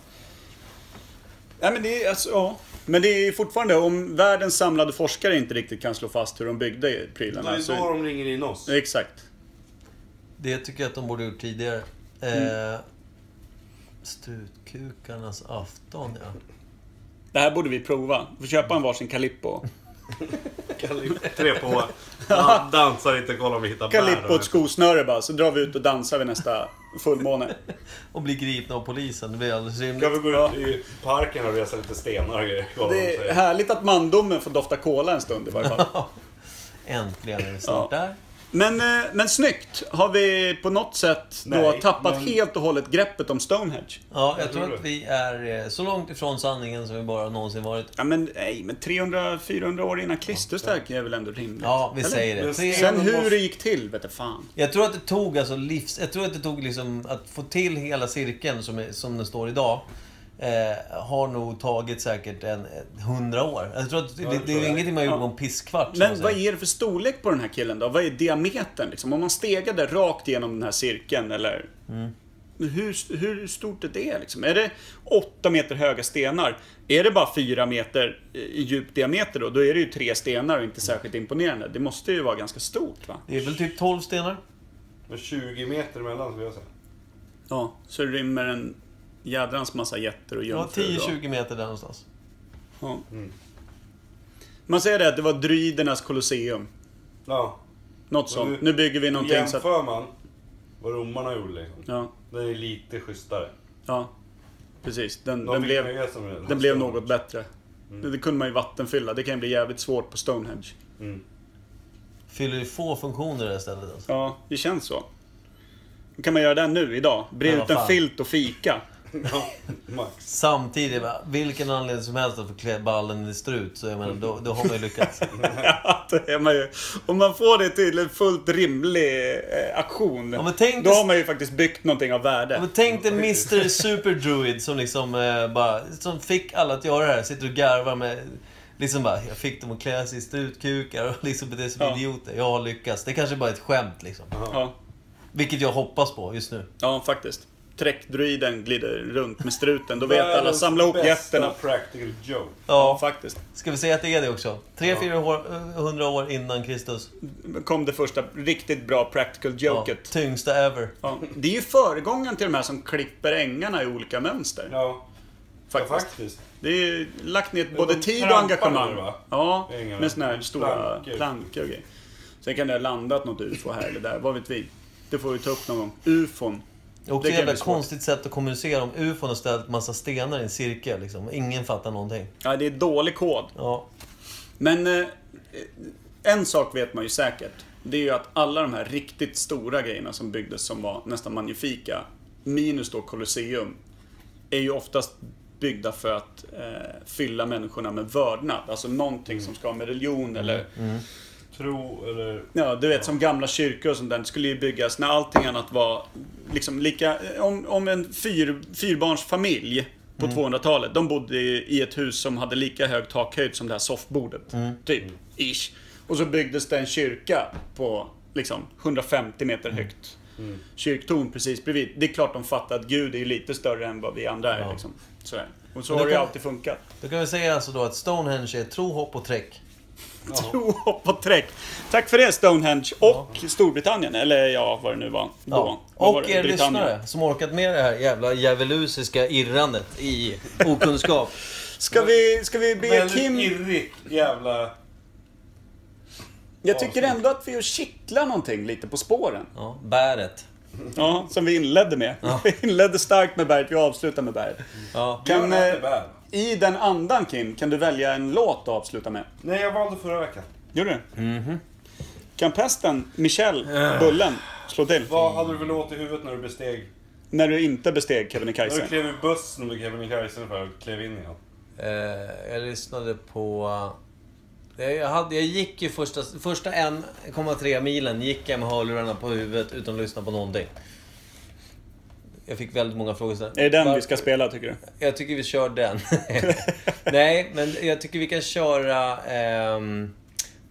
[SPEAKER 3] Nej, men det är alltså, ja. Men det är ju fortfarande, om världens samlade forskare inte riktigt kan slå fast hur de byggde
[SPEAKER 6] Då är
[SPEAKER 3] prylarna.
[SPEAKER 6] det då de ringer in oss.
[SPEAKER 3] Exakt.
[SPEAKER 1] Det tycker jag att de borde ha gjort tidigare. Eh, strutkukarnas afton, ja.
[SPEAKER 3] Det här borde vi prova. Vi får köpa en varsin Calippo.
[SPEAKER 6] Tre på. Ja, dansar inte, kolla om vi hittar
[SPEAKER 3] Calippo
[SPEAKER 6] bär.
[SPEAKER 3] och ett skosnöre bara, så drar vi ut och dansar vid nästa fullmåne.
[SPEAKER 1] Och blir gripna av polisen. Det blir alldeles rimligt.
[SPEAKER 6] Kan vi gå ut i parken och resa lite stenar och grejer? Kolla vad de
[SPEAKER 3] Det är
[SPEAKER 6] säger.
[SPEAKER 3] härligt att mandomen får dofta cola en stund i varje fall.
[SPEAKER 1] Äntligen är vi snart där.
[SPEAKER 3] Men, eh, men snyggt! Har vi på något sätt då
[SPEAKER 1] Nej,
[SPEAKER 3] tappat
[SPEAKER 1] men-
[SPEAKER 3] helt och hållet greppet om Stonehenge?
[SPEAKER 1] Ja, jag tror att vi är eh, så långt ifrån sanningen som vi bara någonsin varit.
[SPEAKER 3] Ja, men nej, men 300-400 år innan Kristus där är väl ändå rimligt?
[SPEAKER 1] Ja, vi
[SPEAKER 3] Eller?
[SPEAKER 1] säger det.
[SPEAKER 3] Sen hur det gick till vete fan.
[SPEAKER 1] Jag tror att det tog alltså livs... Jag tror att det tog liksom att få till hela cirkeln som, är, som den står idag. Eh, har nog tagit säkert en eh, hundra år. Jag tror att det,
[SPEAKER 3] Ja,
[SPEAKER 1] det,
[SPEAKER 3] det tror
[SPEAKER 1] är
[SPEAKER 3] jag.
[SPEAKER 1] ingenting man gjorde på
[SPEAKER 3] Ja.
[SPEAKER 1] en pisskvart. som man
[SPEAKER 3] Men
[SPEAKER 1] säger.
[SPEAKER 3] vad är det för storlek på den här killen då? Vad är diametern liksom? Om man stegade rakt genom den här cirkeln eller?
[SPEAKER 1] Mm.
[SPEAKER 3] Hur, hur stort är det liksom? Är det 8 meter höga stenar? Är det bara 4 meter i djup diameter då? Då är det ju tre stenar och inte särskilt imponerande. Det måste ju vara ganska stort va?
[SPEAKER 1] Det är väl typ 12 stenar?
[SPEAKER 6] Med 20 meter emellan skulle jag säga.
[SPEAKER 3] Ja, så det rymmer en jädrans massa jätter och
[SPEAKER 1] Ja,
[SPEAKER 3] jungfrur. och-
[SPEAKER 1] 10-20 meter där någonstans.
[SPEAKER 3] Ja. Man säger det att det var druidernas kolosseum.
[SPEAKER 6] Ja.
[SPEAKER 3] Något sånt. Nu bygger vi någonting så
[SPEAKER 6] jämför
[SPEAKER 3] att...
[SPEAKER 6] man vad romarna gjorde liksom.
[SPEAKER 3] Ja.
[SPEAKER 6] Den är lite schysstare.
[SPEAKER 3] Ja, precis. Den,
[SPEAKER 6] De
[SPEAKER 3] den,
[SPEAKER 6] fick
[SPEAKER 3] blev,
[SPEAKER 6] nöja sig med den.
[SPEAKER 3] den blev något bättre.
[SPEAKER 6] Mm.
[SPEAKER 3] Det, det kunde man ju vattenfylla. Det kan ju bli jävligt svårt på Stonehenge.
[SPEAKER 1] Fyller ju få funktioner i det här stället alltså.
[SPEAKER 3] Ja, det känns så. Vad kan man göra där nu, idag? Bre
[SPEAKER 1] Men vad
[SPEAKER 3] ut en
[SPEAKER 1] fan.
[SPEAKER 3] filt och fika.
[SPEAKER 6] Ja, max.
[SPEAKER 1] Samtidigt, va, vilken anledning som helst att få klä ballen i strut, så jag menar, då, då har man ju lyckats.
[SPEAKER 3] Ja, då är man ju, om man får det till en fullt rimlig eh, aktion, då har man ju faktiskt byggt någonting av värde.
[SPEAKER 1] Men tänk dig Mr Super Druid som liksom eh, bara, som fick alla att göra det här. Sitter och garvar med, liksom bara, jag fick dem att klä sig i strutkukar och liksom bete sig som idioter. Jag har lyckats. Det kanske bara är ett skämt liksom.
[SPEAKER 3] Ja.
[SPEAKER 1] Vilket jag hoppas på just nu.
[SPEAKER 3] Ja, faktiskt. Träckdruiden glider runt med struten. Då vet
[SPEAKER 6] Världens
[SPEAKER 3] alla, samla ihop
[SPEAKER 6] bästa
[SPEAKER 3] jätterna.
[SPEAKER 6] practical joke.
[SPEAKER 1] Ja,
[SPEAKER 3] faktiskt.
[SPEAKER 1] Ska vi säga att det är det också? 300-400 år innan Kristus.
[SPEAKER 3] Kom det första riktigt bra practical joket.
[SPEAKER 1] tyngsta ever.
[SPEAKER 3] Ja. Det är ju föregångaren till de här som klipper ängarna i olika mönster.
[SPEAKER 6] Ja.
[SPEAKER 3] Faktiskt.
[SPEAKER 6] Ja, faktiskt.
[SPEAKER 3] Det är ju lagt ner
[SPEAKER 6] Men
[SPEAKER 3] både
[SPEAKER 6] de
[SPEAKER 3] tid och
[SPEAKER 6] trampar
[SPEAKER 3] engagemang.
[SPEAKER 6] nu, va?
[SPEAKER 3] Ja,
[SPEAKER 6] Ängarna.
[SPEAKER 3] med såna här stora
[SPEAKER 6] Plankor.
[SPEAKER 3] plankor och grejer. Sen kan det ha landat något UFO här eller där, vad vet vi. Det får vi ta upp någon gång. UFOn.
[SPEAKER 1] Det är också ett
[SPEAKER 3] kan
[SPEAKER 1] jävla
[SPEAKER 3] bli svårt.
[SPEAKER 1] konstigt sätt att kommunicera om ufon har ställt massa stenar i en cirkel liksom. Ingen fattar någonting.
[SPEAKER 3] Ja, det är dålig kod.
[SPEAKER 1] Ja.
[SPEAKER 3] Men eh, en sak vet man ju säkert. Det är ju att alla de här riktigt stora grejerna som byggdes som var nästan magnifika, minus då Colosseum, är ju oftast byggda för att eh, fylla människorna med vördnad. Alltså någonting som ska ha med religion eller
[SPEAKER 6] Tro eller...
[SPEAKER 3] Ja, du vet som gamla kyrkor och sånt där. Det skulle ju byggas när allting annat var liksom lika... Om, om en fyr, fyrbarnsfamilj på
[SPEAKER 1] Mm.
[SPEAKER 3] 200-talet. De bodde i i ett hus som hade lika hög takhöjd som det här soffbordet.
[SPEAKER 1] Mm.
[SPEAKER 3] Typ.
[SPEAKER 1] Mm.
[SPEAKER 3] Ish. Och så byggdes det en kyrka på liksom 150 meter högt. kyrktorn precis bredvid. Det är klart de fattar att Gud är ju lite större än vad vi andra är.
[SPEAKER 1] Ja.
[SPEAKER 3] Liksom. Sådär. Och så
[SPEAKER 1] Men då
[SPEAKER 3] har det ju
[SPEAKER 1] kan-
[SPEAKER 3] alltid funkat.
[SPEAKER 1] Då kan vi säga alltså då att Stonehenge är tro, hopp och träck.
[SPEAKER 3] Tro, hopp och träck. Tack för det Stonehenge och Storbritannien, eller ja, vad det nu var. Då.
[SPEAKER 1] Ja.
[SPEAKER 3] Vad var
[SPEAKER 1] Och
[SPEAKER 3] det?
[SPEAKER 1] er
[SPEAKER 3] Britannien.
[SPEAKER 1] lyssnare som orkat med det här jävla djävulusiska irrandet i okunskap.
[SPEAKER 3] Ska vi, ska vi be
[SPEAKER 6] Väldigt
[SPEAKER 3] Kim...
[SPEAKER 6] irrigt jävla...
[SPEAKER 3] Jag tycker ändå att vi kittlar någonting lite på spåren.
[SPEAKER 1] Ja, bäret.
[SPEAKER 3] Ja, som vi inledde med. Vi inledde starkt med bäret, vi avslutar med bäret.
[SPEAKER 1] Ja.
[SPEAKER 3] Kan,
[SPEAKER 6] Gör allt
[SPEAKER 3] eh,
[SPEAKER 6] det väl.
[SPEAKER 3] I den andan Kim, kan du välja en låt att avsluta med?
[SPEAKER 6] Nej, jag valde förra veckan.
[SPEAKER 3] Gör du?
[SPEAKER 1] Mhm.
[SPEAKER 3] Kan pesten, Michel, Bullen slå till?
[SPEAKER 6] Vad hade du för låt i huvudet när du besteg...
[SPEAKER 3] När du inte besteg
[SPEAKER 6] När du
[SPEAKER 3] Kebnekaise?
[SPEAKER 6] klev ur bussen vid Kebnekaise för att klev in igen.
[SPEAKER 1] Eh, jag lyssnade på... eh, Jag, hade, jag gick ju första, första 1,3 milen gick jag med hörlurarna på huvudet utan att lyssna på någonting. Jag fick väldigt många frågor. sen.
[SPEAKER 3] Är det den
[SPEAKER 1] Var-
[SPEAKER 3] vi ska spela tycker du?
[SPEAKER 1] Jag tycker vi kör den. Nej, men jag tycker vi kan köra... ehm,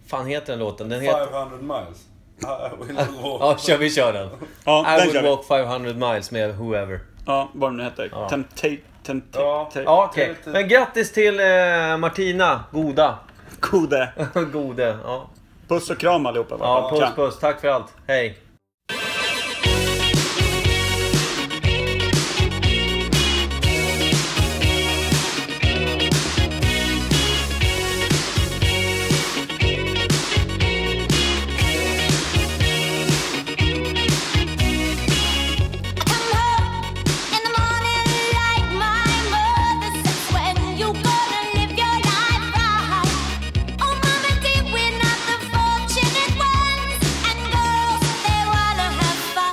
[SPEAKER 1] fan heter den låten? Den heter...
[SPEAKER 6] 500 miles. Ah, I will
[SPEAKER 3] Ah,
[SPEAKER 6] walk.
[SPEAKER 1] Ja, kör, vi kör den.
[SPEAKER 3] Ja,
[SPEAKER 1] I
[SPEAKER 3] den kör
[SPEAKER 1] will
[SPEAKER 3] vi.
[SPEAKER 1] walk 500 miles med whoever.
[SPEAKER 3] Ja, vad den nu heter.
[SPEAKER 1] Ja.
[SPEAKER 3] Temptate...
[SPEAKER 6] Ja.
[SPEAKER 3] Temptate...
[SPEAKER 1] Ja, okej. Men grattis till eh, Martina Goda.
[SPEAKER 3] Gode.
[SPEAKER 1] Gode. Ja.
[SPEAKER 3] Puss och kram allihopa. vad
[SPEAKER 1] ja,
[SPEAKER 3] fan.
[SPEAKER 1] puss
[SPEAKER 3] Kan.
[SPEAKER 1] puss. Tack för allt. Hej.
[SPEAKER 12] We're not the fortunate ones, and girls, they're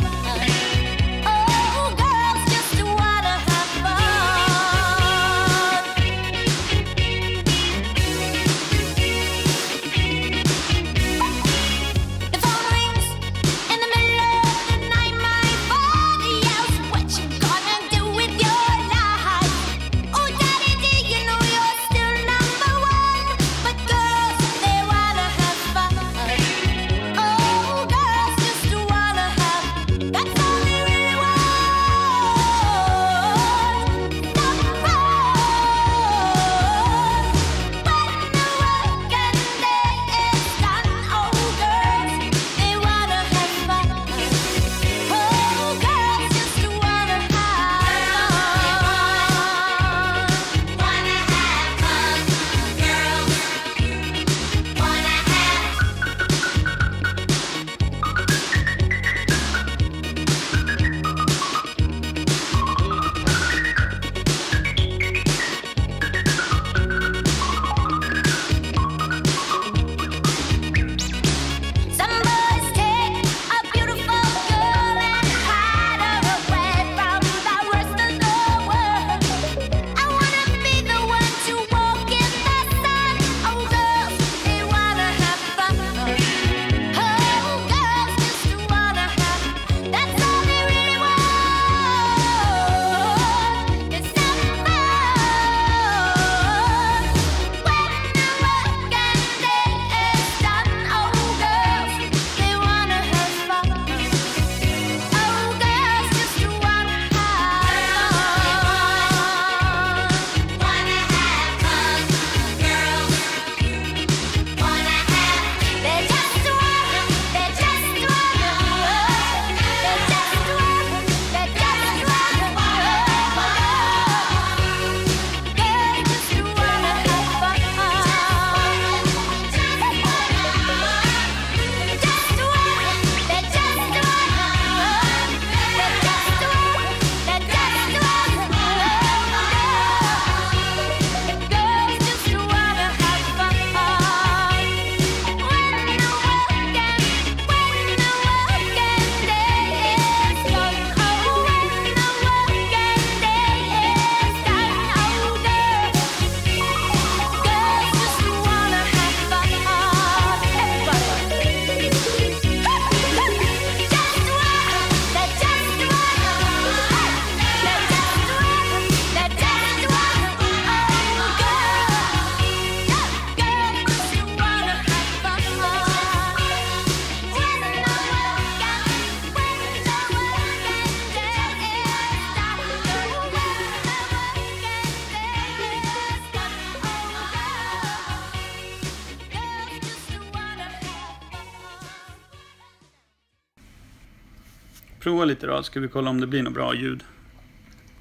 [SPEAKER 3] Prova lite då, ska vi kolla om det blir något bra ljud.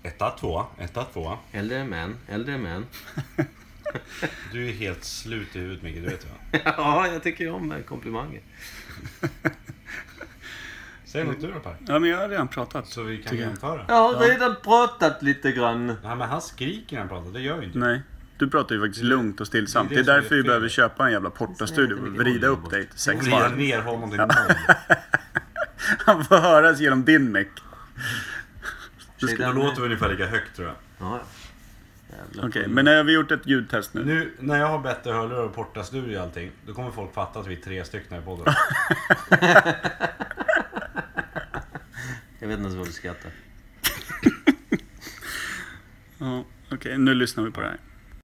[SPEAKER 6] Etta, tvåa, etta, tvåa.
[SPEAKER 1] Äldre män, äldre män.
[SPEAKER 6] Du är helt slut i huvudet Micke, du vet va?
[SPEAKER 1] ja, jag tycker ju om komplimanger.
[SPEAKER 6] Säg något du då Per.
[SPEAKER 3] Ja, men jag har redan pratat.
[SPEAKER 6] Så vi kan
[SPEAKER 3] tycker jag.
[SPEAKER 6] jämföra.
[SPEAKER 1] Jag har redan pratat lite grann.
[SPEAKER 6] Nej men han skriker när han pratar, det gör ju inte
[SPEAKER 3] Nej. Du pratar ju faktiskt lugnt och stillsamt.
[SPEAKER 6] Det
[SPEAKER 3] Det
[SPEAKER 6] är
[SPEAKER 3] är,
[SPEAKER 6] det som
[SPEAKER 3] därför
[SPEAKER 6] är
[SPEAKER 3] vi
[SPEAKER 6] fel.
[SPEAKER 3] behöver köpa en jävla portastudio och vrida upp dig till sex
[SPEAKER 6] Vrida
[SPEAKER 3] varv.
[SPEAKER 6] ner honom till
[SPEAKER 3] Ja.
[SPEAKER 6] noll.
[SPEAKER 3] Han får höras genom din mick.
[SPEAKER 6] Du skulle... Då låter vi ungefär lika högt tror jag.
[SPEAKER 1] Ja.
[SPEAKER 3] Okej, men har vi gjort ett ljudtest nu?
[SPEAKER 6] Nu när jag har bättre hörlurar och portastudio och allting, då kommer folk fatta att vi är tre stycken här i podden.
[SPEAKER 1] Jag vet inte ens vad du skrattar.
[SPEAKER 3] Ja, Okej, nu lyssnar vi på det här.